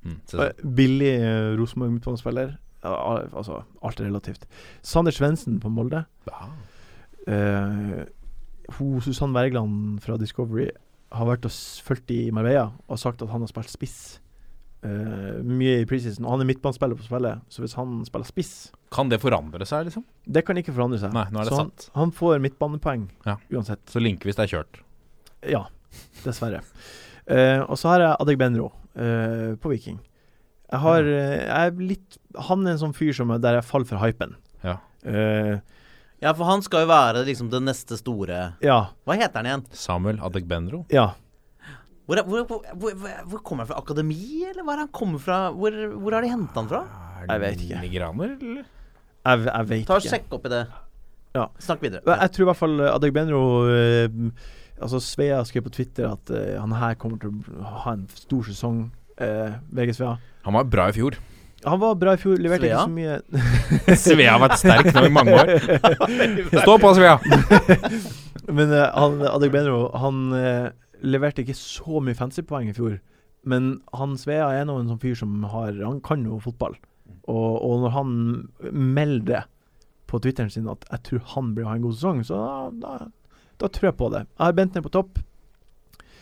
Speaker 2: Mm, så-
Speaker 4: eh, Billig eh, Rosenborg midtbanespiller. Ja, al- altså, alt er relativt. Sander Svendsen på Molde.
Speaker 2: Ah.
Speaker 4: Eh, ho, Susann Wergeland fra Discovery har vært og s- fulgt i Marbella og sagt at han har spilt spiss eh, mye i preseason. Og han er midtbanespiller på spillet, så hvis han spiller spiss
Speaker 2: Kan det forandre seg, liksom?
Speaker 4: Det kan ikke forandre seg.
Speaker 2: Nei, nå er det
Speaker 4: så han,
Speaker 2: satt.
Speaker 4: han får midtbanepoeng
Speaker 2: Ja.
Speaker 4: uansett.
Speaker 2: Så linke hvis det er kjørt.
Speaker 4: Ja, dessverre. Eh, og så har jeg Adegbenro eh, på Viking. Jeg har eh, Jeg er litt Han er en sånn fyr som, der jeg faller for hypen.
Speaker 2: Ja.
Speaker 4: Eh,
Speaker 3: ja, for han skal jo være liksom det neste store
Speaker 4: ja.
Speaker 3: Hva heter han igjen?
Speaker 2: Samuel Adegbenro.
Speaker 4: Ja.
Speaker 3: Hvor, er- hvor, hvor, hvor, hvor kommer han fra? Akademi, eller hva er han kommer fra? Hvor, hvor har de henta han fra?
Speaker 4: Jeg vet ikke.
Speaker 2: Nigeraner, eller?
Speaker 4: Jeg, jeg vet
Speaker 3: Ta og
Speaker 4: ikke.
Speaker 3: Sjekk opp i det.
Speaker 4: Ja.
Speaker 3: Snakk videre.
Speaker 4: Men Jeg tror i hvert fall Adegbenro eh, Altså Svea skrev på Twitter at eh, han her kommer til å ha en stor sesong, eh, VG Svea.
Speaker 2: Han var bra i fjor.
Speaker 4: Han var bra i fjor, leverte
Speaker 3: Svea?
Speaker 4: ikke så mye [LAUGHS]
Speaker 2: Svea har vært sterk nå i mange år. [LAUGHS] Stå på, Svea!
Speaker 4: Men eh, han, Adegbenro han eh, leverte ikke så mye fancypoeng i fjor. Men han Svea er nå en sånn fyr som har Han kan jo fotball. Og, og når han melder på Twitteren sin at 'jeg tror han blir å ha en god sesong', så da, da, da tror jeg på det. Jeg har Bentner på topp.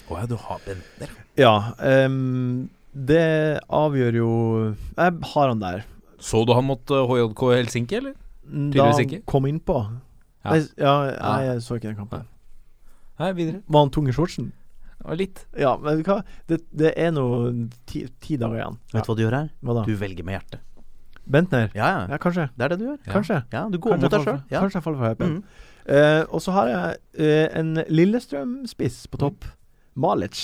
Speaker 2: Å ja, du har Bentner.
Speaker 4: Ja. ehm, Det avgjør jo Jeg har han der.
Speaker 2: Så du han mot eh, HJK Helsinki, eller?
Speaker 4: Da
Speaker 2: Tydeligvis
Speaker 4: han
Speaker 2: ikke.
Speaker 4: kom innpå
Speaker 2: Ja.
Speaker 4: Nei, s- ja,
Speaker 2: Ja.
Speaker 4: nei, jeg så ikke den kampen.
Speaker 2: Nei, videre.
Speaker 4: Var han tung i shortsen?
Speaker 2: Det var litt.
Speaker 4: Ja, men hva Det, det er nå ti, ti dager igjen.
Speaker 3: Vet du hva du gjør her?
Speaker 4: Hva da?
Speaker 3: Du velger med hjertet.
Speaker 4: Bentner?
Speaker 3: Ja, ja.
Speaker 4: Ja, kanskje.
Speaker 3: Det er det du gjør.
Speaker 4: Kanskje.
Speaker 3: Ja, Du går
Speaker 4: Kanskje
Speaker 3: mot
Speaker 4: jeg
Speaker 3: deg
Speaker 4: faller
Speaker 3: sjøl.
Speaker 4: for-
Speaker 3: Ja.
Speaker 4: Kanskje jeg faller for hypen.
Speaker 3: Mm.
Speaker 4: Eh, og så har jeg eh, en Lillestrøm-spiss på topp.
Speaker 3: Mm.
Speaker 4: Malic.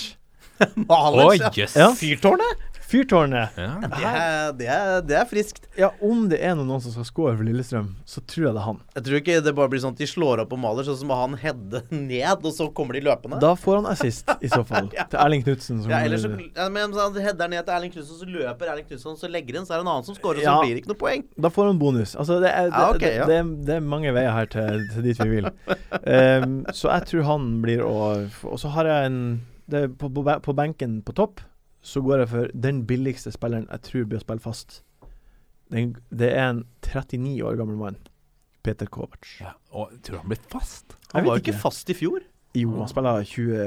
Speaker 2: Å, jøss.
Speaker 4: Ja.
Speaker 3: Fyrtårnet!
Speaker 4: Fyrtårnet.
Speaker 2: Ja.
Speaker 3: Det er, det, er, det er friskt.
Speaker 4: Ja, om det er noen, noen som skal score for Lillestrøm, så tror jeg det er han.
Speaker 3: Jeg tror ikke det bare blir sånn at de slår opp og maler, sånn som han hedde [LAUGHS] ned, og så kommer de løpende.
Speaker 4: Da får han assist, i
Speaker 3: [LAUGHS]
Speaker 4: så fall. Til Erling Knutsen.
Speaker 3: ja, eller så ja, men så han hedder ned til Erling Knutsen, så løper Erling Knutsen, så legger han, så er det en annen som scorer, og så
Speaker 4: Ja.
Speaker 3: blir det ikke noe poeng.
Speaker 4: Da får han bonus. Altså, det er, det,
Speaker 3: Ja, ok, ja.
Speaker 4: det, det, det er mange veier her til, til dit vi vil. Ehm, så jeg tror han blir å Og så har jeg en det, er på, på, be- på benken på topp så går jeg for den billigste spilleren jeg tror blir å spille fast. Den, det er en 39 år gammel mann. Peter Kovac.
Speaker 2: Ja. Og jeg tror han ble fast.
Speaker 3: Han var jo ikke fast i fjor.
Speaker 4: Jo, han spiller 20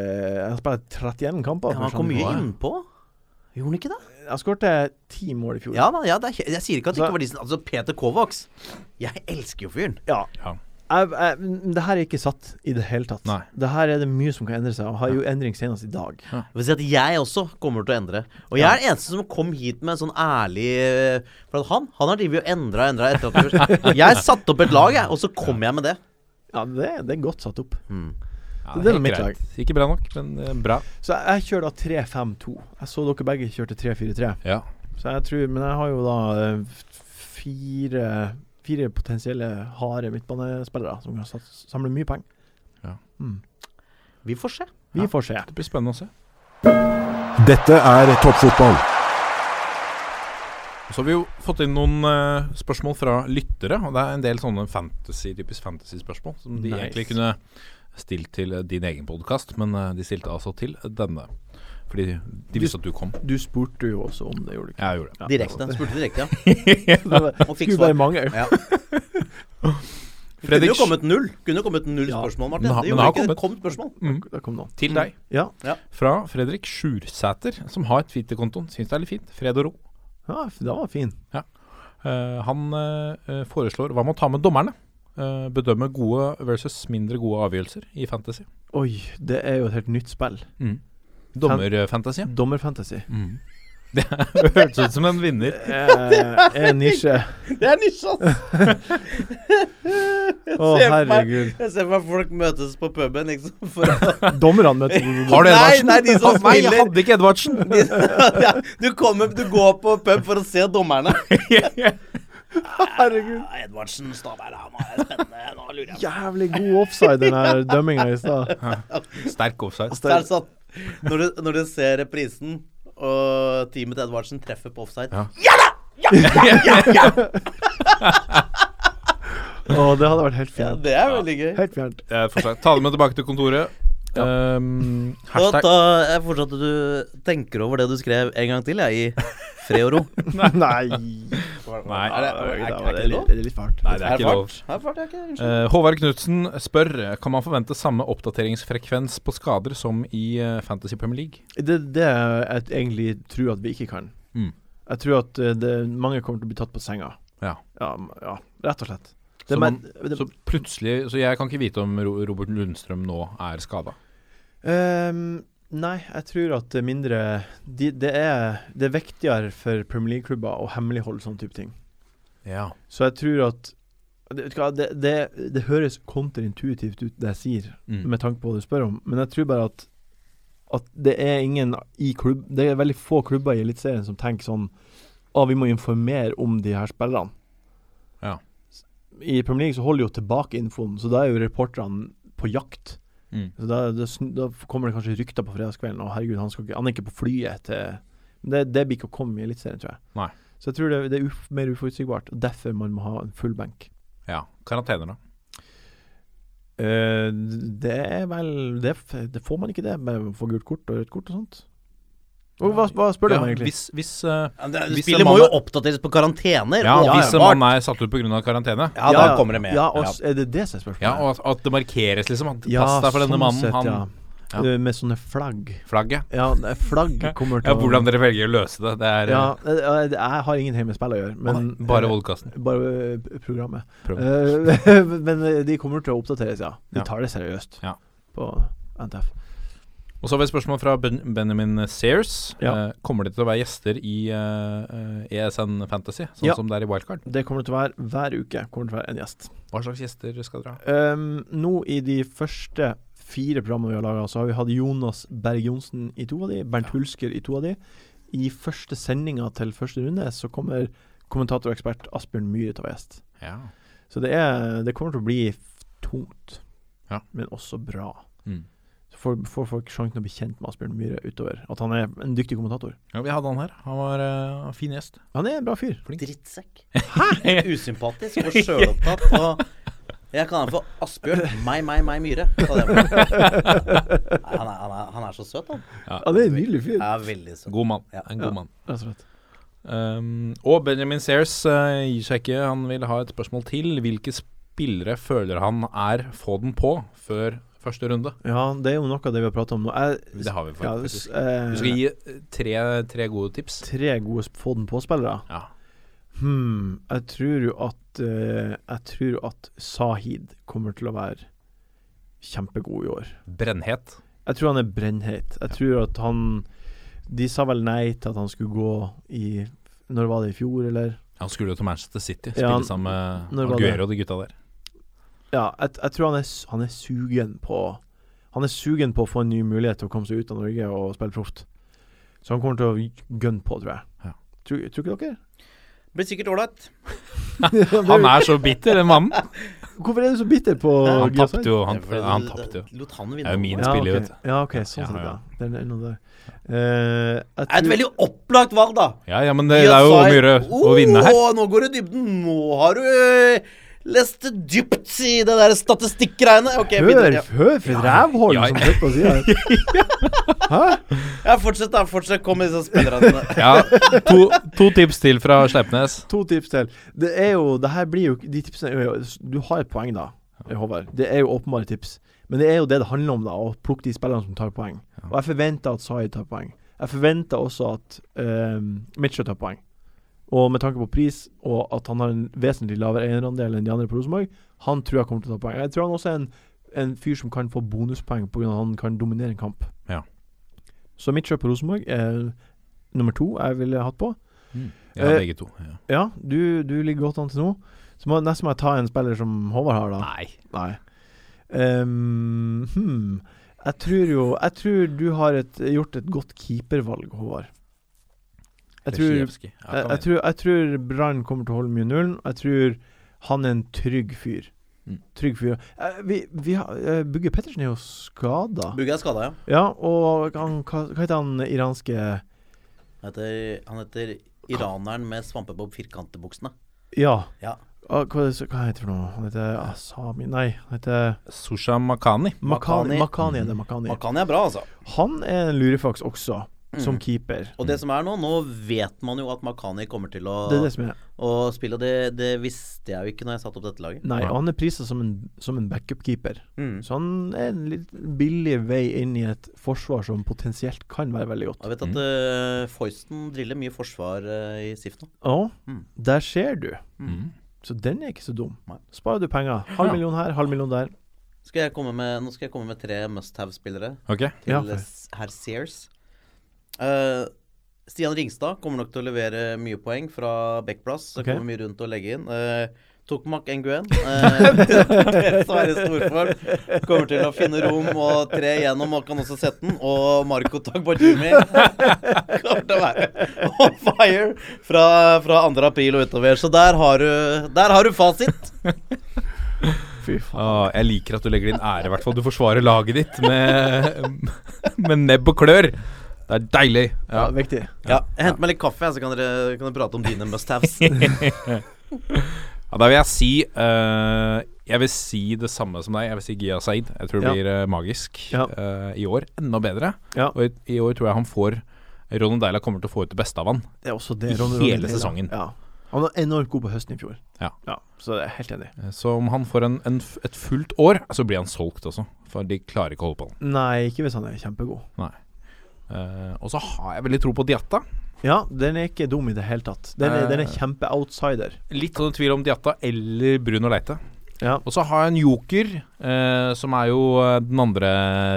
Speaker 4: Han spiller 31 kamper.
Speaker 3: Ja, men han kom mye innpå. Gjorde han ikke det?
Speaker 4: Han skårte ti mål i fjor.
Speaker 3: Ja da, ja, det er, he- jeg sier ikke at det
Speaker 4: Så-
Speaker 3: ikke var de som Altså, Peter Kovacs. Jeg elsker jo fyren.
Speaker 4: Ja.
Speaker 2: Ja.
Speaker 4: Jeg, jeg, men det her er ikke satt i det hele tatt.
Speaker 2: Nei.
Speaker 4: Det her er det mye som kan endre seg, og har jo endring senest i dag.
Speaker 3: Jeg vil si at jeg også kommer til å endre. Og jeg er den eneste som kom hit med en sånn ærlig eh, For at han han har drevet og endra og endra etter at vi [LAUGHS] Jeg satte opp et lag, jeg, og så kom jeg med det.
Speaker 4: Ja, det, det er godt satt opp.
Speaker 2: Ja,
Speaker 4: Det er
Speaker 2: helt
Speaker 4: mitt
Speaker 2: greit.
Speaker 4: lag.
Speaker 2: Ikke bra nok, men eh, bra.
Speaker 4: Så jeg, jeg kjører da 3-5-2. Jeg så dere begge kjørte 3-4-3.
Speaker 2: Ja.
Speaker 4: Så jeg tror Men jeg har jo da eh, f- fire Fire potensielle harde midtbanespillere som kan sats- samle mye penger.
Speaker 3: Vi får se.
Speaker 4: Vi får se.
Speaker 2: Det blir spennende å se.
Speaker 5: Dette er toppfotball.
Speaker 2: Så har vi jo fått inn noen eh, spørsmål fra lyttere, og det er en del sånne fantasy, typisk fantasy-spørsmål som de
Speaker 4: Nice.
Speaker 2: egentlig kunne stilt til eh, din egen podkast, men eh, de stilte altså til denne. Fordi de visste at du kom.
Speaker 4: Du spurte jo også om det, gjorde du ikke?
Speaker 2: Jeg gjorde det.
Speaker 3: Direkte. Spurte direkte, ja.
Speaker 4: [LAUGHS] Det var- [LAUGHS]
Speaker 3: Og fikk
Speaker 4: Skulle
Speaker 3: svar.
Speaker 4: bare mange.
Speaker 3: Ja. Det kunne jo kommet null. Kunne jo kommet null
Speaker 4: Ja.
Speaker 2: Men
Speaker 3: spørsmål, Martin.
Speaker 2: har-
Speaker 3: Det
Speaker 2: men har
Speaker 3: gjorde ikke det.
Speaker 2: kommet.
Speaker 3: Kom spørsmål.
Speaker 4: Da kom noen.
Speaker 2: Til deg.
Speaker 4: Ja.
Speaker 2: Fra Fredrik Sjursæter, som har Twitter-kontoen. Syns det er litt fint. Fred og ro.
Speaker 4: ja, f- den var fin.
Speaker 2: Eh, han eh, foreslår hva med å ta med dommerne? Eh, bedømme gode versus mindre gode avgjørelser i fantasy.
Speaker 4: Oi, det er jo et helt nytt spill.
Speaker 2: Dommerfantasy. ja.
Speaker 4: Dommerfantasy.
Speaker 2: Det hørtes ut som en vinner.
Speaker 4: Eh, en nisje. [LAUGHS]
Speaker 3: Det er nisje, ass.
Speaker 4: Å,
Speaker 3: Se på meg.
Speaker 4: herregud.
Speaker 3: Jeg ser for meg folk møtes på puben, liksom. For å [LAUGHS]
Speaker 4: Dommerne møter
Speaker 2: [LAUGHS] Har du
Speaker 3: Nei,
Speaker 2: Edvardsen?
Speaker 3: nei, de som
Speaker 2: Nei, jeg
Speaker 3: spiller.
Speaker 2: hadde ikke Edvardsen!
Speaker 3: ja, du, kommer, du går på pub for å se dommerne. Herregud. Edvardsen Stabæk, han er spennende. Nå lurer jeg.
Speaker 4: Jævlig god offside, den her dømminga i stad.
Speaker 2: [LAUGHS] Sterk offside.
Speaker 3: Så er det sånn, når, du, når du ser reprisen, og teamet til Edvardsen treffer på offside
Speaker 2: Ja.
Speaker 4: Å, det hadde vært helt
Speaker 3: Ja,
Speaker 4: fjernt.
Speaker 3: Det er veldig gøy.
Speaker 4: Helt
Speaker 2: [LAUGHS]
Speaker 4: fjernt.
Speaker 2: Det er for sent. Eh, Ta det med tilbake til kontoret. Ehm,
Speaker 3: Og
Speaker 2: hashtag
Speaker 3: da jeg fortsatt at du tenker over det du skrev en gang til, jeg, i fred og ro.
Speaker 4: Nei.
Speaker 2: Nei,
Speaker 3: Er det-
Speaker 4: Det
Speaker 3: er-
Speaker 4: var-
Speaker 3: er
Speaker 4: det
Speaker 3: det lov?
Speaker 4: er litt- det er litt fælt.
Speaker 2: [LAUGHS] Nei, det er ikke lov.
Speaker 3: Her fart jeg ikke, unnskyld.
Speaker 2: Eh, Håvard Knutsen spør Kan man forvente samme oppdateringsfrekvens på skader som i eh, Fantasy Premier League.
Speaker 4: Det, det er jeg egentlig tror at vi ikke kan.
Speaker 2: Mm.
Speaker 4: Jeg tror at eh, det, mange kommer til å bli tatt på senga.
Speaker 2: Ja.
Speaker 4: Ja, m- ja rett og slett. Det,
Speaker 2: Så
Speaker 4: men,
Speaker 2: man-
Speaker 4: det,
Speaker 2: Så plutselig Så jeg kan ikke vite om Ro- Robert Lundstrøm nå er skada.
Speaker 4: Ehm, nei, jeg tror at det er mindre de, det, er, det er viktigere for Premier League-klubber å hemmeligholde sånne type ting.
Speaker 2: Ja.
Speaker 4: Så jeg tror at det, vet du hva, det, det, det høres konterintuitivt ut, det jeg sier,
Speaker 2: Mm.
Speaker 4: med tanke på hva du spør om, men jeg tror bare at at det er ingen i klubb Det er veldig få klubber i Eliteserien som tenker sånn Å, vi må informere om de her spillerne.
Speaker 2: Ja.
Speaker 4: I Premier League så holder de jo tilbake infoen, så da er jo reporterne på jakt.
Speaker 2: Mm.
Speaker 4: Så da, da, sn- da kommer det kanskje rykter på fredagskvelden Og herregud, han, skal ikke, han er ikke på flyet til Men det, det blir ikke å komme i Eliteserien, tror jeg.
Speaker 2: Nei.
Speaker 4: Så jeg tror det, det er uf, mer uforutsigbart. Og derfor man må ha en full benk.
Speaker 2: ja. Karantener, da.
Speaker 4: Eh, det er vel det, f- det får man ikke det med å få gult kort og rødt kort og sånt. Og hva, hva spør du
Speaker 2: Ja,
Speaker 4: om, egentlig?
Speaker 2: hvis hvis, eh,
Speaker 3: Ja, men det-
Speaker 2: hvis en
Speaker 3: Spillet
Speaker 2: mann
Speaker 3: må jo
Speaker 2: er-
Speaker 3: oppdateres på karantener.
Speaker 2: ja, hvis en
Speaker 3: åpenbart.
Speaker 2: mann er satt ut pga. karantene.
Speaker 3: Ja, da kommer det med.
Speaker 4: Ja, og s- er det det som er spørsmålet?
Speaker 2: Ja, og at- at det markeres, liksom. At
Speaker 4: Ja,
Speaker 2: pass deg for denne
Speaker 4: sånn
Speaker 2: mannen.
Speaker 4: sett,
Speaker 2: Han
Speaker 4: ja.
Speaker 2: Ja.
Speaker 4: eh, med sånne flagg.
Speaker 2: Flagget.
Speaker 4: [LAUGHS] Ja, det er flagg kommer til
Speaker 2: Ja, hvordan dere velger å løse det. Det er
Speaker 4: ja,
Speaker 2: eh,
Speaker 4: eh, Jeg jeg har ingenting med spill å gjøre, men
Speaker 2: bare
Speaker 4: eh,
Speaker 2: podkasten.
Speaker 4: Bare eh, programmet.
Speaker 2: Prøv.
Speaker 4: Eh, [LAUGHS] men eh, de kommer til å oppdateres, ja. De
Speaker 2: Ja.
Speaker 4: tar det seriøst
Speaker 2: Ja.
Speaker 4: på NTF.
Speaker 2: Og så har vi et spørsmål fra ben Benjamin Sears.
Speaker 4: Ja.
Speaker 2: Eh, kommer det til å være gjester i eh, eh, ESN Fantasy, sånn
Speaker 4: Ja.
Speaker 2: som det er i Wildcard?
Speaker 4: Det kommer det til å være hver uke. kommer det til å være en gjest.
Speaker 2: Hva slags gjester skal dere ha?
Speaker 4: Ehm, nå i de første fire programmene vi har laga, så har vi hatt Jonas Berg Johnsen i to av de, Bernt Hulsker i to av de. I første sendinga til første runde så kommer kommentator og ekspert Asbjørn Myhre til å være gjest.
Speaker 2: Ja.
Speaker 4: Så det, er, det kommer til å bli f- tungt,
Speaker 2: Ja.
Speaker 4: men også bra.
Speaker 2: Mm.
Speaker 4: Så får, får folk sjansen til å bli kjent med Asbjørn Myhre utover. At han er en dyktig kommentator.
Speaker 2: ja, vi hadde han her. Han var eh, fin gjest.
Speaker 4: Han er en bra fyr.
Speaker 3: Drittsekk. Hæ?! [LAUGHS] Usympatisk og sjølopptatt. Og jeg kaller han for Asbjørn. Meg, meg, meg, Myhre. kaller jeg ham. Nei, Han er, han, er, han er så søt, han.
Speaker 4: Han er en nydelig fyr,
Speaker 3: Ja, veldig søt.
Speaker 2: God mann.
Speaker 3: Ja.
Speaker 2: En
Speaker 4: Ja.
Speaker 2: god mann.
Speaker 4: rett og slett.
Speaker 2: Um, og Benjamin Sears eh, gir seg ikke. Han vil ha et spørsmål til. Hvilke spillere føler han er få den på før første runde?
Speaker 4: Ja, det er jo noe av det vi har prata om nå. Jeg,
Speaker 2: Det har vi
Speaker 4: ja,
Speaker 2: faktisk.
Speaker 4: eh,
Speaker 2: Du skal gi eh, tre, tre gode tips.
Speaker 4: tre gode sp- få den på-spillere.
Speaker 2: Ja.
Speaker 4: Hmm, jeg tror jo at eh, Jeg tror jo at Sahid kommer til å være kjempegod i år.
Speaker 2: Brennhet.
Speaker 4: Jeg tror han er brennheit. Jeg tror at han De sa vel nei til at han skulle gå i Når var det i fjor, eller?
Speaker 2: Han skulle jo til Manchester City,
Speaker 4: Ja,
Speaker 2: spille sammen med
Speaker 4: når var det?
Speaker 2: Aguero og de gutta der.
Speaker 4: Ja, jeg, jeg tror han er, s- han er sugen på Han er sugen på å få en ny mulighet til å komme seg ut av Norge og spille proft. Så han kommer til å gønne på, tror jeg.
Speaker 2: Ja.
Speaker 4: Tror, tror ikke dere?
Speaker 3: Blir sikkert ålreit.
Speaker 2: [LAUGHS] Han er så bitter, den
Speaker 4: [LAUGHS]
Speaker 2: mannen.
Speaker 4: Hvorfor er du så bitter på
Speaker 2: Han
Speaker 4: Gyasai?
Speaker 2: tapte jo. Han, han tapte jo.
Speaker 3: Lot han vinne.
Speaker 2: Det er jo min
Speaker 4: Ja,
Speaker 2: spiller,
Speaker 4: ok.
Speaker 2: vet du.
Speaker 4: Ja, ok, sånn
Speaker 2: Ja,
Speaker 4: sett, ja.
Speaker 2: ja.
Speaker 4: Det er noe der. Eh, jeg
Speaker 3: Det er et
Speaker 4: tror-
Speaker 3: veldig opplagt valg, da.
Speaker 2: Ja, ja, men det, det er jo om å gjøre å vinne her.
Speaker 3: Åh, nå går du i dybden. Nå har du øh, lest dypt i det der statistikkgreiene. Ok, jeg
Speaker 4: Hør,
Speaker 3: begynner.
Speaker 4: hør for et rævhål
Speaker 2: Ja.
Speaker 4: som sitter på sida her.
Speaker 2: [LAUGHS]
Speaker 4: Hæ?
Speaker 3: Ja, fortsett, da. Fortsett. Kom med disse spillerne dine.
Speaker 2: Ja, to, to tips til fra Sleipnes.
Speaker 4: To tips til. Det er jo Det her blir jo De tipsene er jo Du har et poeng, da, Håvard. Det er jo åpenbare tips. Men det er jo det det handler om, da. Å plukke de spillerne som tar poeng. Og jeg forventer at Sai tar poeng. Jeg forventer også at uh, Mitchell tar poeng. Og med tanke på pris, og at han har en vesentlig lavere eierandel enn de andre på Rosenborg, han tror jeg kommer til å ta poeng. Jeg tror han også er en, en fyr som kan få bonuspoeng pga. at han kan dominere en kamp.
Speaker 2: Ja.
Speaker 4: Så mitt kjøp på Rosenborg er nummer to jeg ville hatt på.
Speaker 2: Ja,
Speaker 4: Eh,
Speaker 2: begge to. Ja.
Speaker 4: Ja, du, du ligger godt an til nå. Så må, nesten må jeg ta en spiller som Håvard har, da.
Speaker 2: Nei.
Speaker 4: Nei. Ehm, hmm. Jeg tror jo Jeg tror du har et, gjort et godt keepervalg, Håvard. Jeg tror, jeg,
Speaker 2: Lesjevskij. Ja, kan
Speaker 4: jeg
Speaker 2: være.
Speaker 4: tror, jeg tror Brann kommer til å holde mye nullen. Jeg tror han er en trygg fyr.
Speaker 2: Mm.
Speaker 4: Trygg fyr. Eh, vi, vi har, eh, Bugge Pettersen er jo skada.
Speaker 3: Bugge er skada, ja.
Speaker 4: Ja, og han, hva, hva heter han iranske
Speaker 3: Han heter, han heter iraneren med svampebob firkantebuksene.
Speaker 4: Ja.
Speaker 3: Ja.
Speaker 4: Ah, Hva, er det så- hva heter det for noe? Han heter Asami Nei, han heter
Speaker 2: Susha Makani.
Speaker 4: Makani.
Speaker 3: Makani.
Speaker 4: Makani er det, Makani.
Speaker 3: Makani er bra, altså.
Speaker 4: Han er en lurefaks også, som keeper.
Speaker 3: Og det som er nå, nå vet man jo at Makani kommer til å,
Speaker 4: Det er det som er
Speaker 3: å spille, og det, det visste jeg jo ikke når jeg satte opp dette laget.
Speaker 4: Nei,
Speaker 2: Ja.
Speaker 4: han er prisa som en, som en backup-keeper. Så han er en litt billig vei inn i et forsvar som potensielt kan være veldig godt.
Speaker 3: Jeg vet at øh, Foysten driller mye forsvar øh, i SIF nå.
Speaker 4: Ja, der ser du.
Speaker 2: Mm.
Speaker 4: Så den er ikke så dum.
Speaker 3: Nei.
Speaker 4: Sparer du penger. Halv million her, halv million der.
Speaker 3: Skal jeg komme med, nå skal jeg komme med tre must-have-spillere.
Speaker 2: Ok.
Speaker 3: til
Speaker 4: Ja, for-
Speaker 3: s- herr Sears. Eh, Stian Ringstad kommer nok til å levere mye poeng fra backplass.
Speaker 4: Ok.
Speaker 3: Okay. Kommer mye rundt og legge inn. Uh, Tokmak
Speaker 4: [LAUGHS]
Speaker 3: Nguyen eh, [LAUGHS] som er i storform. Kommer til å finne rom og tre igjennom og kan også sette den. Og Marco Tagbajimi [LAUGHS] kommer til å være on fire fra, fra 2. april og utover. Så der har du, der har du fasit.
Speaker 4: Fy faen.
Speaker 2: Ah, jeg liker at du legger din ære, i hvert fall. Du forsvarer laget ditt med, med nebb og klør. Det er deilig.
Speaker 4: Ja,
Speaker 2: Ja.
Speaker 4: viktig.
Speaker 3: Ja, jeg henter meg litt kaffe, jeg, så kan dere, kan dere prate om dine must-haves.
Speaker 4: [LAUGHS]
Speaker 2: Ja, da vil jeg si eh, Jeg vil si det samme som deg. Jeg vil si Gia Said. Jeg tror det
Speaker 4: Ja.
Speaker 2: blir eh, magisk
Speaker 4: Ja.
Speaker 2: eh, i år. Enda bedre.
Speaker 4: Ja.
Speaker 2: Og i, i år tror jeg han får Ronny Deila kommer til å få ut det beste av han.
Speaker 4: Det er også det
Speaker 2: I
Speaker 4: Ronny
Speaker 2: hele
Speaker 4: Ronny Deila.
Speaker 2: sesongen.
Speaker 4: Ja. Han var enormt god på høsten i fjor.
Speaker 2: Ja.
Speaker 4: så jeg er helt enig.
Speaker 2: Eh, Så om han får en, en, f- et fullt år, så blir han solgt også. For de klarer ikke å holde på han.
Speaker 4: Nei, ikke hvis han er kjempegod.
Speaker 2: Eh, og så har jeg veldig tro på Diatta.
Speaker 4: Ja, den er ikke dum i det hele tatt. Den er,
Speaker 2: Eh.
Speaker 4: den er kjempe-outsider.
Speaker 2: Litt sånn tvil om Diatta eller Bruno Leite.
Speaker 4: Ja.
Speaker 2: Og så har jeg en joker, eh, som er jo eh, den andre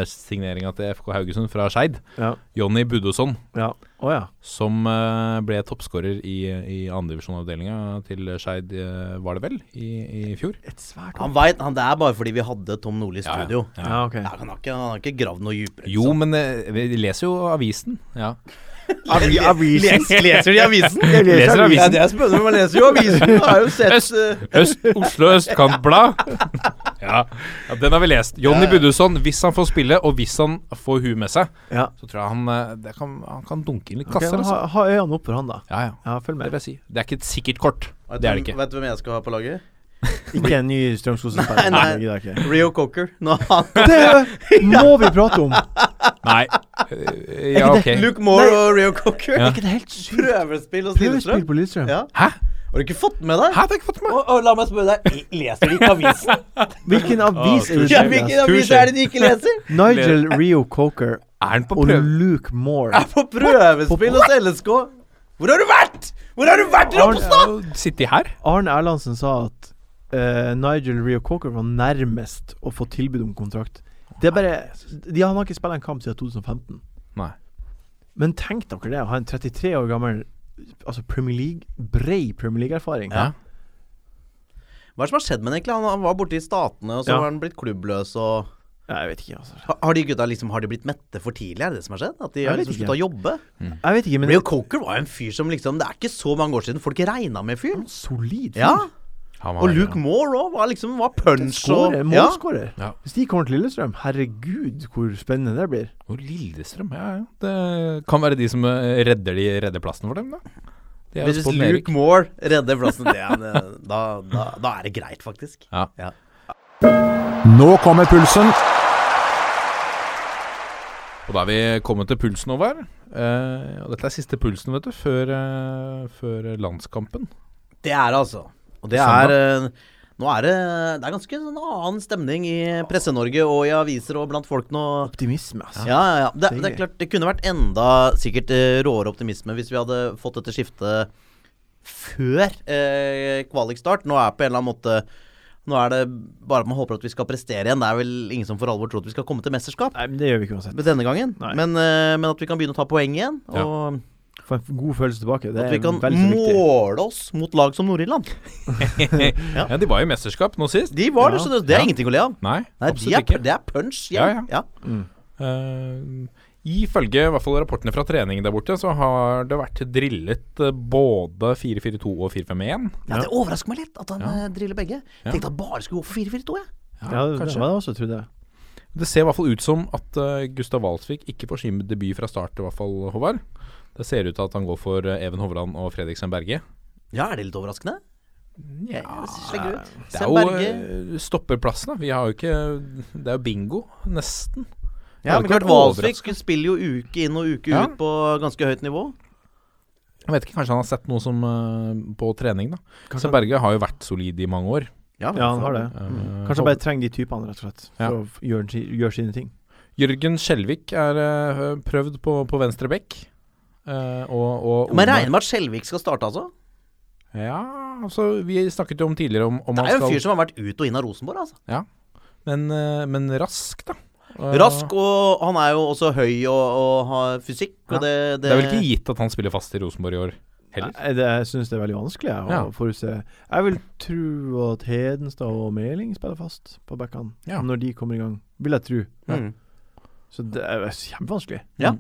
Speaker 2: signeringa til FK Haugesund fra Skeid.
Speaker 4: Ja.
Speaker 2: Jonny Budosson,
Speaker 4: Ja. Å ja.
Speaker 2: som eh, ble toppskårer i, i andredivisjonavdelinga til Skeid, eh, var det vel, i, i fjor?
Speaker 4: Et svært
Speaker 3: Han veit han Det er bare fordi vi hadde Tom Nordli i
Speaker 2: Ja, ja.
Speaker 3: studio. Ja,
Speaker 4: Ja, ok.
Speaker 3: han, har ikke, han har ikke gravd noe dypere.
Speaker 2: Jo, men eh, vi leser jo avisen. Ja. [LAUGHS]
Speaker 3: Leser, leser de [LAUGHS] avisen?
Speaker 2: Leser avisen.
Speaker 3: Ja, det er spennende, man leser jo avisen. Jeg
Speaker 2: [LAUGHS]
Speaker 3: har jo sett eh,
Speaker 2: Øst, Oslo Østkantblad. [LAUGHS] ja. ja, den har vi lest. Jonny Budusson, hvis han får spille, og hvis han får huet med seg,
Speaker 4: Ja.
Speaker 2: så tror jeg han, eh, det kan, han kan dunke inn litt
Speaker 4: Ok,
Speaker 2: kasser.
Speaker 4: ha,
Speaker 2: altså.
Speaker 4: ha øynene opp for han, da.
Speaker 2: Ja, ja.
Speaker 4: Ja, følg
Speaker 2: Det
Speaker 4: med.
Speaker 2: vil jeg si. Det er ikke et sikkert kort. Det er det ikke.
Speaker 3: Vet du hvem jeg skal ha på laget?
Speaker 4: Ikke en ny Strømskog-spiller.
Speaker 3: [LAUGHS] Nei, nei.
Speaker 4: Det gidder jeg ikke.
Speaker 3: Rio Cocker. Nå, han, [LAUGHS]
Speaker 4: Det må vi prate om!
Speaker 2: Nei. Eh, Ja, [LAUGHS] ok.
Speaker 3: Luke Moore og Rio Cocker.
Speaker 2: Ja.
Speaker 3: ikke det helt sykt? Prøvespill og
Speaker 4: Prøvespill
Speaker 3: stillestrøm.
Speaker 4: på Lillestrøm.
Speaker 3: Ja.
Speaker 2: Hæ?
Speaker 3: Har du ikke fått med deg?
Speaker 2: Hæ, det har jeg ikke fått med meg.
Speaker 3: Og, og la meg spørre deg, leser de ikke
Speaker 2: [LAUGHS]
Speaker 3: avisen?
Speaker 4: Hvilken avis er
Speaker 3: Ah, ja,
Speaker 4: det du
Speaker 3: hvilken
Speaker 4: leser?
Speaker 3: avis er det de ikke [LAUGHS] leser?
Speaker 4: Nigel Rio Coker
Speaker 2: Er han på
Speaker 4: og
Speaker 2: prøve?
Speaker 4: Luke Moore.
Speaker 3: Er på prøvespill hos LSK. Hvor har du vært?! Hvor har du vært, Ropstad?!
Speaker 2: Sitter de her?
Speaker 4: Arne Erlandsen sa at eh, Nigel Rio Coker var nærmest å få tilbud om kontrakt. Det er bare de, Han har ikke spilt en kamp siden 2015.
Speaker 2: Nei.
Speaker 4: Men tenk dere det, å ha en 33 år gammel Altså Premier League bred Premier League-erfaring.
Speaker 2: Ja.
Speaker 3: Hva er det som har skjedd med ham egentlig? Han, han var borte i Statene, og så
Speaker 4: Ja.
Speaker 3: var han blitt klubbløs og
Speaker 4: Ja, Jeg vet ikke, altså.
Speaker 3: har, har de gutta liksom Har de blitt mette for tidlig, er det det som har skjedd? At de har
Speaker 4: vet
Speaker 3: liksom
Speaker 4: ikke.
Speaker 3: slutta å jobbe?
Speaker 4: Jeg vet ikke, men
Speaker 3: Rio Coker var jo en fyr som liksom Det er ikke så mange år siden folk regna med fyren.
Speaker 4: solid.
Speaker 3: Ja.
Speaker 2: Han var
Speaker 3: Og
Speaker 2: veldig
Speaker 3: Luke
Speaker 2: bra.
Speaker 3: Moore òg var liksom var punch og
Speaker 4: Skårer,
Speaker 3: ja.
Speaker 4: målskårer.
Speaker 2: Ja.
Speaker 4: Hvis de kommer til Lillestrøm, herregud hvor spennende det blir.
Speaker 2: Og Lillestrøm, ja ja. Det kan være de som eh, redder, de, redder plassen for dem, da. De er jo
Speaker 3: Hvis
Speaker 2: spådd nedrykk.
Speaker 3: Luke Moore redder plassen, det er, det- da, da, da er det greit, faktisk.
Speaker 2: Ja.
Speaker 5: Nå kommer pulsen.
Speaker 2: Og da er vi kommet til pulsen over. Eh, og dette er siste pulsen, vet du, før, eh, før landskampen.
Speaker 3: Det er det, altså. Og det er eh, Nå er det Det er ganske sånn annen stemning i Presse-Norge og i aviser og blant folk nå.
Speaker 4: Optimisme, altså.
Speaker 3: Ja, ja, ja. Det, det er
Speaker 4: Stilig.
Speaker 3: klart det kunne vært enda sikkert eh, råere optimisme hvis vi hadde fått dette skiftet før eh, kvalikstart. Nå er på en eller annen måte Nå er det bare at man håper at vi skal prestere igjen. Det er vel ingen som for alvor tror at vi skal komme til mesterskap
Speaker 4: Nei, men det gjør vi ikke uansett.
Speaker 3: med denne gangen.
Speaker 4: Nei.
Speaker 3: Men, eh, men at vi kan begynne å ta poeng igjen.
Speaker 2: Ja.
Speaker 3: Og
Speaker 4: Få en god følelse tilbake. Det
Speaker 3: at vi
Speaker 4: er
Speaker 3: kan
Speaker 4: veldig så viktig.
Speaker 3: måle oss mot lag som Nord-Irland.
Speaker 2: Ja. de var i mesterskap nå sist.
Speaker 3: De var det,
Speaker 4: Ja.
Speaker 3: så det, det er ingenting å le av.
Speaker 2: Nei,
Speaker 3: Nei, de er,
Speaker 2: absolutt ikke.
Speaker 3: det er punch.
Speaker 2: Ja, Eh, ifølge i hvert fall rapportene fra treningen der borte, så har det vært drillet eh, både 4-4-2 og 4-5-1.
Speaker 3: Ja, Det overrasker meg litt at han eh, driller begge.
Speaker 2: Ja.
Speaker 3: Tenkte han bare skulle gå for 4-4-2. jeg.
Speaker 4: Ja, det var det også, trodde jeg.
Speaker 2: Det ser i hvert fall ut som at eh, Gustav Walsvik ikke får sin debut fra start, i hvert fall, Håvard. Det ser ut til at han går for eh, Even Hovland og Fredriksen Berge.
Speaker 3: Ja, er det litt overraskende? Ja, Slegger ut.
Speaker 2: Det er jo
Speaker 3: Sem Berge.
Speaker 2: eh, stopperplassen, da. Vi har jo ikke Det er jo bingo, nesten. det
Speaker 3: Ja,
Speaker 2: hadde
Speaker 3: men
Speaker 2: ikke
Speaker 3: klart
Speaker 2: vært
Speaker 3: Valsvik spiller jo uke inn og uke
Speaker 2: Ja.
Speaker 3: ut på ganske høyt nivå.
Speaker 2: Jeg vet ikke, Kanskje han har sett noe som eh, på trening, da. Sem Berge har jo vært solid i mange år.
Speaker 3: Ja,
Speaker 4: Ja, han har det. Mm.
Speaker 2: Eh,
Speaker 4: Kanskje han bare trenger de typene, rett og slett. For
Speaker 2: Ja.
Speaker 4: å f- gjøre, si- gjøre sine ting.
Speaker 2: Jørgen Skjelvik er eh, prøvd på, på venstre bekk. eh, og, og
Speaker 3: Men regner med at Skjelvik skal starte, altså?
Speaker 2: Ja, altså Vi snakket jo om tidligere om, om
Speaker 3: Det
Speaker 2: han
Speaker 3: er jo en
Speaker 2: skal
Speaker 3: fyr som har vært ut og inn av Rosenborg, altså.
Speaker 2: men, eh, men rask, da. Eh,
Speaker 3: Rask, og han er jo også høy og, og har fysikk,
Speaker 2: Ja.
Speaker 3: og det, det
Speaker 2: Det er vel ikke gitt at han spiller fast i Rosenborg i år heller.
Speaker 4: Nei, det, jeg syns det er veldig vanskelig jeg, å
Speaker 2: Ja.
Speaker 4: forutse. Jeg vil tro at Hedenstad og Meling spiller fast på backene
Speaker 2: Ja.
Speaker 4: når de kommer i gang. Vil jeg tro.
Speaker 3: Mm.
Speaker 4: Så det er kjempevanskelig.
Speaker 3: Ja.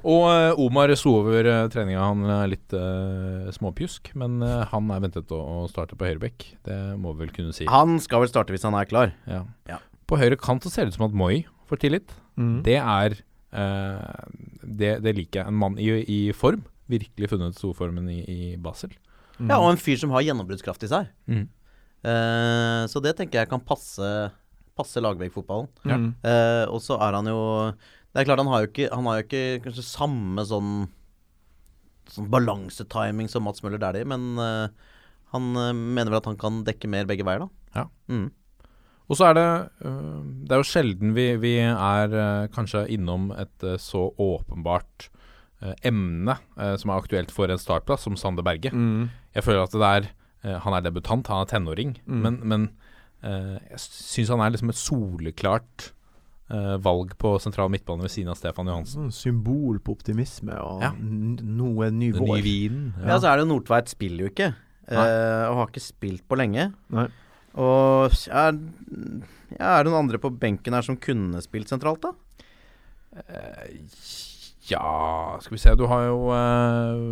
Speaker 2: Og eh, Omar så over eh, treninga. Han er litt eh, småpjusk, men eh, han er ventet å, å starte på høyrebekk. Det må vi vel kunne si.
Speaker 3: Han skal vel starte hvis han er klar.
Speaker 2: Ja.
Speaker 3: Ja.
Speaker 2: På høyre kant så ser det ut som at Moi får tillit.
Speaker 4: Mm.
Speaker 2: Det er eh, det, det liker jeg. En mann i, i form. Virkelig funnet storformen i, i Basel.
Speaker 3: Ja, og en fyr som har gjennombruddskraft i seg.
Speaker 2: Mm.
Speaker 3: Eh, så det tenker jeg kan passe, passe Lagerbäck-fotballen.
Speaker 2: Ja.
Speaker 4: Mm.
Speaker 3: Eh, og så er han jo Det er klart han har jo ikke, han har jo ikke kanskje samme sånn sånn balansetiming som Mats Møller Dæhlie, men eh, han eh, mener vel at han kan dekke mer begge veier, da.
Speaker 2: Ja.
Speaker 3: Mm.
Speaker 2: Og så er det øh, Det er jo sjelden vi, vi er øh, kanskje innom et øh, så åpenbart øh, emne øh, som er aktuelt for en startplass, som Sander Berge.
Speaker 4: Mm.
Speaker 2: Jeg føler at det er øh, Han er debutant, han er tenåring,
Speaker 4: Mm.
Speaker 2: men, men øh, jeg syns han er liksom et soleklart øh, valg på sentral midtbane ved siden av Stefan Johansen.
Speaker 4: Sånn symbol på optimisme og
Speaker 2: Ja.
Speaker 4: n- noe ny
Speaker 2: Den
Speaker 4: vår.
Speaker 2: nye vinen.
Speaker 3: Ja, så er det jo Nordtveit spiller jo ikke. eh, og har ikke spilt på lenge.
Speaker 4: Nei.
Speaker 3: Og er, ja, er det noen andre på benken her som kunne spilt sentralt, da?
Speaker 2: Ja, skal vi se. Du har jo eh,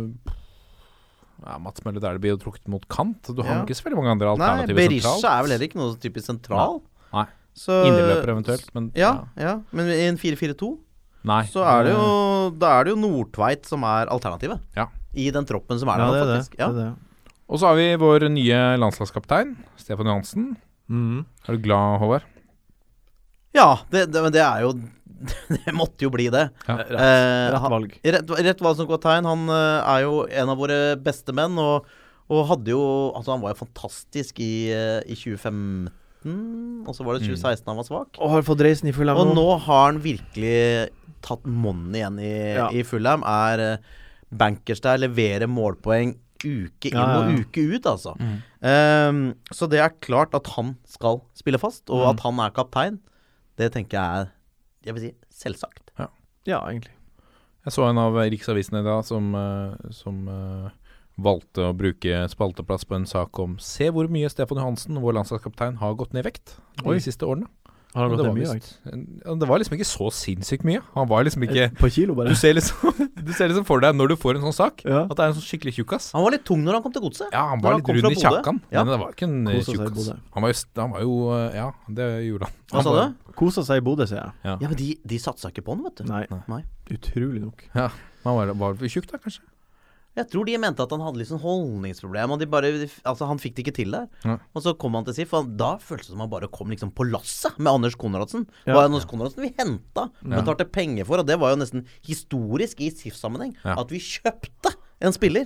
Speaker 2: ja, Mats Møller Dæhlie blir jo trukket mot kant. Du har
Speaker 3: Ja.
Speaker 2: jo ikke så veldig mange andre
Speaker 3: Nei,
Speaker 2: alternativer
Speaker 3: Berisha er vel heller ikke noe sånn typisk sentral.
Speaker 2: Nei.
Speaker 3: Så-
Speaker 2: Indreløper eventuelt, men
Speaker 3: Ja, ja. Men i en 4-4-2
Speaker 2: Nei.
Speaker 3: så er det jo
Speaker 4: Mm.
Speaker 3: Da er det jo Nordtveit som er alternativet.
Speaker 2: Ja.
Speaker 3: I den troppen som er der
Speaker 4: Ja, det
Speaker 3: nå,
Speaker 4: er det.
Speaker 3: faktisk. Ja.
Speaker 4: det, er det.
Speaker 2: Og så har vi vår nye landslagskaptein, Stefan Johansen.
Speaker 4: Mm.
Speaker 2: Er du glad, Håvard?
Speaker 3: Ja, det, det, men det er jo [LAUGHS] Det måtte jo bli det.
Speaker 2: Ja.
Speaker 3: Eh,
Speaker 4: Rett
Speaker 3: han-
Speaker 4: valg.
Speaker 3: Rett, rett valg som kaptein. Han eh, er jo en av våre beste menn, og, og hadde jo Altså, han var jo fantastisk i, eh, i 2015, og så var
Speaker 4: Mm.
Speaker 3: det 2016 han var svak.
Speaker 4: Og har fått reisen i full
Speaker 3: Og nå har han virkelig tatt monn igjen i,
Speaker 4: Ja.
Speaker 3: i Fulham. Er eh, bankers der, leverer målpoeng uke inn
Speaker 4: Ja, ja, ja.
Speaker 3: og uke ut, altså. Ehm, så det er klart at han skal spille fast, og at han er kaptein, det tenker jeg er jeg vil si selvsagt.
Speaker 4: Ja, egentlig.
Speaker 2: Jeg så en av riksavisene i dag som, eh, som eh, valgte å bruke spalteplass på en sak om Se hvor mye Stefan Johansen, vår landslagskaptein, har gått ned i vekt de
Speaker 4: Oi.
Speaker 2: siste årene.
Speaker 4: Har han
Speaker 2: Og
Speaker 4: gått
Speaker 2: det
Speaker 4: ned
Speaker 2: var
Speaker 4: mye?
Speaker 2: visst- ja, Det var liksom ikke så sinnssykt mye. Han var liksom ikke
Speaker 4: Ikke... På kilo, bare.
Speaker 2: Du ser liksom, [LAUGHS] du ser liksom for deg når du får en sånn sak,
Speaker 4: Ja.
Speaker 2: at det er en sånn skikkelig tjukkas.
Speaker 3: Han var litt tung når han kom til godset.
Speaker 2: Ja, han
Speaker 3: Når
Speaker 2: var
Speaker 3: han
Speaker 2: litt
Speaker 3: kom fra
Speaker 2: rund i
Speaker 3: Bodø.
Speaker 2: kjakan,
Speaker 3: Ja.
Speaker 2: men det var ikke en eh,
Speaker 4: Kosa seg i
Speaker 2: tjukkas.
Speaker 4: Bodø.
Speaker 2: Han var, jo, st- han var jo eh, Ja, det gjorde han.
Speaker 3: Hva
Speaker 2: han
Speaker 3: sa
Speaker 2: var-
Speaker 3: du?
Speaker 4: Kosa seg i Bodø, sier jeg.
Speaker 3: Ja, men de, de satsa ikke på han, vet du.
Speaker 4: Nei.
Speaker 3: Nei.
Speaker 4: Utrolig nok.
Speaker 2: Ja, han var, var for tjukk da, kanskje.
Speaker 3: Jeg tror de mente at han hadde litt sånn holdningsproblem, og de bare, altså han fikk det ikke til der.
Speaker 2: Ja.
Speaker 3: Og så kom han til SIF, og da føltes det som han bare kom liksom på lasset med Anders Konradsen. Det
Speaker 4: Ja.
Speaker 3: var Anders Konradsen vi henta og betalte penger for, og det var jo nesten historisk i SIF-sammenheng
Speaker 2: Ja.
Speaker 3: at vi kjøpte en spiller.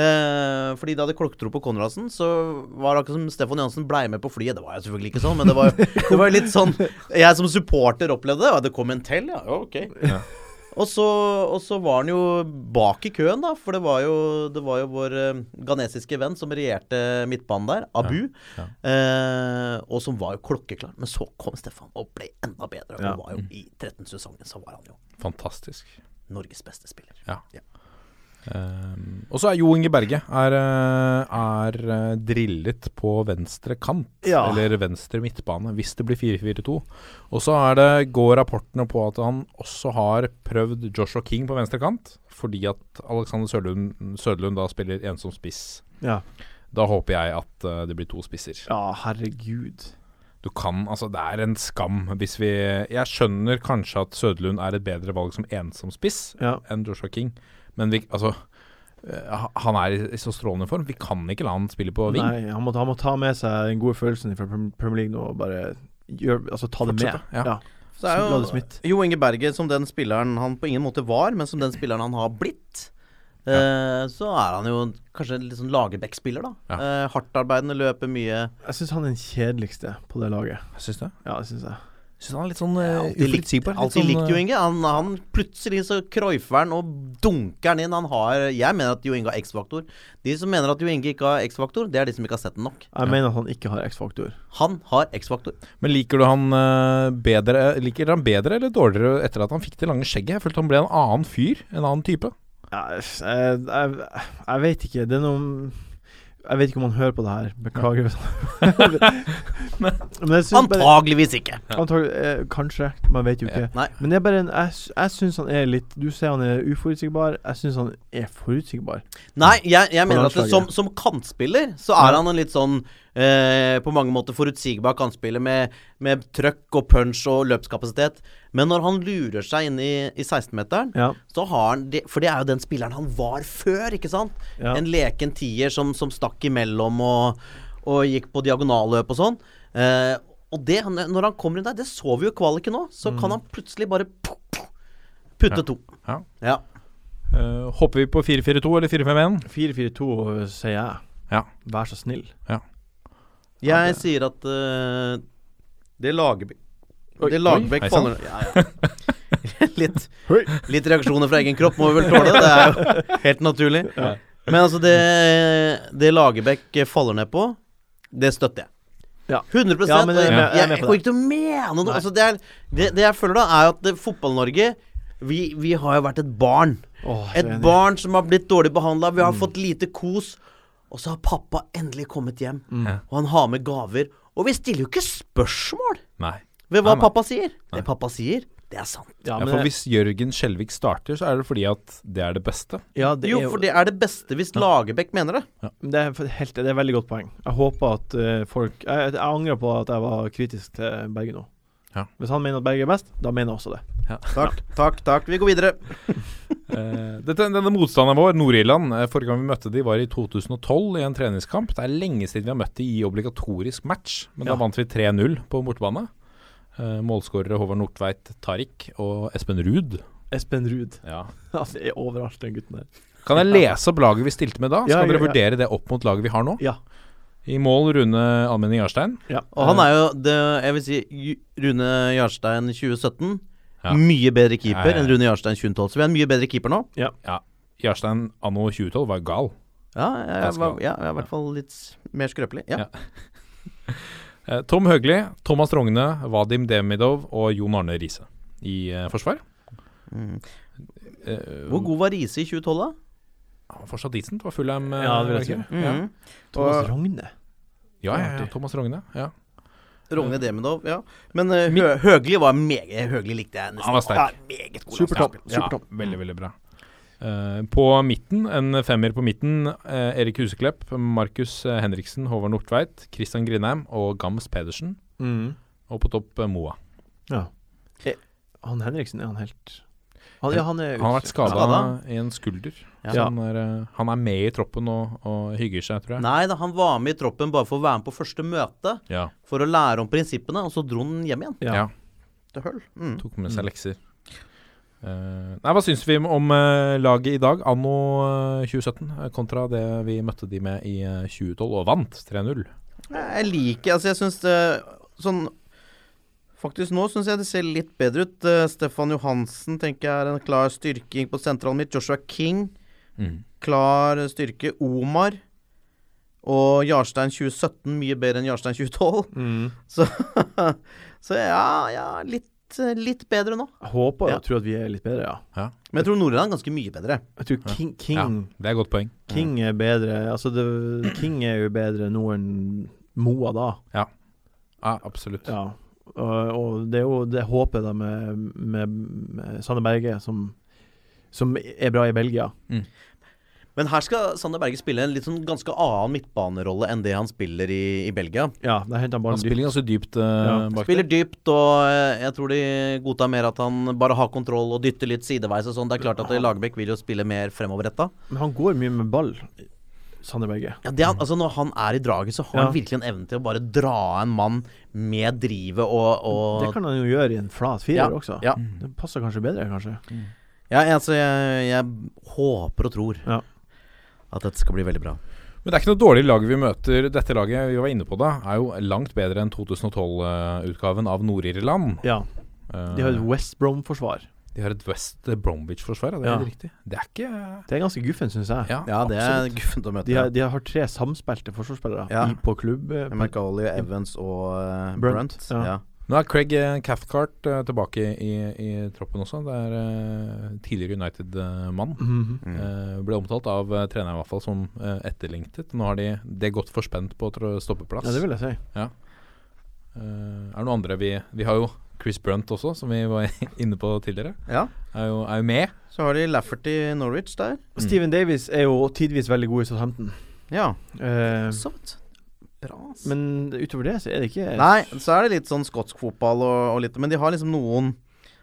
Speaker 3: Eh, fordi da det klokketro på Konradsen, så var det akkurat som Stefan Johansen blei med på flyet. Det var jo selvfølgelig ikke sånn, men det var jo [LAUGHS] det var jo litt sånn Jeg som supporter opplevde det. Ja, det kom en til, ja. ja ok. Og så, og så var han jo bak i køen, da. For det var jo, det var jo vår eh, ghanesiske venn som regjerte midtbanen der, Abu. Eh, og som var jo klokkeklar. Men så kom Stefan og ble enda bedre.
Speaker 4: Ja.
Speaker 3: Og var jo i 13-sesongen så var han jo
Speaker 2: Fantastisk.
Speaker 3: Norges beste spiller.
Speaker 2: Ja.
Speaker 3: Ja.
Speaker 2: Ehm, og så er Jo Inge Berge er, eh, er eh, drillet på venstre kant,
Speaker 4: Ja.
Speaker 2: eller venstre midtbane, hvis det blir 4-4-2. Og så er det, går rapportene på at han også har prøvd Joshua King på venstre kant, fordi at Alexander Sørlund, Søderlund da spiller en som spiss.
Speaker 4: Ja.
Speaker 2: Da håper jeg at eh, det blir to spisser.
Speaker 4: ja, herregud.
Speaker 2: Du kan, altså Det er en skam hvis vi Jeg skjønner kanskje at Søderlund er et bedre valg som ensom spiss
Speaker 4: Ja.
Speaker 2: enn Joshua King, men vi, altså eh, ha- Han er i- i så strålende form. Vi kan ikke la han spille på ving.
Speaker 4: Nei, han må, han må ta med seg den gode følelsen fra Prem- Premier League nå og bare gjør, altså, ta det med.
Speaker 2: Fortsette, ja.
Speaker 3: Så er
Speaker 4: Som Gladys
Speaker 3: jo
Speaker 4: Smith.
Speaker 3: Jo Inge Berge som den spilleren han på ingen måte var, men som den spilleren han har blitt. eh, Så er han jo kanskje en litt sånn Lagerbäck-spiller, da. Eh, Hardtarbeidende, løper mye.
Speaker 4: Jeg syns han er den kjedeligste på det laget.
Speaker 2: Syns du?
Speaker 4: Ja, det syns jeg.
Speaker 2: Syns han er litt sånn uh,
Speaker 3: Alltid likt,
Speaker 2: uforutsigbar. litt
Speaker 3: alltid
Speaker 2: sånn,
Speaker 3: likt altså, Jo
Speaker 2: eh,
Speaker 3: Inge. Han, han plutselig så croifer han og dunker han inn. Han har Jeg mener at Jo Inge har X-faktor. De som mener at Jo Inge ikke har X-faktor, det er de som ikke har sett den nok.
Speaker 4: Jeg mener at han ikke har X-faktor.
Speaker 3: Han har X-faktor.
Speaker 2: Men liker du han eh, bedre Liker dere han bedre eller dårligere etter at han fikk det lange skjegget? Jeg følte han ble en annen fyr. En annen type.
Speaker 4: Ja, Jeg, jeg, jeg vet ikke. Det er noe Jeg vet ikke om han hører på det her. Beklager. [LAUGHS] hvis han- Men jeg synes bare-
Speaker 3: Antageligvis ikke.
Speaker 4: Antagelig, eh, kanskje. Man vet jo ikke.
Speaker 3: Nei.
Speaker 4: Men jeg, bare, en- jeg, s- jeg syns han er litt Du sier han er uforutsigbar. Jeg syns han er forutsigbar.
Speaker 3: Nei, jeg, jeg mener at det,
Speaker 4: landslaget.
Speaker 3: som, som kantspiller så er han en litt sånn eh, På mange måter forutsigbar kantspiller med, med trøkk og punch og løpskapasitet. Men når han lurer seg inn i, i 16-meteren,
Speaker 4: Ja.
Speaker 3: så har han det, For det er jo den spilleren han var før, ikke sant?
Speaker 4: Ja.
Speaker 3: En leken tier som, som stakk imellom og, og gikk på diagonalløp og sånn. Eh, og det, han- når han kommer inn der, det så
Speaker 4: Mm.
Speaker 3: vi jo i kvaliken nå, så kan han plutselig bare putte to.
Speaker 2: Ja.
Speaker 3: Ja.
Speaker 2: Eh, hopper vi på 4-4-2 eller 4-5-1?
Speaker 4: 4-4-2, sier jeg.
Speaker 2: Ja.
Speaker 4: Vær så snill.
Speaker 2: Ja,
Speaker 3: Jeg sier at eh, det Lagerbäck
Speaker 2: Oi,
Speaker 3: Det Lagerbäck
Speaker 2: oi, hei
Speaker 3: faller ja, ja. [LAUGHS] litt,
Speaker 4: Oi.
Speaker 3: litt reaksjoner fra egen kropp må vi vel tåle. Det er
Speaker 4: [LAUGHS]
Speaker 3: jo helt naturlig. Men altså, det, det Lagerbäck faller ned på, det støtter jeg.
Speaker 4: Ja.
Speaker 3: 100
Speaker 4: Ja, men jeg er med-
Speaker 3: jeg,
Speaker 4: jeg er med på
Speaker 3: kommer ikke til å mene noe. Altså, det, er, det, det jeg føler da, er at det- Fotball-Norge vi, vi har jo vært et barn.
Speaker 4: Åh,
Speaker 3: Et
Speaker 4: enig. Mm.
Speaker 3: barn som har blitt dårlig behandla. Vi har fått lite kos. Og så har pappa endelig kommet hjem,
Speaker 4: Mm.
Speaker 3: og han har med gaver. Og vi stiller jo ikke spørsmål
Speaker 2: Nei.
Speaker 3: ved hva
Speaker 2: Nei, nei.
Speaker 3: pappa sier. Det pappa sier, det er sant.
Speaker 2: Ja,
Speaker 4: Ja, men,
Speaker 2: for hvis Jørgen Skjelvik starter, så er det fordi at det er det beste.
Speaker 4: ja, det,
Speaker 3: Jo,
Speaker 4: er, jo-
Speaker 3: for det er det beste hvis Lagerbäck mener det.
Speaker 4: det, er for- helt, det er et veldig godt poeng. Jeg håper at eh, folk Jeg, jeg angrer på at jeg var kritisk til Berge nå.
Speaker 2: Ja.
Speaker 4: Hvis han mener at Berge er best, da mener jeg også det.
Speaker 3: Takk, takk, takk. Vi går videre.
Speaker 2: Eh, dette, denne motstanderen vår, Nord-Irland, eh, forrige gang vi møtte de var i 2012 i en treningskamp. Det er lenge siden vi har møtt de i obligatorisk match, men da
Speaker 4: Ja.
Speaker 2: vant vi 3-0 på bortebane. Eh, Målskårere Håvard Nordtveit Tariq og Espen Ruud.
Speaker 4: Espen Ruud. [LAUGHS]
Speaker 2: Ja.
Speaker 4: Ja, det er overalt, den gutten der.
Speaker 2: Kan jeg lese opp laget vi stilte med da? Så
Speaker 4: Ja,
Speaker 2: kan dere
Speaker 4: ja, ja.
Speaker 2: vurdere det opp mot laget vi har nå.
Speaker 4: Ja.
Speaker 2: I mål Rune Almenning Jarstein.
Speaker 4: Ja.
Speaker 3: Og han er jo, det, jeg vil si, Ju- Rune Jarstein 2017.
Speaker 2: Ja.
Speaker 3: Mye bedre keeper
Speaker 2: Ja, ja, ja.
Speaker 3: enn Rune Jarstein 2012. Så vi er en mye bedre keeper nå.
Speaker 2: Jarstein anno 2012 var gal.
Speaker 3: Ja, jeg, jeg,
Speaker 2: Ganske
Speaker 3: var,
Speaker 2: bra.
Speaker 3: ja, jeg er i hvert fall litt s- mer skrøpelig. Ja.
Speaker 2: Ja. Eh, Tom Høgli, Thomas Rogne, Vadim Demidov og Jon Arne Riise i eh, forsvar.
Speaker 3: Mm.
Speaker 2: Eh,
Speaker 3: Hvor god var Riise i 2012, da?
Speaker 2: Han var fortsatt decent, var Fulham eh,
Speaker 4: Ja, det vil jeg si. Mm.
Speaker 2: var det ikke?
Speaker 3: Mhm.
Speaker 2: Ja.
Speaker 4: Thomas Rogne.
Speaker 2: Ja, ja, ja, Thomas Rogne. Ja.
Speaker 3: Rogne Demidov, ja. Men eh, Hø Høgli var meget Høgli likte jeg nesten.
Speaker 2: Han var sterk.
Speaker 3: Ja, meget god altså.
Speaker 4: Supertopp.
Speaker 3: landslagsspiller.
Speaker 2: Ja,
Speaker 4: Supertopp.
Speaker 2: veldig, veldig bra. Eh, på midten, en femmer på midten, eh, Erik Huseklepp, Markus eh, Henriksen, Håvard Nordtveit, Christian Grindheim og Gams Pedersen.
Speaker 4: Mm.
Speaker 2: Og på topp eh, Moa.
Speaker 4: Han Henriksen, er han helt han, ja, han, er
Speaker 2: Han har vært skada
Speaker 3: Skada?
Speaker 2: i en skulder.
Speaker 3: Ja.
Speaker 2: Så han er, eh, han er med i troppen og, og hygger seg, tror jeg.
Speaker 3: Nei da, han var med i troppen bare for å være med på første møte,
Speaker 2: Ja,
Speaker 3: for å lære om prinsippene, og så dro han hjem igjen.
Speaker 4: Ja.
Speaker 2: Ja.
Speaker 3: Til Høll. Mm.
Speaker 2: tok med seg lekser. Eh, nei, Hva syns vi om- om eh, laget i dag, anno eh, 2017, eh, kontra det vi møtte de med i eh, 2012, og vant 3-0?
Speaker 3: Jeg liker Altså, jeg syns det Sånn Faktisk nå syns jeg det ser litt bedre ut. Eh, Stefan Johansen tenker jeg er en klar styrking på sentralen mitt. Joshua King,
Speaker 4: Mm.
Speaker 3: klar styrke. Omar og Jarstein 2017 mye bedre enn Jarstein 2012.
Speaker 4: Mm.
Speaker 3: [LAUGHS] Så, så ja, ja litt, litt bedre nå.
Speaker 4: Jeg håper og
Speaker 3: Ja.
Speaker 4: tror at vi er litt bedre, ja.
Speaker 3: Men jeg tror Nord-Irland er ganske mye bedre.
Speaker 4: Jeg tror King, King,
Speaker 2: Ja, det er et godt poeng.
Speaker 4: King er bedre Altså, det, King er jo bedre nå enn Moa da.
Speaker 2: Ja, absolutt.
Speaker 4: Ja. Og, og det er jo det håpet da med, med, med Sanne Berge, som, som er bra i Belgia.
Speaker 3: Men her skal Sander Berge spille en litt sånn ganske annen midtbanerolle enn det han spiller i, i Belgia.
Speaker 4: Ja, der henter han
Speaker 2: Han
Speaker 4: ballen dypt.
Speaker 2: spiller ganske dypt eh,
Speaker 4: Ja.
Speaker 2: bak
Speaker 3: Spiller dypt, og eh, jeg tror de godtar mer at han bare har kontroll og dytter litt sideveis og sånn. Det er klart at Lagerbäck vil jo spille mer fremoverretta.
Speaker 4: Men han går mye med ball, Sanne Berge.
Speaker 3: Ja, det han, altså når han er i draget, så har
Speaker 4: Ja.
Speaker 3: han virkelig en evne til å bare dra en mann med drivet og, og
Speaker 4: Det kan han jo gjøre i en flat firer
Speaker 3: ja,
Speaker 4: også.
Speaker 3: Ja.
Speaker 4: Det passer kanskje bedre, kanskje.
Speaker 3: Ja, jeg- altså, jeg, jeg håper og tror
Speaker 4: Ja.
Speaker 3: at dette skal bli veldig bra.
Speaker 2: Men det er ikke noe dårlig lag vi møter. Dette laget vi var inne på da, er jo langt bedre enn 2012-utgaven av Nord-Irland.
Speaker 4: Ja.
Speaker 2: Eh,
Speaker 4: De har et West Brom-forsvar.
Speaker 2: de har et West Bromwich-forsvar, er det
Speaker 4: Ja.
Speaker 2: helt riktig? Det er ikke
Speaker 4: Det er ganske guffen, syns jeg.
Speaker 2: Ja,
Speaker 3: Ja, det er
Speaker 2: absolutt.
Speaker 3: guffent å møte.
Speaker 4: De har, de har tre samspilte forsvarsspillere
Speaker 3: Ja.
Speaker 4: i, på klubb. eh, På,
Speaker 3: McAuley, Evans og eh,
Speaker 4: Brunt,
Speaker 3: Brunt.
Speaker 4: ja.
Speaker 3: Ja.
Speaker 2: Nå er Craig eh, Cathcart eh, tilbake i, i troppen også. Det er eh, tidligere United-mann.
Speaker 4: Mhm.
Speaker 2: ble omtalt av eh, treneren i hvert fall som eh, etterlengtet. Nå har de det godt forspent på tro- stoppeplass.
Speaker 4: Ja, det vil jeg si.
Speaker 3: Mm.
Speaker 2: Eh, er det noen andre vi Vi har jo Chris Brunt også, som vi var [LAUGHS] inne på tidligere.
Speaker 3: Ja.
Speaker 2: Er jo, er jo med.
Speaker 3: Så har de Lafferty Norwich der.
Speaker 4: Steven Davies er jo tidvis veldig god i Southampton.
Speaker 3: Ja,
Speaker 4: Eh,
Speaker 3: så vidt. Bra, ass.
Speaker 4: men utover det så er det ikke
Speaker 3: Nei, så er det litt sånn skotsk fotball og, og litt Men de har liksom noen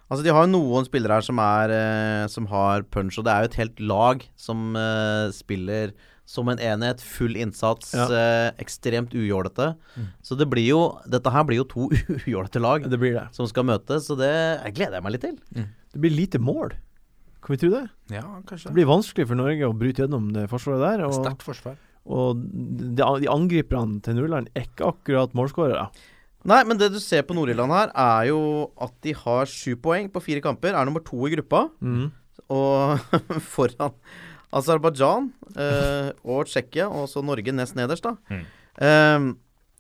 Speaker 3: Altså de har jo noen spillere her som er eh, Som har punch, og det er jo et helt lag som eh, spiller som en enhet, full innsats,
Speaker 4: Ja.
Speaker 3: eh, ekstremt ujålete. Så det blir jo Dette her blir jo to [LAUGHS] ujålete lag
Speaker 4: Det blir det.
Speaker 3: som skal møtes, så det jeg gleder jeg meg litt til.
Speaker 4: Det blir lite mål. Kan vi tro det?
Speaker 2: Ja, kanskje.
Speaker 4: Det blir vanskelig for Norge å bryte gjennom det forsvaret der. Og,
Speaker 2: Sterkt forsvar.
Speaker 4: og de, de angriperne til Nordland er ikke akkurat målskårere.
Speaker 3: Nei, men det du ser på Nord-Irland her, er jo at de har sju poeng på fire kamper. Er nummer to i gruppa.
Speaker 4: Mm.
Speaker 3: Og [LAUGHS] foran Aserbajdsjan eh, og Tsjekkia, og så Norge nest nederst, da.
Speaker 2: Mm.
Speaker 3: Eh,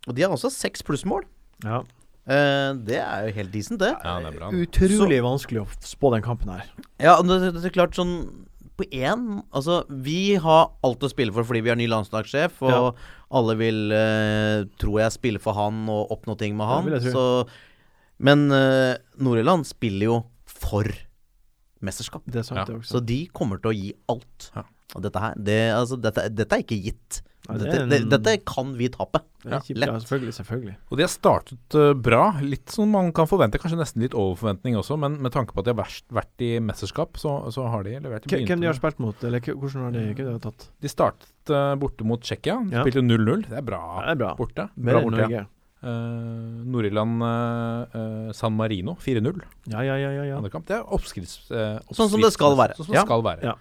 Speaker 3: og de har også seks plussmål.
Speaker 4: Ja.
Speaker 3: Eh, det er jo helt decent, det.
Speaker 2: Ja, det er bra.
Speaker 4: Utrolig vanskelig å spå den kampen her.
Speaker 3: Ja, og det, det er klart sånn på én Altså, vi har alt å spille for fordi vi har ny landslagssjef, og
Speaker 4: Ja.
Speaker 3: alle vil, eh, tror jeg, spille for han og oppnå ting med han.
Speaker 4: vil jeg tro.
Speaker 3: så, men eh, Nord-Irland spiller jo for mesterskap.
Speaker 4: Det er sant,
Speaker 2: Ja.
Speaker 4: det
Speaker 3: Så
Speaker 4: også.
Speaker 3: de kommer til å gi alt.
Speaker 2: Ja.
Speaker 3: Og dette her det, altså, dette, dette er ikke gitt.
Speaker 4: Nei, det
Speaker 3: dette,
Speaker 4: er en-
Speaker 3: det, dette kan vi tape.
Speaker 4: Det er kjipt,
Speaker 3: lett.
Speaker 4: ja, selvfølgelig, selvfølgelig.
Speaker 2: Og de har startet eh, bra. Litt som man kan forvente, kanskje nesten litt over forventning også, men med tanke på at de har vært, vært i mesterskap, så, så har de levert.
Speaker 4: Hvem-
Speaker 2: begynte
Speaker 4: Hvem de har
Speaker 2: med-
Speaker 4: spilt mot, eller k- hvordan har de, hvem de har tatt?
Speaker 2: de startet eh, borte mot Tsjekkia.
Speaker 4: Ja.
Speaker 2: Spilte 0-0. Det er bra
Speaker 4: Ja, det er bra.
Speaker 2: borte.
Speaker 4: Mer
Speaker 2: Bra
Speaker 4: enn
Speaker 2: borte, ja.
Speaker 4: Norge.
Speaker 2: Eh, Nord-Irland eh, eh, San Marino 4-0.
Speaker 4: Ja, ja, ja. ja, ja.
Speaker 2: Andre kamp. Det er oppskrifts... eh,
Speaker 3: Sånn som det skal være.
Speaker 2: Sånn som det
Speaker 3: Ja.
Speaker 2: skal være.
Speaker 4: Ja.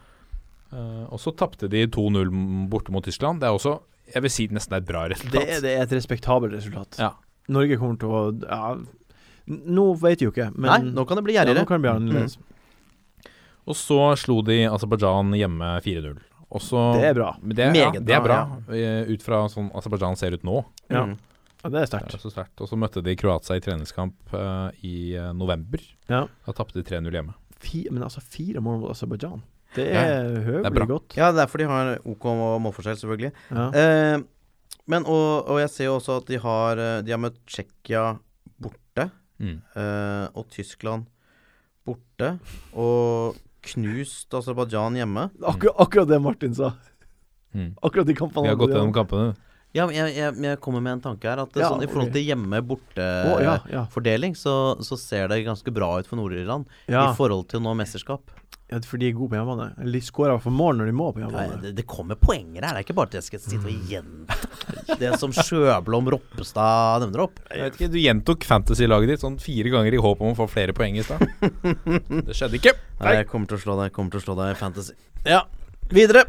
Speaker 2: Eh, og så tapte de 2-0 borte mot Tyskland. Det er også, jeg vil si, nesten et bra
Speaker 4: Det,
Speaker 2: resultat.
Speaker 4: er- det er et respektabelt resultat.
Speaker 2: Ja.
Speaker 4: Norge kommer til å ja, n- Nå vet vi jo ikke, men
Speaker 3: Nei, nå kan det bli
Speaker 4: ja, nå
Speaker 3: gjerrigere.
Speaker 4: kan det bli annerledes.
Speaker 2: Og så slo de Aserbajdsjan hjemme 4-0. Og så-
Speaker 4: Det er bra.
Speaker 2: Men det,
Speaker 3: Meget
Speaker 2: ja, det er bra,
Speaker 3: bra,
Speaker 2: eh, ut fra sånn Aserbajdsjan ser ut nå.
Speaker 4: Ja.
Speaker 3: Mm.
Speaker 4: Ja, det er
Speaker 2: Det
Speaker 4: sterkt.
Speaker 2: er så sterkt. Og så møtte de Kroatia i treningskamp eh, i eh, november.
Speaker 4: Ja.
Speaker 2: Da tapte de 3-0 hjemme.
Speaker 4: Fi- Men altså, fire mål mot Aserbajdsjan, det
Speaker 2: Ja,
Speaker 4: er høvelig
Speaker 2: bra. Mm.
Speaker 4: godt.
Speaker 3: Ja, det er derfor de har OK målforskjell, selvfølgelig.
Speaker 4: Ja.
Speaker 3: Eh, men, og, og jeg ser jo også at de har, eh, de har møtt Tsjekkia borte,
Speaker 2: Mm.
Speaker 3: eh, og Tyskland borte, og knust Aserbajdsjan hjemme.
Speaker 4: Akkur akkurat det Martin sa.
Speaker 2: Mm.
Speaker 4: Akkurat de kampene.
Speaker 2: Vi har
Speaker 4: han
Speaker 2: gått gjennom
Speaker 4: hadde.
Speaker 2: kampene.
Speaker 3: Ja, men jeg, jeg, men jeg kommer med en tanke her, at det,
Speaker 4: Ja,
Speaker 3: sånn, i forhold til
Speaker 4: Å, ja,
Speaker 3: hjemme-borte-fordeling,
Speaker 4: ja.
Speaker 3: så, så ser det ganske bra ut for Nord-Irland
Speaker 4: Ja.
Speaker 3: i forhold til nå mesterskap.
Speaker 4: ja, for de er gode på hjemmebane. Eller de skårer i hvert fall mål når de må på
Speaker 3: Nei,
Speaker 4: hjemmebane.
Speaker 3: det, det kommer poenger her, det er ikke bare at jeg skal sitte og gjenta det som Sjøblom Roppestad nevner opp.
Speaker 2: Jeg vet ikke, Du gjentok fantasy-laget ditt sånn fire ganger i håp om å få flere poeng i stad. Det skjedde ikke.
Speaker 3: Nei, jeg kommer til å slå deg, jeg kommer til å slå deg i fantasy. Ja, videre.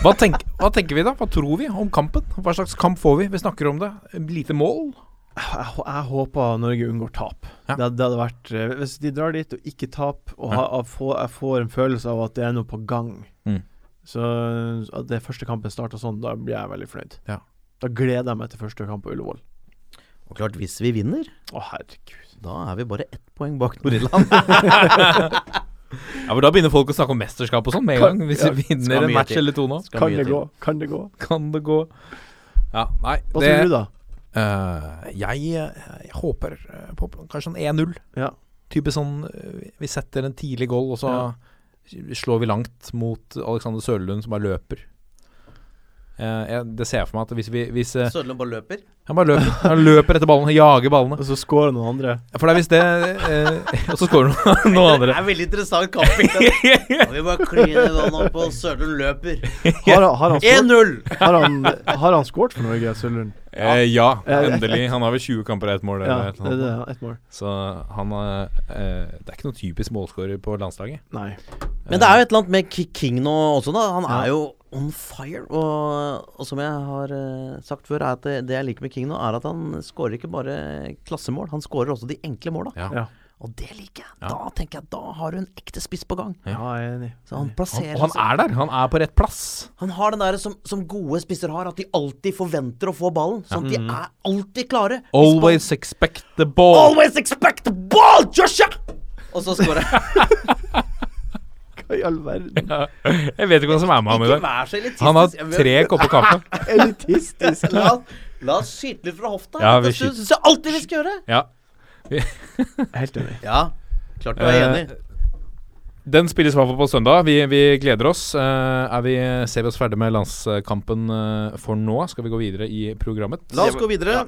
Speaker 2: Hva, tenk, hva tenker vi da? Hva tror vi om kampen? Hva slags kamp får vi? Vi snakker om det. Lite mål.
Speaker 4: Jeg, hå- jeg håper Norge unngår tap.
Speaker 2: Ja.
Speaker 4: Det, det hadde vært eh, Hvis de drar dit og ikke taper, og ha, og få, jeg får en følelse av at det er noe på gang,
Speaker 2: Mm.
Speaker 4: så at det første kampen starter sånn, da blir jeg veldig fornøyd.
Speaker 2: Ja.
Speaker 4: Da gleder jeg meg til første kamp på Ullevål.
Speaker 3: Og klart, hvis vi vinner,
Speaker 4: Å, herregud.
Speaker 3: da er vi bare ett poeng bak Nord-Irland.
Speaker 4: [LAUGHS]
Speaker 2: Ja, men Da begynner folk å snakke om mesterskap og sånn med en gang. Hvis vi vinner
Speaker 3: skal
Speaker 2: en
Speaker 3: mye
Speaker 2: match
Speaker 3: til.
Speaker 2: eller to nå,
Speaker 3: Skal
Speaker 4: Kan
Speaker 3: mye
Speaker 4: det
Speaker 3: til.
Speaker 4: gå? Kan det gå?
Speaker 2: kan det gå. Ja, nei
Speaker 4: Hva
Speaker 2: det,
Speaker 4: tror du, da?
Speaker 2: Eh, jeg, eh, jeg håper eh, på kanskje sånn 1-0.
Speaker 4: Ja.
Speaker 2: Type sånn eh, Vi setter en tidlig goal, og så slår vi langt mot Alexander Sørlund, som bare løper. Eh, jeg, det ser jeg for meg at hvis vi hvis, eh,
Speaker 3: Sørlund bare løper.
Speaker 2: Han bare løper, han løper etter ballen, jager ballene.
Speaker 4: Og så scorer noen andre.
Speaker 2: For det er hvis det eh, Og så scorer noen, [LAUGHS] noen
Speaker 3: Det
Speaker 2: andre.
Speaker 3: er veldig interessant kampbilde.
Speaker 4: [LAUGHS]
Speaker 3: Kan vi bare kline den opp, og Sørlund løper.
Speaker 4: Har, han- har han scoret-
Speaker 3: 1-0!
Speaker 4: har han- har han scoret for Norge, Sølund?
Speaker 2: Eh, ja, endelig. Han har vel 20 kamper og ett mål.
Speaker 4: Ja,
Speaker 2: Eller et
Speaker 4: det
Speaker 2: eller
Speaker 4: er
Speaker 2: annet.
Speaker 4: det. Ett mål.
Speaker 2: Så han eh, eh, Det er ikke noen typisk målskårer på landslaget.
Speaker 4: Nei.
Speaker 3: Men det
Speaker 2: Eh.
Speaker 3: er jo et eller annet med Ki- King nå også, da. Han
Speaker 4: Ja.
Speaker 3: er jo on fire. Og, og som jeg har eh, sagt før, er at det, det jeg liker med King nå, er at han skårer ikke bare klassemål, han skårer også de enkle måla.
Speaker 2: Ja.
Speaker 4: Ja.
Speaker 3: Og det liker jeg.
Speaker 2: Ja.
Speaker 3: Da tenker jeg, da har du en ekte spiss på gang.
Speaker 4: Ja, jeg er enig.
Speaker 3: Så han
Speaker 2: Han,
Speaker 3: plasserer
Speaker 2: og han
Speaker 3: seg.
Speaker 2: er der. Han er på rett plass.
Speaker 3: Han har den der som, som gode spisser har, at de alltid forventer å få ballen. Sånn at de
Speaker 2: Mm.
Speaker 3: er alltid klare. Hvis
Speaker 2: Always expect the ball.
Speaker 3: ballen- Always expect the ball, Joshua! Og så skårer jeg.
Speaker 4: Hva i all verden?
Speaker 2: [LAUGHS] Jeg vet ikke hva som er med ham i
Speaker 3: Ikke
Speaker 2: dag.
Speaker 3: vær så elitistisk. [LAUGHS]
Speaker 2: Han har
Speaker 3: Jeg vil-
Speaker 2: tre kopper kaffe.
Speaker 4: Elitistisk.
Speaker 3: La, la oss skyte litt fra hofta.
Speaker 2: Ja, vi
Speaker 3: det
Speaker 2: skyter.
Speaker 3: syns jeg alltid vi skal gjøre.
Speaker 2: Ja.
Speaker 4: [LAUGHS] Helt enig.
Speaker 3: Ja, klart du er
Speaker 2: Eh,
Speaker 3: enig.
Speaker 2: Den spilles i hvert fall på søndag. Vi, vi gleder oss. Eh, er vi, ser vi oss ferdig med landskampen eh, for nå? Skal vi gå videre i programmet?
Speaker 3: La oss gå videre.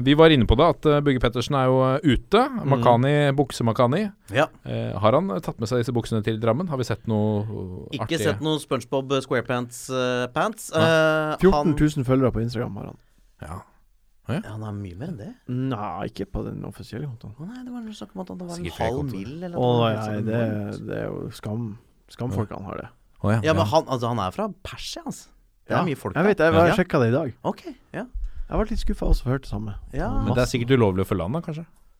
Speaker 2: Vi var inne på det, at eh, Bugge Pettersen er jo eh, ute.
Speaker 3: Mm.
Speaker 2: Makani, Bukse-Makani.
Speaker 3: Ja.
Speaker 2: Eh, har han eh, tatt med seg disse buksene til Drammen? Har vi sett noe eh,
Speaker 3: Ikke
Speaker 2: artig?
Speaker 3: sett noe SpongeBob eh, SquarePants-pants.
Speaker 4: 14 000 følgere på Instagram har han.
Speaker 2: Ja. Ja.
Speaker 3: Ja, han er mye mer enn det.
Speaker 4: Nei, ikke på den offisielle kontoen.
Speaker 3: Å nei, det var noe snakk om at han- det var en
Speaker 2: Sikkert flere
Speaker 3: halv
Speaker 2: kontorer.
Speaker 3: mil eller
Speaker 4: Å
Speaker 3: noe. liksom.
Speaker 4: nei, det, det er jo skam. Skamfolkene har det.
Speaker 2: Å ja,
Speaker 3: Ja, men han, altså, han er fra Persia, altså. Det er mye folk
Speaker 4: Jeg vet, jeg,
Speaker 3: Ja.
Speaker 4: jeg sjekka det i dag.
Speaker 3: Ok, ja.
Speaker 4: Jeg var litt skuffa også for å høre det samme.
Speaker 3: ja.
Speaker 2: Men det er sikkert ulovlig å følge han, da, kanskje?
Speaker 3: Kanskje,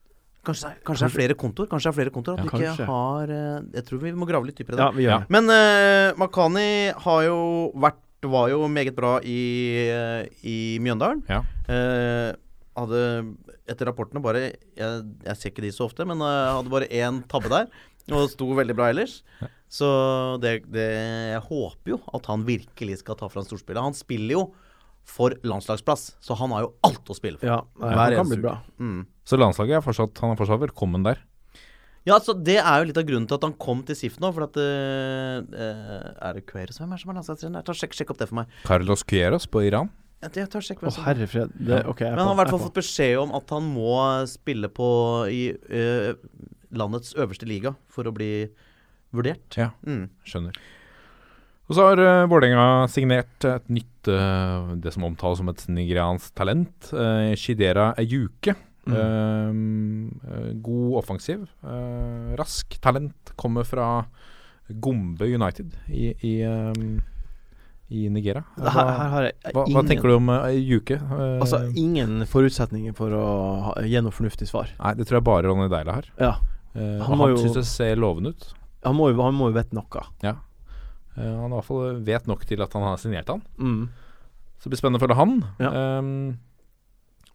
Speaker 3: det er- kanskje det er flere kontor? Kanskje det er flere kontor At
Speaker 4: Ja,
Speaker 3: du ikke
Speaker 4: kanskje.
Speaker 3: har eh, Jeg tror vi må grave litt dypere i det.
Speaker 4: Ja, vi gjør det.
Speaker 3: Men eh, Makani har jo vært var jo meget bra i, eh, i Mjøndalen.
Speaker 2: Ja.
Speaker 3: Eh, hadde etter rapportene bare Jeg, jeg ser ikke de så ofte, men jeg hadde bare én tabbe der. Og sto veldig bra ellers. Så det, det Jeg håper jo at han virkelig skal ta fram storspillet. Han spiller jo for landslagsplass, så han har jo alt å spille for.
Speaker 4: Ja, nei,
Speaker 2: Hver
Speaker 4: det kan
Speaker 2: eneste
Speaker 4: bli bra.
Speaker 3: Mm.
Speaker 2: Så landslaget er fortsatt, han er fortsatt velkommen der.
Speaker 3: Ja, så Det er jo litt av grunnen til at han kom til SIF nå. For at eh, eh, Er det Cuero som hvem er det som er landslagstrener? Ta- Sjekk, sjekk opp det for meg.
Speaker 2: Carlos Quieros på Iran.
Speaker 3: Jeg, jeg tar sjekk
Speaker 4: Å,
Speaker 3: hvem som
Speaker 4: herre fred. Det, ok, jeg er
Speaker 3: Men han har i hvert
Speaker 4: på, jeg
Speaker 3: fall
Speaker 4: er
Speaker 3: fått beskjed om at han må spille på i eh, landets øverste liga for å bli vurdert.
Speaker 2: Ja,
Speaker 3: Mm.
Speaker 2: skjønner. Og så har uh, Vålerenga signert et nytt, eh, det som omtales som et nigeriansk talent, eh, Shidera Ejuke.
Speaker 4: Mm.
Speaker 2: Eh, eh, god offensiv, eh, rask talent, kommer fra Gombe United i, i, eh, i Nigeria.
Speaker 4: på. Her, her
Speaker 2: Hva,
Speaker 4: har jeg
Speaker 2: hva, hva tenker du om eh, Ejuke? Eh,
Speaker 4: Altså, ingen forutsetninger for å ha, gi noe fornuftig svar.
Speaker 2: nei, det tror jeg bare Ronny Deila har.
Speaker 4: Ja.
Speaker 2: Eh,
Speaker 4: Han
Speaker 2: han
Speaker 4: må
Speaker 2: han
Speaker 4: jo-
Speaker 2: syns det ser lovende ut.
Speaker 4: Han må jo, han må jo vite noe.
Speaker 2: Ja. Eh, han i hvert fall vet nok til at han har signert han.
Speaker 4: Mm.
Speaker 2: Så det blir spennende å følge han.
Speaker 4: Ja.
Speaker 2: Ehm,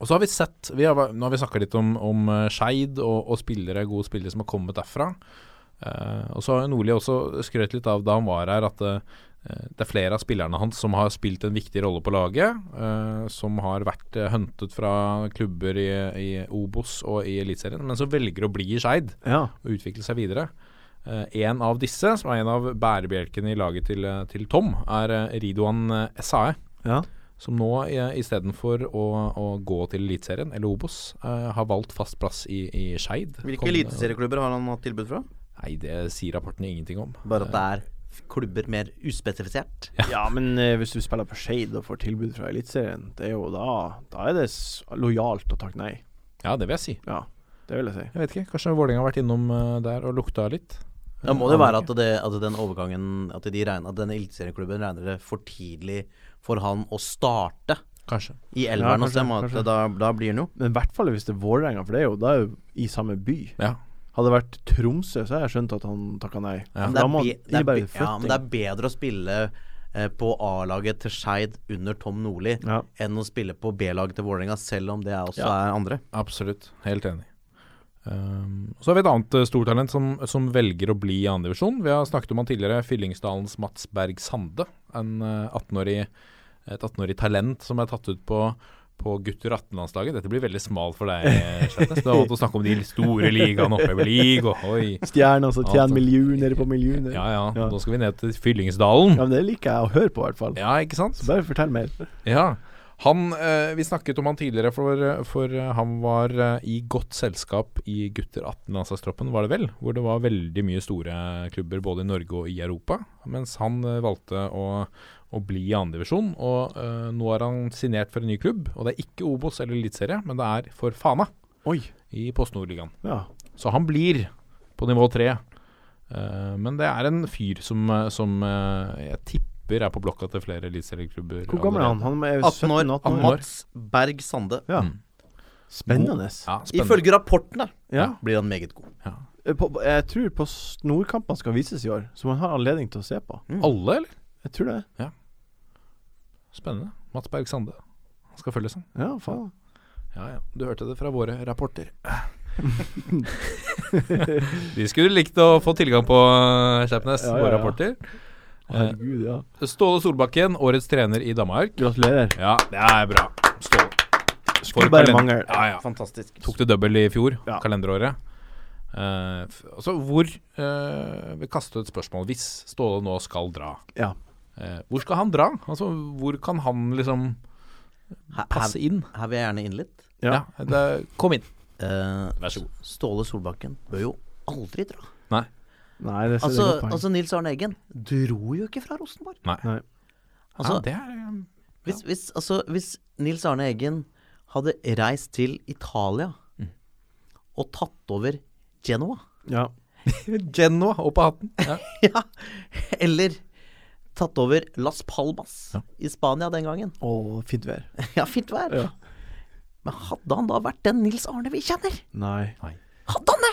Speaker 2: og så har vi sett vi har, Nå har vi snakka litt om, om eh, Skeid og, og spillere, gode spillere som har kommet derfra. Eh, og så har jo Nordli også skrøt litt av da han var her, at eh, det er flere av spillerne hans som har spilt en viktig rolle på laget. eh, som har vært eh, huntet fra klubber i, i Obos og i Eliteserien, men som velger å bli i Skeid
Speaker 4: Ja.
Speaker 2: og utvikle seg videre. Eh, en av disse, som er en av bærebjelkene i laget til, eh, til Tom, er eh, Ridwan eh, Esae.
Speaker 4: Ja.
Speaker 2: Som nå eh, istedenfor å, å gå til Eliteserien, eller Obos, eh, har valgt fast plass i, i Skeid.
Speaker 3: Hvilke
Speaker 2: Kom-
Speaker 3: eliteserieklubber har han hatt tilbud fra?
Speaker 2: Nei, det sier rapportene ingenting om.
Speaker 3: Bare at det er f- klubber mer uspesifisert.
Speaker 4: ja, men eh, hvis du spiller på Skeid og får tilbud fra Eliteserien, det er jo da Da er det s lojalt å takke nei.
Speaker 2: Ja, det vil jeg si.
Speaker 4: Ja, det vil jeg si.
Speaker 2: Jeg vet ikke, kanskje Vålerenga har vært innom eh, der og lukta litt.
Speaker 3: Da må det jo være at, det, at den overgangen At, de regner, at denne eliteserieklubben regner det for tidlig for han å starte
Speaker 2: Kanskje.
Speaker 3: i elveren
Speaker 4: Ja,
Speaker 3: hos dem.
Speaker 4: kanskje,
Speaker 3: og at
Speaker 4: kanskje.
Speaker 3: Da, da blir han jo
Speaker 4: Men i hvert fall hvis det er Vålerenga, for det er jo da er jo i samme by.
Speaker 2: Ja.
Speaker 4: Hadde det vært Tromsø, så har jeg skjønt at han takka nei.
Speaker 2: Ja.
Speaker 4: Men
Speaker 3: det
Speaker 4: Da
Speaker 3: er,
Speaker 4: må
Speaker 3: be,
Speaker 4: det
Speaker 3: det er,
Speaker 4: innebære
Speaker 3: be- ja, men
Speaker 4: flytting.
Speaker 3: det er bedre å spille eh, på A-laget til Skeid under Tom Nordli
Speaker 4: Ja.
Speaker 3: enn å spille på B-laget til Vålerenga, selv om det er også
Speaker 4: Ja.
Speaker 3: er andre.
Speaker 2: Absolutt. Helt enig. Um, så har vi et annet eh, stortalent som, som velger å bli i andredivisjon. Vi har snakket om han tidligere, Fyllingsdalens Mats Berg Sande. En, eh, 18-årig- et 18-årig talent som er tatt ut på, på gutter 18-landslaget. Dette blir veldig smalt for deg, eh, Slettnes. Du har valgt å snakke om de store ligaene oppe i League og
Speaker 4: [LAUGHS]
Speaker 2: oi.
Speaker 4: Stjerner som
Speaker 2: Altså,
Speaker 4: tjener millioner på millioner.
Speaker 2: Ja ja,
Speaker 4: Ja.
Speaker 2: nå skal vi ned til Fyllingsdalen.
Speaker 4: Ja, men det liker jeg å høre på, i hvert fall.
Speaker 2: Ja, ikke sant?
Speaker 4: Så bare fortell mer.
Speaker 2: Ja. Han, eh, vi snakket om han tidligere, for, for eh, han var eh, i godt selskap i gutter 18-landslagstroppen, var det vel? Hvor det var veldig mye store klubber både i Norge og i Europa. Mens han eh, valgte å, å bli i andredivisjon. Og eh, nå har han signert for en ny klubb. Og det er ikke Obos eller Eliteserie, men det er for Fana
Speaker 4: Oi.
Speaker 2: i Post Nordligaen.
Speaker 4: Ja.
Speaker 2: Så han blir på nivå tre. Eh, men det er en fyr som, eh, som eh, jeg tipper er på blokka til flere eliteserieklubber.
Speaker 4: Hvor gammel er han? Han er
Speaker 3: 18 år,
Speaker 4: 17-18 år.
Speaker 3: Mats Berg Sande.
Speaker 4: Ja.
Speaker 2: Mm.
Speaker 4: Spennende.
Speaker 2: Ja, spennende.
Speaker 3: Ifølge rapportene
Speaker 4: Ja.
Speaker 3: blir han meget god.
Speaker 4: Eh, På, jeg tror på Nordkampene skal vises i år, så man har anledning til å se på.
Speaker 2: Alle, eller?
Speaker 4: Jeg tror det.
Speaker 2: Spennende. Mats Berg Sande. Han skal følges, han.
Speaker 4: Ja, faen.
Speaker 2: Ja, ja. Du hørte det fra våre [LAUGHS] rapporter. De skulle likt å få tilgang på eh, Skjepnes,
Speaker 4: Ja, ja,
Speaker 2: våre
Speaker 4: ja.
Speaker 2: rapporter.
Speaker 4: Herregud, ja.
Speaker 2: Ståle Solbakken, årets trener i Danmark.
Speaker 4: Gratulerer.
Speaker 2: Ja, det er bra. Ståle.
Speaker 4: Skulle bare
Speaker 2: kalend-
Speaker 4: mangle.
Speaker 2: Ja, ja.
Speaker 3: Fantastisk.
Speaker 2: Tok det double i fjor,
Speaker 4: Ja.
Speaker 2: kalenderåret. Eh, f altså, hvor eh, Vi kaster et spørsmål. Hvis Ståle nå skal dra,
Speaker 4: Ja.
Speaker 2: eh, hvor skal han dra? Altså, hvor kan han liksom
Speaker 3: Her,
Speaker 2: passe
Speaker 3: her,
Speaker 2: inn?
Speaker 3: her vil jeg gjerne inn litt.
Speaker 4: Ja.
Speaker 2: det, kom inn.
Speaker 3: Eh,
Speaker 2: Vær så god.
Speaker 3: Ståle Solbakken bør jo aldri dra.
Speaker 2: Nei.
Speaker 4: Nei, det ser
Speaker 3: Altså,
Speaker 4: altså, godt
Speaker 3: altså Nils Arne Eggen dro jo ikke fra Rosenborg.
Speaker 2: Nei.
Speaker 4: Nei.
Speaker 3: Altså,
Speaker 2: ja, det er eh,
Speaker 3: Hvis, hvis, altså, hvis Nils Arne Eggen hadde reist til Italia og tatt over Genoa. [LAUGHS]
Speaker 4: Ja.
Speaker 2: Genoa opp av hatten. Ja.
Speaker 3: ja. Eller tatt over Las Palmas i Spania den gangen. [LAUGHS]
Speaker 4: Og fint vær.
Speaker 3: Ja, fint vær.
Speaker 4: Ja.
Speaker 3: Men hadde han da vært den Nils Arne vi kjenner?
Speaker 4: Nei.
Speaker 3: Hadde han det?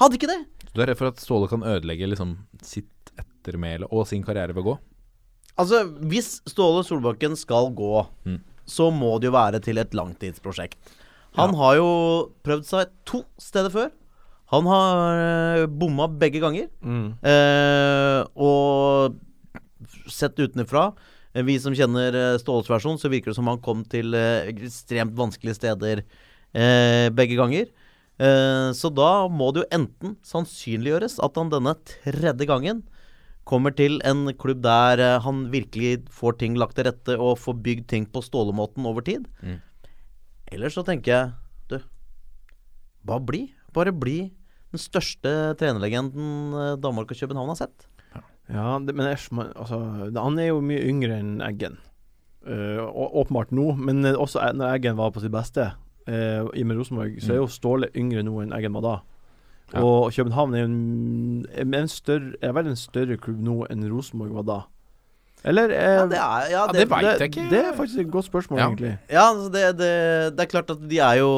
Speaker 3: Hadde ikke det?
Speaker 2: Du er redd for at Ståle kan ødelegge liksom, sitt ettermæle og sin karriere ved å gå?
Speaker 3: Altså, hvis Ståle Solbakken skal gå, så må det jo være til et langtidsprosjekt. Han har jo prøvd seg to steder før. Han har eh, bomma begge ganger. Eh, og sett utenfra, eh, vi som kjenner eh, Ståles versjon, så virker det som han kom til eh, ekstremt vanskelige steder eh, begge ganger. Eh, så da må det jo enten sannsynliggjøres at han denne tredje gangen Kommer til en klubb der eh, han virkelig får ting lagt til rette og får bygd ting på stålemåten over tid.
Speaker 4: Mm.
Speaker 3: Eller så tenker jeg Du, bare bli. Bare bli den største trenerlegenden eh, Danmark og København har sett.
Speaker 4: Ja, det, men Esch, man, altså, det, han er jo mye yngre enn Eggen. Eh, å- åpenbart nå, men eh, også e- når Eggen var på sitt beste eh, i med Rosenborg, så er jo Ståle yngre nå enn Eggen var da.
Speaker 2: Mm. Ja.
Speaker 4: Og København er jo en, en- en større, er vel en større klubb nå enn Rosenborg var da? Eller eh,
Speaker 3: Ja, det er, ja, det,
Speaker 2: det vet jeg
Speaker 4: det,
Speaker 2: ikke.
Speaker 4: det er faktisk et godt spørsmål,
Speaker 2: Ja.
Speaker 4: egentlig.
Speaker 3: ja, altså, det, det, det er klart at de er jo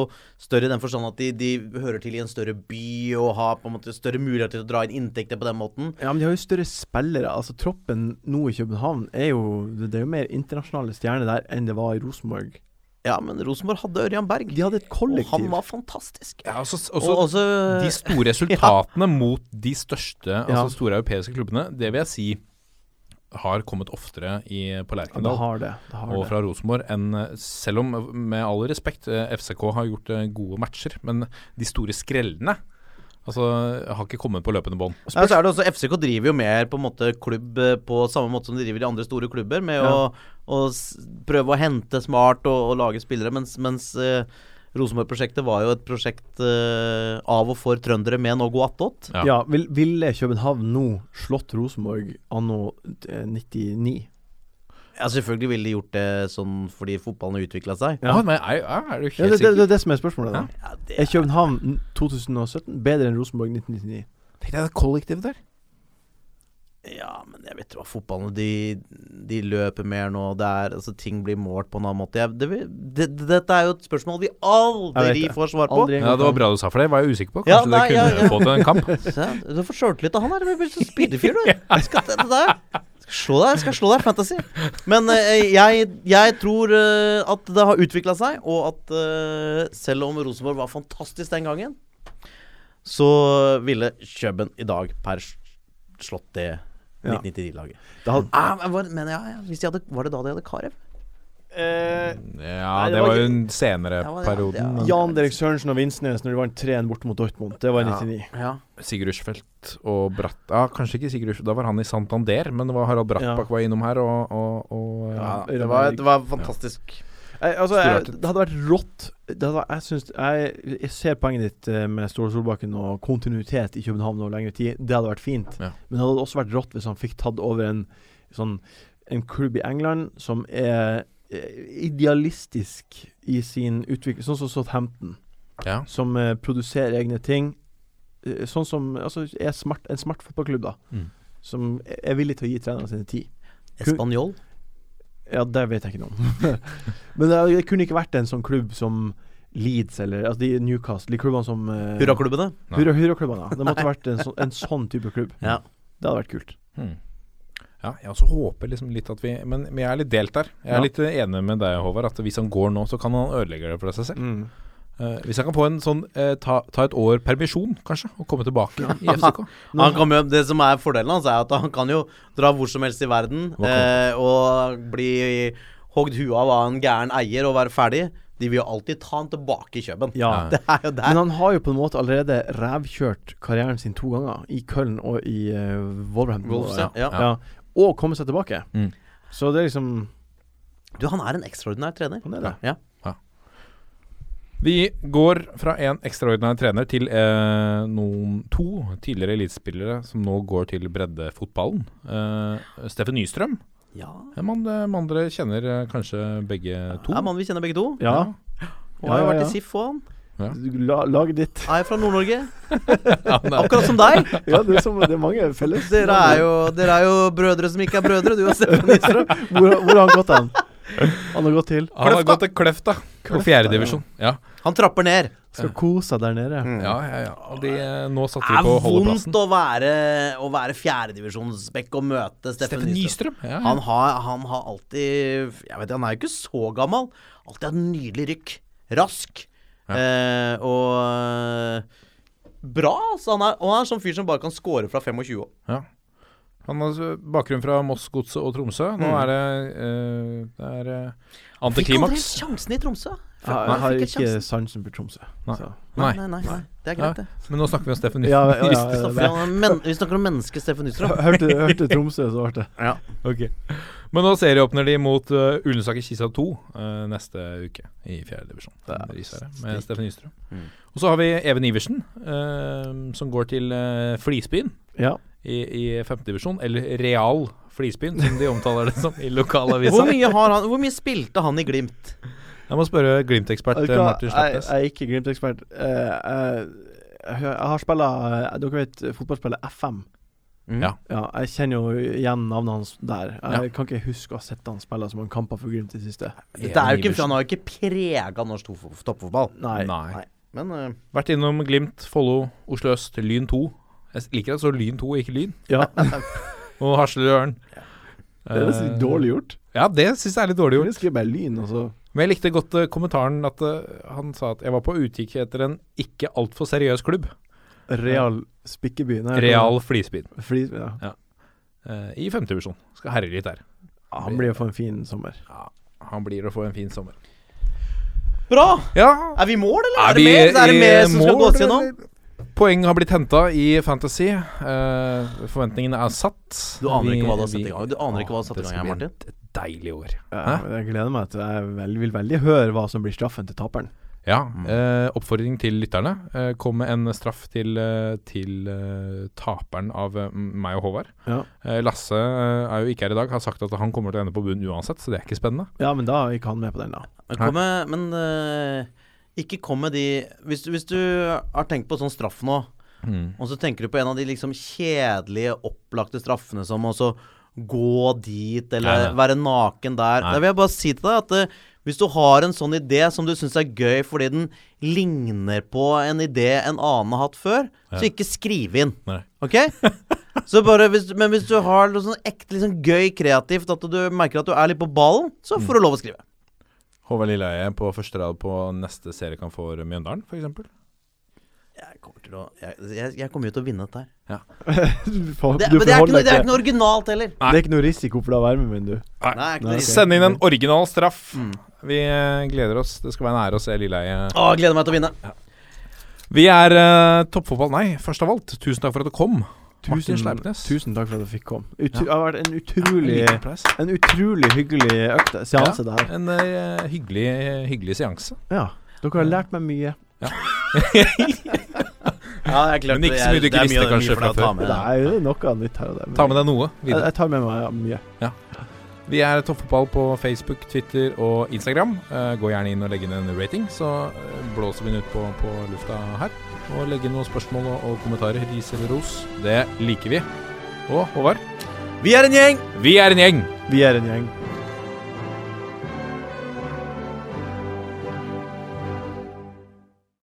Speaker 3: større i den forstand at de, de hører til i en større by og har på en måte større mulighet til å dra inn inntekter på den måten.
Speaker 4: Ja, men de har jo større spillere. Altså Troppen nå i København er jo Det er jo mer internasjonale stjerner der enn det var i Rosenborg.
Speaker 3: Ja, men Rosenborg hadde Ørjan Berg.
Speaker 4: De hadde et
Speaker 3: og
Speaker 4: kollektiv.
Speaker 3: han var fantastisk.
Speaker 2: Ja, også,
Speaker 3: og også
Speaker 2: de
Speaker 4: [LAUGHS]
Speaker 2: store resultatene mot de største altså
Speaker 4: Ja.
Speaker 2: store europeiske klubbene, det vil jeg si har kommet oftere i, på
Speaker 4: ja, det
Speaker 2: Lerkendal
Speaker 4: har det. det, har
Speaker 2: og
Speaker 4: det.
Speaker 2: fra Rosenborg enn eh, Selv om, eh, med all respekt, eh, FCK har gjort eh, gode matcher, men de store skrellene altså, har ikke kommet på løpende bånd.
Speaker 3: Nei,
Speaker 4: Altså,
Speaker 3: så er det også FCK driver jo mer på en måte klubb eh, på samme måte som de driver i andre store klubber, med å, å s- prøve å hente smart og, og lage spillere, mens, mens eh, Rosenborg-prosjektet var jo et prosjekt eh, av og for trøndere med Nogo Attåt.
Speaker 2: Ja.
Speaker 4: Ja, vil, ville København nå slått Rosenborg anno eh, 99?
Speaker 3: Ja, selvfølgelig ville de gjort det sånn fordi fotballen utvikla seg.
Speaker 4: Ja.
Speaker 2: Ah, men er, er, er du
Speaker 4: Ja,
Speaker 2: helt
Speaker 4: det, det,
Speaker 2: sikker?
Speaker 4: det er det som er spørsmålet. da
Speaker 3: Ja,
Speaker 4: Er København n- 2017 bedre enn Rosenborg 1999?
Speaker 2: Tenk deg det kollektivet der.
Speaker 3: ja men jeg vet jo hva fotballen De, de løper mer nå, det er, altså, ting blir målt på en annen måte. Jeg, det, vil- det, dette er jo et spørsmål vi aldri
Speaker 4: Jeg vet det.
Speaker 3: får svar på.
Speaker 4: Aldri
Speaker 2: Ja, Det var bra du sa for det, var jeg usikker på. Kanskje
Speaker 3: Ja, nei,
Speaker 2: det kunne
Speaker 3: ja, ja.
Speaker 2: få til en kamp.
Speaker 3: [LAUGHS] Se, du får sjøltillit av han her. Du blir så speederfyr, du. Skal, det, det der. skal slå deg, skal slå deg i fantasy. Men eh, jeg, jeg tror eh, at det har utvikla seg, og at eh, selv om Rosenborg var fantastisk den gangen, så ville Kjøben i dag per s- slått det
Speaker 4: Ja.
Speaker 3: 1999-laget.
Speaker 4: Da hadde-
Speaker 3: Ah, men var- men ja, ja, hvis de hadde, var det da de hadde Karev?
Speaker 4: Eh,
Speaker 2: Ja,
Speaker 4: Nei, det
Speaker 2: det
Speaker 4: var
Speaker 2: var jo
Speaker 4: ikke-
Speaker 2: en senere Mm.
Speaker 3: Ja, ja,
Speaker 2: perioden.
Speaker 3: ja.
Speaker 4: Jan Derek Sørensen og Vinsnes når de vant 3-1 borte mot Dortmund. Det var i 99.
Speaker 3: Ja.
Speaker 2: Sigurd Rushfeldt og Bratt ah, Kanskje ikke Sigurd Rushfeldt, da var han i Santander, men det var Harald Brattbakk var innom her, og, og, og
Speaker 4: Ja.
Speaker 3: Det var, det var fantastisk.
Speaker 4: Eh, altså, jeg,
Speaker 2: Storartet.
Speaker 4: det hadde vært rått. Det hadde, vært- jeg, syns- jeg, jeg ser poenget ditt eh, med Ståle Solbakken og kontinuitet i København over lengre tid. Det hadde vært fint.
Speaker 2: Ja.
Speaker 4: Men det hadde også vært rått hvis han fikk tatt over en, sånn, en klubb i England som er eh, idealistisk i sin utvikling, sånn som Southampton.
Speaker 2: Ja.
Speaker 4: Som eh, produserer egne ting. Eh, sånn som altså, er smart, en smart fotballklubb, da.
Speaker 2: Mm.
Speaker 4: Som er villig til å gi trenerne sine tid.
Speaker 3: Spanjol.
Speaker 4: Ja, det vet jeg ikke noe om. [LAUGHS] Men det, det kunne ikke vært en sånn klubb som Leeds eller altså de Newcastle, de klubbene som eh,
Speaker 3: Hurraklubbene.
Speaker 2: Nei.
Speaker 4: Hurra, hurraklubbene, ja. Det måtte vært en, sånn- en sånn type klubb.
Speaker 3: Ja.
Speaker 4: Det hadde vært kult.
Speaker 2: Hmm. Ja, jeg også håper liksom litt at vi Men, men jeg er litt delt der. Jeg er
Speaker 4: Ja.
Speaker 2: litt eh, enig med deg, Håvard, at hvis han går nå, så kan han ødelegge det for seg selv. Eh, hvis han kan få en sånn eh, ta, ta et år permisjon, kanskje, og komme tilbake i FCK.
Speaker 4: Nå-
Speaker 3: han kan jo, det som er fordelen hans, er at han kan jo dra hvor som helst i verden
Speaker 2: Hva
Speaker 3: eh, og bli hogd huet av av en gæren eier og være ferdig. De vil jo alltid ta han tilbake i Kjøben.
Speaker 4: Ja.
Speaker 2: Ja.
Speaker 3: Det er jo
Speaker 4: Men
Speaker 3: der.
Speaker 4: han har jo på en måte allerede rævkjørt karrieren sin to ganger, i Köln og i eh, Wolverhampton.
Speaker 3: Wolves, ja. Ja.
Speaker 4: Ja. Og kommet seg tilbake.
Speaker 2: Mm.
Speaker 4: Så det er liksom
Speaker 3: Du, han er en ekstraordinær trener.
Speaker 4: Han er det.
Speaker 3: Ja.
Speaker 2: Vi går fra en ekstraordinær trener til eh, noen to tidligere elitespillere som nå går til breddefotballen. Eh, Steffen Nystrøm,
Speaker 3: Ja.
Speaker 2: en mann eh, mann dere kjenner eh, kanskje begge to.
Speaker 3: Det er mannen vi kjenner begge to.
Speaker 4: Ja.
Speaker 3: Og har jo
Speaker 4: Ja, ja,
Speaker 3: vært
Speaker 4: ja.
Speaker 3: i SIF òg, han.
Speaker 4: La, laget ditt.
Speaker 3: Er fra
Speaker 4: [LAUGHS]
Speaker 3: Nord-Norge.
Speaker 2: Ja, det er-
Speaker 3: Akkurat som deg.
Speaker 4: Ja, det er, som, det er mange felles.
Speaker 3: Dere er, jo, dere er jo brødre som ikke er brødre, du og Steffen Nystrøm.
Speaker 4: Hvor, hvor har han gått hen? Han har gått til.
Speaker 2: Han har gått til Kløfta. På
Speaker 4: Kløfta,
Speaker 2: fjerdedivisjon. Ja.
Speaker 3: Han trapper ned.
Speaker 4: Skal kose seg der nede.
Speaker 2: Ja, ja, ja. Og de, eh, nå satser de
Speaker 3: Det Mm. er
Speaker 2: på
Speaker 3: vondt
Speaker 2: holdeplassen.
Speaker 3: å være, å være fjerdedivisjonsbekk og møte Steffen
Speaker 2: Steffen
Speaker 3: Nystrøm.
Speaker 2: Nystrøm. Ja, ja.
Speaker 3: Han har, han har alltid Jeg vet ikke, han er jo ikke så gammel. Alltid hatt en nydelig rykk. Rask. Eh, og eh, bra, altså. Han er, og han er sånn fyr som bare kan score fra 25 år.
Speaker 2: Han har eh, bakgrunn fra Moss, Godset og Tromsø. Nå er det, eh, det er eh,
Speaker 3: Mm. Fikk aldri
Speaker 2: antiklimaks.
Speaker 3: sjansen i Tromsø.
Speaker 4: Ja, jeg har
Speaker 3: Fikk
Speaker 4: ikke
Speaker 3: sjansen.
Speaker 4: sansen for Tromsø.
Speaker 2: Nei.
Speaker 4: Så.
Speaker 3: Nei,
Speaker 2: Nei.
Speaker 3: nei, nei. nei. Det er
Speaker 2: Ja,
Speaker 3: greit, det.
Speaker 2: men nå snakker vi om Steffen
Speaker 4: Ja,
Speaker 2: [LAUGHS]
Speaker 4: ja,
Speaker 2: Nystrøm.
Speaker 4: ja,
Speaker 3: Vi
Speaker 4: ja,
Speaker 3: snakker, om, men, vi snakker om mennesket Steffen Nystrøm.
Speaker 4: [LAUGHS] Hørte, hørte Tromsø, så ble det
Speaker 2: Ok. Men nå serieåpner de mot uh, Ullensaker Kisa 2 eh, neste uke i fjerde divisjon. Risære, Med Steffen Nystrøm.
Speaker 4: Mm.
Speaker 2: Og så har vi Even Iversen, eh, som går til eh, Flisbyen
Speaker 4: Ja.
Speaker 2: i, i femte divisjon. Eller Real Flisbyen, som de omtaler det som i lokalavisa.
Speaker 3: [LAUGHS] Hvor mye, har han, hvor mye spilte han i Glimt?
Speaker 2: Jeg må spørre Glimt-ekspert
Speaker 4: Vet du
Speaker 2: eh,
Speaker 4: hva?
Speaker 2: Martin
Speaker 4: Jeg,
Speaker 2: Slettnes.
Speaker 4: jeg er ikke Glimt-ekspert. Eh, jeg- jeg, jeg har spilla Dere vet fotballspillet FM?
Speaker 2: Ja.
Speaker 4: Ja, jeg kjenner jo igjen navnet hans der. Jeg kan ikke huske å ha sett han spille så mange kamper for Glimt i det siste.
Speaker 3: Dette er jo ikke, han har jo ikke prega norsk tof- toppfotball.
Speaker 4: Nei.
Speaker 2: Nei.
Speaker 3: Men eh,
Speaker 2: Vært innom Glimt, Follo, Oslo øst, Lyn 2. Jeg liker at det står Lyn 2, ikke Lyn.
Speaker 4: [LAUGHS] Ja, [LAUGHS] det
Speaker 2: Og Hasleløren.
Speaker 4: er nesten litt dårlig gjort.
Speaker 2: Ja, det syns jeg er litt dårlig Eh, gjort.
Speaker 4: Jeg skriver bare lyn, og så
Speaker 2: Men jeg likte godt eh, kommentaren at eh, han sa at jeg var på utkikk etter en ikke altfor seriøs klubb.
Speaker 4: Real Spikkeby. Nei,
Speaker 2: Real Flisbyen.
Speaker 4: Fordi, ja.
Speaker 2: eh, I femtedivisjon. Skal herje litt der.
Speaker 4: Han blir jo for en fin sommer.
Speaker 2: Han blir å få en fin sommer.
Speaker 3: bra!
Speaker 2: Ja,
Speaker 3: Er vi i mål, eller?
Speaker 2: Er
Speaker 3: Er,
Speaker 2: vi
Speaker 3: det mer, er
Speaker 2: i
Speaker 3: det mer som skal
Speaker 2: mål,
Speaker 3: gås gjennom?
Speaker 2: poeng har blitt henta i Fantasy. Eh, forventningene er satt.
Speaker 3: Du aner ikke hva du har
Speaker 2: Vi-
Speaker 3: satt i gang. Du aner ikke hva du har satt i
Speaker 2: Å,
Speaker 3: gang
Speaker 2: det skal
Speaker 3: her,
Speaker 2: bli
Speaker 3: Martin.
Speaker 2: Et deilig år.
Speaker 4: Ja, jeg gleder meg til Jeg vel, vil veldig høre hva som blir straffen til taperen.
Speaker 2: Ja. Eh, oppfordring til lytterne. Eh, kom med en straff til, eh, til eh, taperen av eh, meg og Håvard.
Speaker 4: Ja.
Speaker 2: Eh, Lasse eh, er jo ikke her i dag. Har sagt at han kommer til å ende på bunnen uansett, så det er ikke spennende.
Speaker 4: Ja, men da er ikke han med på den, da.
Speaker 3: Men kom med, men eh, ikke kom med de hvis, hvis du har tenkt på sånn straff nå,
Speaker 2: Mm.
Speaker 3: og så tenker du på en av de liksom kjedelige, opplagte straffene som å så gå dit eller
Speaker 2: Nei, nei.
Speaker 3: være naken der Da vil jeg bare si til deg at eh, hvis du har en sånn idé som du syns er gøy fordi den ligner på en idé en annen har hatt før, så ikke skriv inn.
Speaker 2: Nei. [LAUGHS]
Speaker 3: Ok? Så bare hvis, men hvis du har noe sånn ekte liksom gøy kreativt, at du merker at du er litt på ballen, så
Speaker 2: Mm.
Speaker 3: får du lov å skrive.
Speaker 2: Håvard Lilleheie på første rad på neste seriekamp for Mjøndalen, f.eks.
Speaker 3: Jeg kommer til å Jeg, jeg, jeg kommer jo til å vinne dette her.
Speaker 4: Du får-
Speaker 3: Det,
Speaker 4: du
Speaker 3: men det er, ikke,
Speaker 4: forholder
Speaker 3: noe- det er
Speaker 4: deg
Speaker 3: ikke noe originalt heller.
Speaker 4: til- det er ikke noe risiko for å være med, men du.
Speaker 3: Nei, det er ikke noe
Speaker 4: ok.
Speaker 3: risiko.
Speaker 2: Send inn en original straff.
Speaker 4: Mm.
Speaker 2: Vi eh, gleder oss. Det skal være en ære å se Lilleheie.
Speaker 3: Å, jeg gleder meg til å vinne.
Speaker 2: Vi er eh, toppfotball, nei, først av alt. Tusen takk for at du kom. Martin Sleipnes. eh,
Speaker 4: tusen takk for at du fikk komme. Ut, Det har vært en utrolig
Speaker 2: Liten applaus.
Speaker 4: En utrolig hyggelig økt seanse, det her.
Speaker 2: En eh, hyggelig, hyggelig seanse.
Speaker 4: Ja. Dere har lært meg mye.
Speaker 3: Ja, det er klart,
Speaker 2: Men ikke så mye du ikke visste kanskje fra før.
Speaker 4: Det er jo noe nytt her og der. men
Speaker 2: Ta med deg noe
Speaker 4: jeg,
Speaker 2: videre.
Speaker 4: jeg tar med meg ja, mye.
Speaker 2: Vi er Toppfotball på Facebook, Twitter og Instagram. Eh, gå gjerne inn og legg inn en rating, så eh, blåser vi den ut på, på lufta her. Og legg inn noen spørsmål og, og kommentarer. Ris eller ros. Det liker vi. Og Håvard,
Speaker 3: Vi er en gjeng!
Speaker 2: vi er en gjeng!
Speaker 4: Vi er en gjeng.